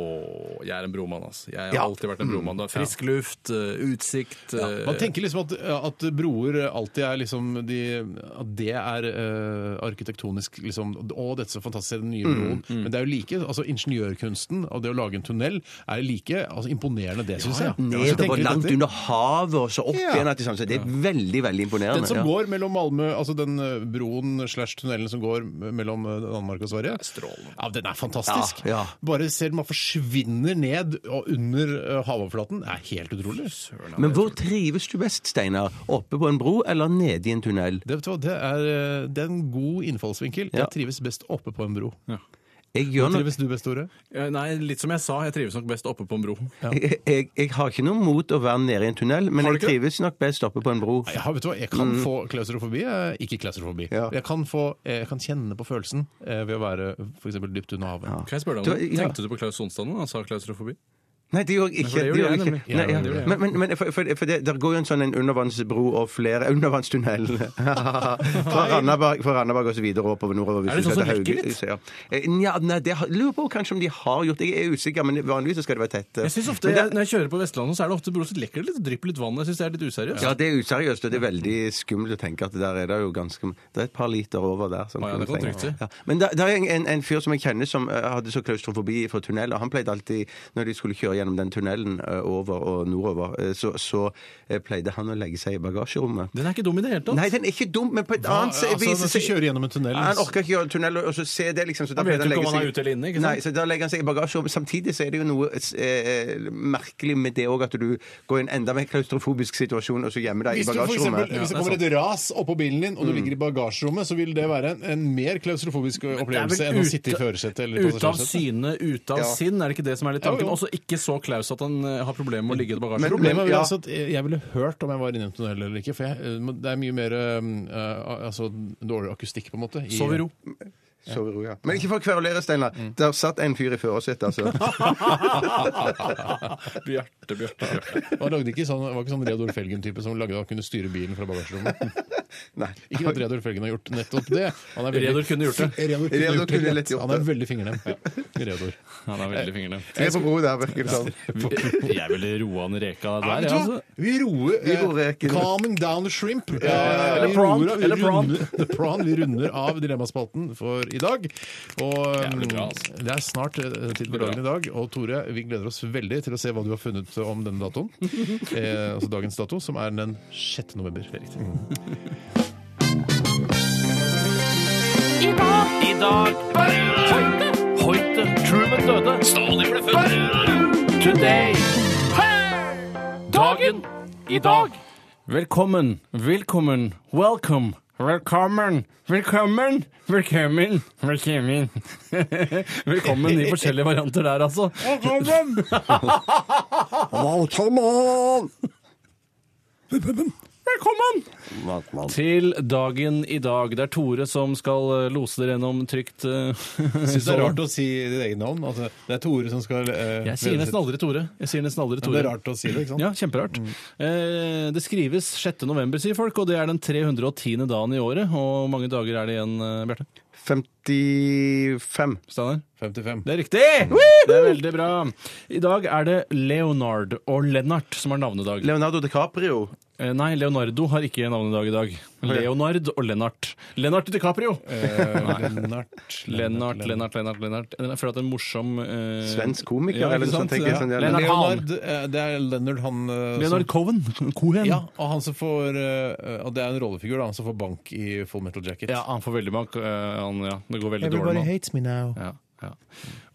Speaker 4: jeg er en bromann, altså. Jeg har
Speaker 5: Ja.
Speaker 4: alltid vært en bromann. Da. Frisk luft, eh, utsikt eh,
Speaker 3: Man tenker liksom at, at broer alltid er liksom de, At det er eh, arkitektonisk liksom, Å, dette er så fantastisk, se den nye
Speaker 5: Mm,
Speaker 3: broen. Men det er jo like. altså Ingeniørkunsten og det å lage en tunnel er like altså, imponerende, det syns jeg. Hvis du tenker
Speaker 5: Nedover,
Speaker 3: litt
Speaker 5: langt
Speaker 3: etter.
Speaker 5: under havet, og så opp
Speaker 3: Ja.
Speaker 5: igjen. at det er sånn, Så det er veldig, veldig imponerende.
Speaker 3: Den som
Speaker 5: ja.
Speaker 3: går mellom Malmö, altså den eh, broen slash tunnelen som går mellom eh, Danmark og Sverige
Speaker 4: Strålende.
Speaker 3: Ja, Den er fantastisk.
Speaker 5: Ja, ja.
Speaker 3: Bare ser man forsvinner ned og under eh, havoverflaten. Det er helt utrolig.
Speaker 5: Men hvor trives du best, Steinar? Oppe på en bro eller nede i en tunnel?
Speaker 3: Det, vet du hva, det, er, eh, det er en god innfallsvinkel.
Speaker 5: Ja.
Speaker 3: Jeg trives best oppe på en bro. Mm.
Speaker 5: Jeg, gjør nok,
Speaker 3: Trives du best, Tore?
Speaker 4: Eh, Nei, litt som jeg sa, jeg trives nok best oppe på en bro.
Speaker 5: jeg, jeg, jeg har ikke noe mot å være nede i en tunnel, men
Speaker 4: Har du
Speaker 5: jeg
Speaker 4: ikke det?
Speaker 5: trives nok best oppe på en bro.
Speaker 3: Ja, vet du hva? Jeg kan få klaustrofobi. eh, Ikke klaustrofobi.
Speaker 5: Mm. Ja.
Speaker 3: Jeg, kan få, eh, jeg kan kjenne på følelsen eh, ved å være for eksempel dypt under havet.
Speaker 4: Kan jeg spørre deg
Speaker 5: Du-
Speaker 4: om noe?
Speaker 5: ja.
Speaker 4: Tenkte du på Klaus Sonstad nå? Han sa klaustrofobi.
Speaker 5: Nei, det gjorde jeg ikke.
Speaker 4: for det
Speaker 5: det
Speaker 4: gjorde
Speaker 5: gjorde
Speaker 4: jeg
Speaker 5: jeg
Speaker 4: nemlig.
Speaker 3: Ja,
Speaker 5: ikke. Nei, ja.
Speaker 3: det gjorde jeg.
Speaker 5: Men, men, men for, for, for det, der går jo en sånn en undervannsbro og flere (laughs) Undervannstunnel
Speaker 4: (laughs)
Speaker 5: fra Randaberg, fra Randaberg og så videre oppover nordover. hvis
Speaker 4: Er det
Speaker 5: du
Speaker 4: sånn som
Speaker 5: setter
Speaker 4: vekker
Speaker 5: Hauge-
Speaker 4: litt?
Speaker 5: Ja. Eh, Nja, nei, det har- lurer på kanskje om de har gjort det. Jeg er usikker, men vanligvis så skal det være tett.
Speaker 4: Jeg synes ofte,
Speaker 5: Men det,
Speaker 4: Når jeg kjører på Vestlandet, så er det ofte broer som lekker det litt, drypper litt vann. Jeg synes det er litt useriøst.
Speaker 5: ja, det er useriøst, og det er veldig skummelt å tenke at der er det jo ganske Det er et par liter over der. som
Speaker 4: Å ja, det
Speaker 5: kunne
Speaker 4: kan
Speaker 5: trenge-
Speaker 4: trygt si.
Speaker 5: Ja. Men det er en, en, en fyr som jeg kjenner som eh, hadde så klaustrofobi for tunnel, og han pleide alltid, når de skulle kjøre gjennom den tunnelen eh, over og nordover, eh, så, så eh, pleide han å legge seg i bagasjerommet.
Speaker 4: Den er ikke dum i det hele tatt.
Speaker 5: Nei, den er ikke dum, men på et
Speaker 3: Hva-
Speaker 5: annet se-
Speaker 3: altså,
Speaker 5: vis
Speaker 3: hvis du kjører gjennom en tunnel
Speaker 5: Han orker ikke gjøre tunnel, og så se det, liksom. Så da
Speaker 4: Han vet
Speaker 5: pleide
Speaker 4: jo ikke om han
Speaker 5: legge
Speaker 4: er ute eller inne, ikke sant?
Speaker 5: Nei, så da legger han seg i bagasjerommet. Samtidig så er det jo noe eh, merkelig med det òg, at du går i en enda mer klaustrofobisk situasjon og så gjemmer deg i
Speaker 3: Hvis, du for eksempel,
Speaker 5: bagasjerommet.
Speaker 3: hvis det kommer et ras oppå bilen din, og
Speaker 5: Mm.
Speaker 3: du ligger i bagasjerommet, så vil det være en, en mer klaustrofobisk opplevelse enn å sitte i førersetet eller
Speaker 4: ute av
Speaker 3: passasjersetet.
Speaker 4: syne, ute av
Speaker 5: Ja.
Speaker 4: sinn, er det ikke det som er litt
Speaker 3: Jo, jo.
Speaker 4: tanken? Også ikke så klaus at han eh, har problemer med å ligge i
Speaker 5: Men-
Speaker 4: bagasjerommet.
Speaker 3: Problemet er vel
Speaker 5: ja.
Speaker 3: altså at jeg ville hørt om jeg var inne i en tunnel eller ikke. For jeg, eh, men det er mye mer eh, altså, dårlig akustikk, på en måte. i-
Speaker 4: Sov i ro.
Speaker 5: Sov i ro, ja. Men ikke for å kverulere, Steinar.
Speaker 4: Mm.
Speaker 5: Der satt en fyr i førersetet,
Speaker 4: (laughs)
Speaker 5: altså. (laughs)
Speaker 4: Bjarte, Bjarte, Bjarte.
Speaker 3: Og han lagde ikke sånn, det var ikke sånn Reodor Felgen-type som lagde han kunne styre bilen fra bagasjerommet.
Speaker 5: Nei.
Speaker 3: Ikke at Reodor Felgen har gjort nettopp det. Han er
Speaker 4: Reodor kunne gjort det.
Speaker 3: Reodor kunne
Speaker 5: Reodor
Speaker 3: gjort det
Speaker 5: kunne lett
Speaker 3: lett.
Speaker 5: gjort
Speaker 3: Han er
Speaker 5: det.
Speaker 3: veldig fingernem. Reodor.
Speaker 4: Han er veldig fingrene.
Speaker 5: Vi er på bro der, virker det sånn.
Speaker 4: Jeg ville roa han reka der, jeg, altså.
Speaker 3: Vi roer
Speaker 5: Vi roer
Speaker 3: eh,
Speaker 5: reken.
Speaker 3: Calming down the shrimp. Eh,
Speaker 4: Eller
Speaker 3: vi
Speaker 4: prawn.
Speaker 3: roer av- vi
Speaker 4: Eller prawn.
Speaker 3: runder- The prawn. Vi runder av Dilemmaspalten for i dag. Og
Speaker 4: Jævlig bra,
Speaker 3: mm,
Speaker 4: altså.
Speaker 3: det er snart eh, tid for
Speaker 4: Bra.
Speaker 3: dagen i dag. Og Tore, vi gleder oss veldig til å se hva du har funnet om denne
Speaker 4: (laughs)
Speaker 3: datoen. Eh, altså dagens dato, som er den 6. november. Mm.
Speaker 7: I dag Hoite Hoite Truman døde Stalin ble født Today Dagen I dag
Speaker 4: Velkommen, velkommen, welcome. Velkommen, velkommen, velkommen, velkommen. Velkommen i forskjellige varianter der, altså. (laughs) Velkommen! Til dagen i dag. Det er Tore som skal eh, lose dere gjennom trygt eh, (laughs)
Speaker 3: Syns det
Speaker 4: så-
Speaker 3: er rart å si ditt eget navn. Altså, det er Tore som skal eh,
Speaker 4: Jeg sier nesten aldri Tore. Jeg sier nesten aldri
Speaker 3: Men Det
Speaker 4: Tore.
Speaker 3: er rart Mm. å si det, ikke sant?
Speaker 4: Ja, kjemperart. Eh, det skrives 6. november, sier folk, og det er den 310. dagen i året. Og hvor mange dager er det igjen, eh, Bjarte?
Speaker 5: 55.
Speaker 4: Steinar?
Speaker 3: 55.
Speaker 4: Det er riktig!
Speaker 3: Mm.
Speaker 4: Det er veldig bra. I dag er det Leonard og Lennart som har navnedag.
Speaker 5: Leonardo DiCaprio.
Speaker 4: Eh, Nei, Leonardo har ikke navnedag i dag. Leonard og Lennart. Lennart DiCaprio!
Speaker 3: Eh. Lennart.
Speaker 4: Lennart, Lennart, Lennart. Lennart. Jeg føler at det er en morsom eh,
Speaker 5: Svensk komiker,
Speaker 4: Ja,
Speaker 5: eller
Speaker 4: ikke
Speaker 5: noe
Speaker 4: sant?
Speaker 5: sånt. tenker jeg,
Speaker 4: Ja.
Speaker 5: sånn, ja.
Speaker 4: Lennart Hahn.
Speaker 3: Leonard, eh, det er Leonard han eh,
Speaker 4: Leonard Cohen. Cohen.
Speaker 3: som, Ja, og han som får eh, Og det er en rollefigur, da. Han som får bank i Full Metal Jacket.
Speaker 4: Ja, han får veldig bank. eh, Han, ja. Det går veldig dårlig med han.
Speaker 3: hates me now.
Speaker 4: Ja, ja.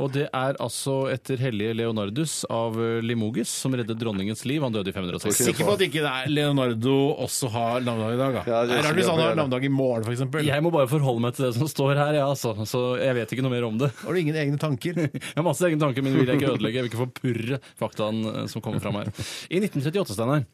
Speaker 4: Og det er altså etter hellige Leonardus av eh, Limogis, som reddet dronningens liv. Han døde i 560.
Speaker 3: Sikker på at ikke det er Leonardo også har navnedag i dag, da.
Speaker 5: Ja, det
Speaker 3: det er rart hvis
Speaker 5: skulle
Speaker 3: han
Speaker 5: jeg
Speaker 3: har
Speaker 5: gjøre.
Speaker 3: navnedag i morgen, f.eks.
Speaker 4: Jeg må bare forholde meg til det som står her, ja, altså. så jeg vet ikke noe mer om det.
Speaker 3: Har du ingen egne (laughs) tanker?
Speaker 4: Jeg har masse egne tanker, men vil jeg ikke ødelegge. Jeg vil ikke forpurre faktaen eh, som kommer fram her. I 1938, Steinar,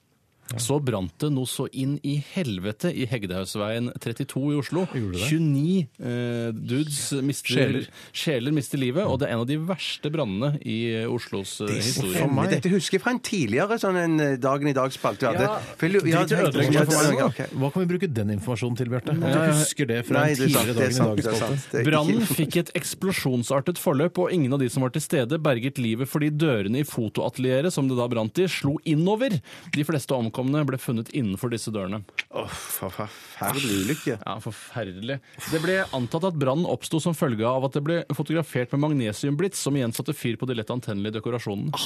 Speaker 4: så brant det noe så inn i helvete i Hegdehaugsveien 32 i Oslo.
Speaker 3: Gjorde det?
Speaker 4: 29 eh, dudes mister,
Speaker 3: Sjeler.
Speaker 4: sjeler. mister livet, og det er en av de verste brannene i eh, Oslos eh, historie.
Speaker 5: Stemmer. Dette husker jeg fra en tidligere sånn en eh, Dagen i dag-spalte. vi hadde. For jeg lurer- Ja,
Speaker 4: Drit i å
Speaker 5: det-
Speaker 4: ødelegge
Speaker 5: ja,
Speaker 4: meg for
Speaker 5: det-
Speaker 4: meg, da.
Speaker 5: ja, ok.
Speaker 3: Hva kan vi bruke den informasjonen til, Bjarte? At
Speaker 4: Ja,
Speaker 3: du
Speaker 4: ja.
Speaker 3: husker det fra
Speaker 5: Nei,
Speaker 3: en
Speaker 5: det er sant.
Speaker 3: tidligere
Speaker 5: Det er
Speaker 3: dag
Speaker 5: sant.
Speaker 3: i
Speaker 5: Det er
Speaker 3: dag?
Speaker 5: sant. Det er
Speaker 4: Brannen
Speaker 5: ikke-
Speaker 4: fikk et eksplosjonsartet forløp, og ingen av de som var til stede, berget livet fordi dørene i fotoatelieret som det da brant i, slo innover. De fleste omkomne ble funnet innenfor disse dørene.
Speaker 5: Åh, for forferdelig ulykke.
Speaker 4: Ja, Forferdelig. Det ble antatt at brannen oppsto som følge av at det ble fotografert med magnesiumblits, som igjen satte fyr på de lett antennelige dekorasjonene.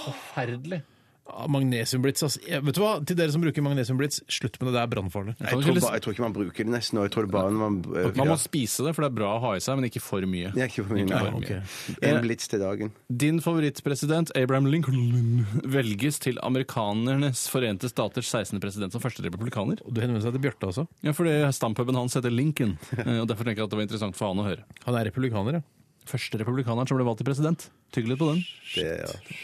Speaker 4: Forferdelig.
Speaker 3: Ja, Magnesiumblitz, altså. Jeg- Vet du hva? Til dere som bruker magnesiumblitz, slutt med det, det er brannfarlig.
Speaker 5: Jeg tror, bare, jeg tror ikke man bruker det nesten nå. Jeg tror det bare man eh,
Speaker 4: Man
Speaker 5: ja.
Speaker 4: må spise det, for det er bra å ha i seg, men ikke for mye.
Speaker 5: Det er ikke for mye.
Speaker 4: for
Speaker 5: Nei.
Speaker 4: mye.
Speaker 5: En blits til dagen.
Speaker 4: Din favorittpresident, Abraham Lincoln, velges til Amerikanernes forente staters 16. president som første republikaner.
Speaker 3: Og Du henvender seg til Bjarte, altså?
Speaker 4: Ja, fordi stampuben hans heter Lincoln, eh, og derfor tenker jeg at det var interessant for han å høre.
Speaker 3: Han er republikaner, ja.
Speaker 4: Første republikaneren som ble valgt til president. Tygg litt på den.
Speaker 5: Det, er- ja.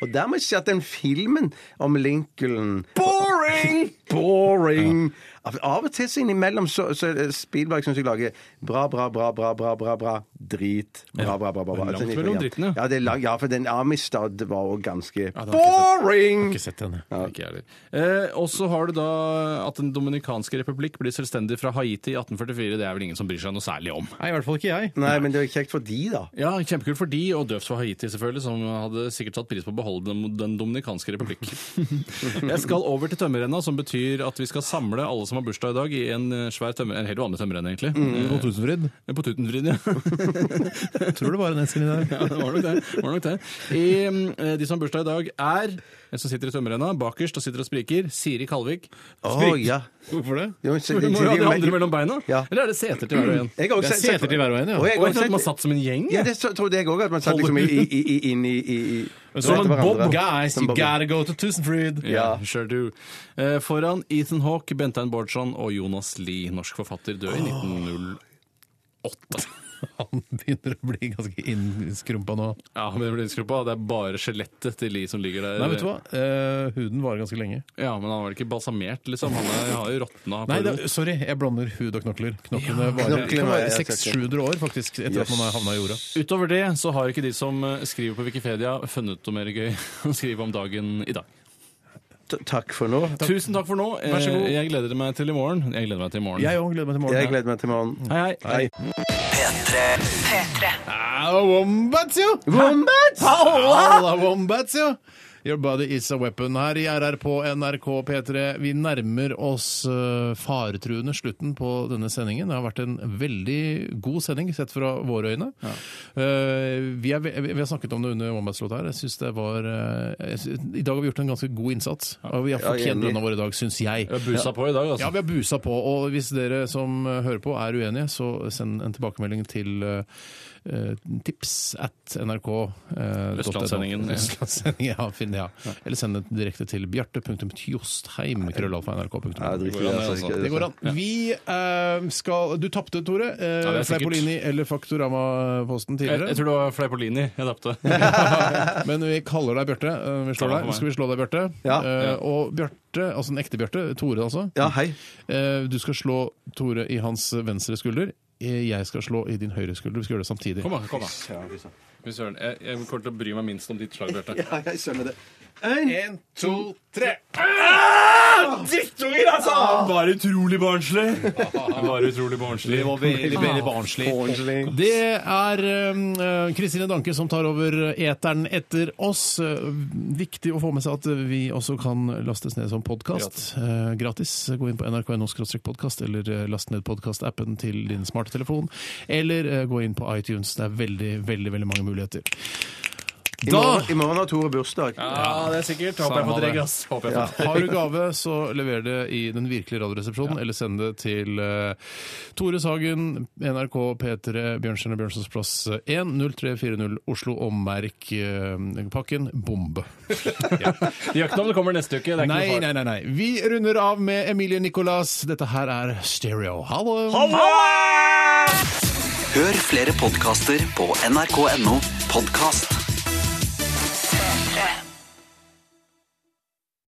Speaker 5: Og der må jeg si at den filmen om Lincoln (laughs) Boring! Boring! av- Av og til så innimellom så, så er det Spielberg syns jeg lager bra, bra, bra, bra, bra, bra, bra, drit. Bra, bra, bra, bra. bra.
Speaker 4: Langt mellom drittene.
Speaker 5: Ja, det er lang, ja, for den Amistad var jo ganske boring!
Speaker 3: Ikke sett henne.
Speaker 4: Ikke jeg heller. Eh, og så har du da at Den dominikanske republikk blir selvstendig fra Haiti i 1844. Det er vel ingen som bryr seg noe særlig om.
Speaker 3: Nei, i hvert fall ikke jeg.
Speaker 5: Nei, men det er kjekt for de, da.
Speaker 4: Ja, Kjempekult for de, og døvt for Haiti, selvfølgelig, som hadde sikkert satt pris på å beholde Den, den dominikanske (laughs) republikk. Jeg skal over til tømmerrenna, som betyr at vi skal samle alle som har bursdag i dag, i en eh, svær tømmer... En helt vanlig tømmerrenne, egentlig.
Speaker 3: På Tusenfryd.
Speaker 4: Eh, På Tutenfryd, ja. (laughs)
Speaker 3: Tror det var en Esken i dag.
Speaker 4: Ja, det var nok det. det, var nok det. I, mm, eh, de som har bursdag i dag, er en som sitter i tømmerrenna bakerst og sitter og spriker, Siri Kalvik.
Speaker 5: Å, ja.
Speaker 3: Hvorfor det? (laughs)
Speaker 5: Jo, så-
Speaker 4: For Du må jo ha de andre mellom beina.
Speaker 5: Ja.
Speaker 4: Eller er det seter til hver og en?
Speaker 5: Jeg har også
Speaker 3: Det er
Speaker 5: sett-
Speaker 3: seter til hver og en, ja.
Speaker 5: Og jeg
Speaker 4: Og
Speaker 5: har
Speaker 4: jeg tror at man
Speaker 5: sett
Speaker 4: satt som en gjeng.
Speaker 5: ja, det så- trodde jeg òg, at man satt liksom i, i, i, i- inn i, i, i
Speaker 3: Som en
Speaker 5: etter hverandre.
Speaker 3: Bob Guys,
Speaker 5: Som
Speaker 3: you
Speaker 5: Bob-
Speaker 3: gotta go to Tusenfryd.
Speaker 4: Ja, sure do. Eh, foran Ethan Hawke, Bentein Bårdsson og Jonas Lie, norsk forfatter, død i 1908.
Speaker 3: Han begynner å bli ganske innskrumpa nå.
Speaker 4: Ja, men det blir innskrupa. Det er bare skjelettet til Lie som ligger der.
Speaker 3: Nei, vet du hva? Eh, huden varer ganske lenge.
Speaker 4: Ja, Men han var ikke balsamert, liksom. Han er, har jo råtna.
Speaker 3: Nei, det, sorry, jeg blander hud og knokler. Knoklene varer
Speaker 5: knoklene
Speaker 3: det kan
Speaker 5: var-
Speaker 3: være
Speaker 5: ja, takk, takk.
Speaker 3: 600 år, faktisk, etter at man har havna i jorda.
Speaker 4: Utover det så har ikke de som eh, skriver på Wikipedia, funnet noe mer gøy (laughs) å skrive om dagen i dag.
Speaker 5: T- Takk for nå.
Speaker 4: Tusen takk for nå.
Speaker 3: Vær så god.
Speaker 4: Eh, Jeg gleder meg til i morgen. Jeg gleder meg til i morgen.
Speaker 3: Jeg òg gleder meg til
Speaker 5: Jeg
Speaker 3: morgenen.
Speaker 5: gleder meg til morgenen.
Speaker 4: Hei, hei.
Speaker 5: Hei.
Speaker 3: Ah, Wombats, jo!
Speaker 5: Wombats!
Speaker 3: Halla, Wombats, jo! Your body is a weapon. Her i RR på NRK P3. Vi nærmer oss eh, faretruende slutten på denne sendingen. Det har vært en veldig god sending sett fra våre øyne. Eh, vi, er, ve- vi har snakket om det under Wombats-låta her. Jeg synes det var eh, jeg synes- I dag har vi gjort en ganske god innsats. Og vi har
Speaker 5: jeg er
Speaker 3: fortjent
Speaker 5: enig.
Speaker 3: lønna vår i dag, syns jeg.
Speaker 4: Vi har busa på i dag, altså.
Speaker 3: Ja, vi har busa på. Og hvis dere som eh, hører på er uenige, så send en tilbakemelding til eh, eh, tips at nrk. eh,
Speaker 4: Østlandssendingen,
Speaker 3: .no.
Speaker 4: ja.
Speaker 3: Østlandssendingen, ja, finn, ja. Eller send det direkte til bjarte.tjostheim.
Speaker 5: Ja,
Speaker 3: krøllalfa.nrk.no.
Speaker 5: dritfint,
Speaker 4: går an,
Speaker 5: altså.
Speaker 4: altså.
Speaker 5: Ikke-
Speaker 3: Det går an. Vi eh, skal Du tapte, Tore.
Speaker 4: Ja,
Speaker 3: Uh,
Speaker 4: det er sikkert.
Speaker 3: Fleipolini eller Faktorama-posten
Speaker 4: Jeg,
Speaker 3: tidligere.
Speaker 4: jeg tror det var Fleipolini jeg tapte.
Speaker 3: (laughs) Men vi kaller deg Bjarte. Eh, vi slår
Speaker 4: Kaller
Speaker 3: deg.
Speaker 4: meg.
Speaker 3: Skal vi slå deg, Bjarte?
Speaker 5: Ja.
Speaker 3: Eh, og Bjarte, altså den ekte Bjarte, Tore altså,
Speaker 5: Ja, hei.
Speaker 3: Eh, Du skal slå Tore i hans venstre skulder. Eh, Jeg skal slå i din høyre skulder. Vi skal gjøre det samtidig.
Speaker 4: Kom da, kom da. Fy søren. Jeg, jeg kommer til å bry meg minst om ditt slag, Bjarte.
Speaker 5: (laughs) Ja, jeg skjønner det. En,
Speaker 3: to, tre.
Speaker 4: Drittunger, altså! Bare utrolig barnslig. Bare utrolig barnslig.
Speaker 3: Veldig, veldig barnslig. Det er eh, Kristine Danke som tar over eteren etter oss. Eh, Viktig å få med seg at vi også kan lastes ned som podkast. Gratis. Gå inn på nrk.no-podkast, eller eh, last ned podkastappen til din smarte telefon. Eller eh, gå inn på iTunes. Det er veldig, veldig, veldig mange muligheter.
Speaker 5: I morgen, I morgen har Tore bursdag.
Speaker 4: Ja, det er sikkert. Håper jeg får dregg, ass. Håper jeg får
Speaker 3: Har du gave, så lever det i den virkelige Radioresepsjonen, eller send det til eh, Tore Sagen, NRK P3, Bjørnstjerne Bjørnsons plass eh, 1, 0340 Oslo, og merk eh, pakken bombe.
Speaker 4: Jaktnavnet kommer neste uke. Det er
Speaker 3: Nei,
Speaker 4: ikke
Speaker 3: nei,
Speaker 4: noe
Speaker 3: nei, nei. Vi runder av med Emilie Nicolas. Dette her er Stereo. Hallo!
Speaker 2: Hør flere podkaster på nrk.no podkast.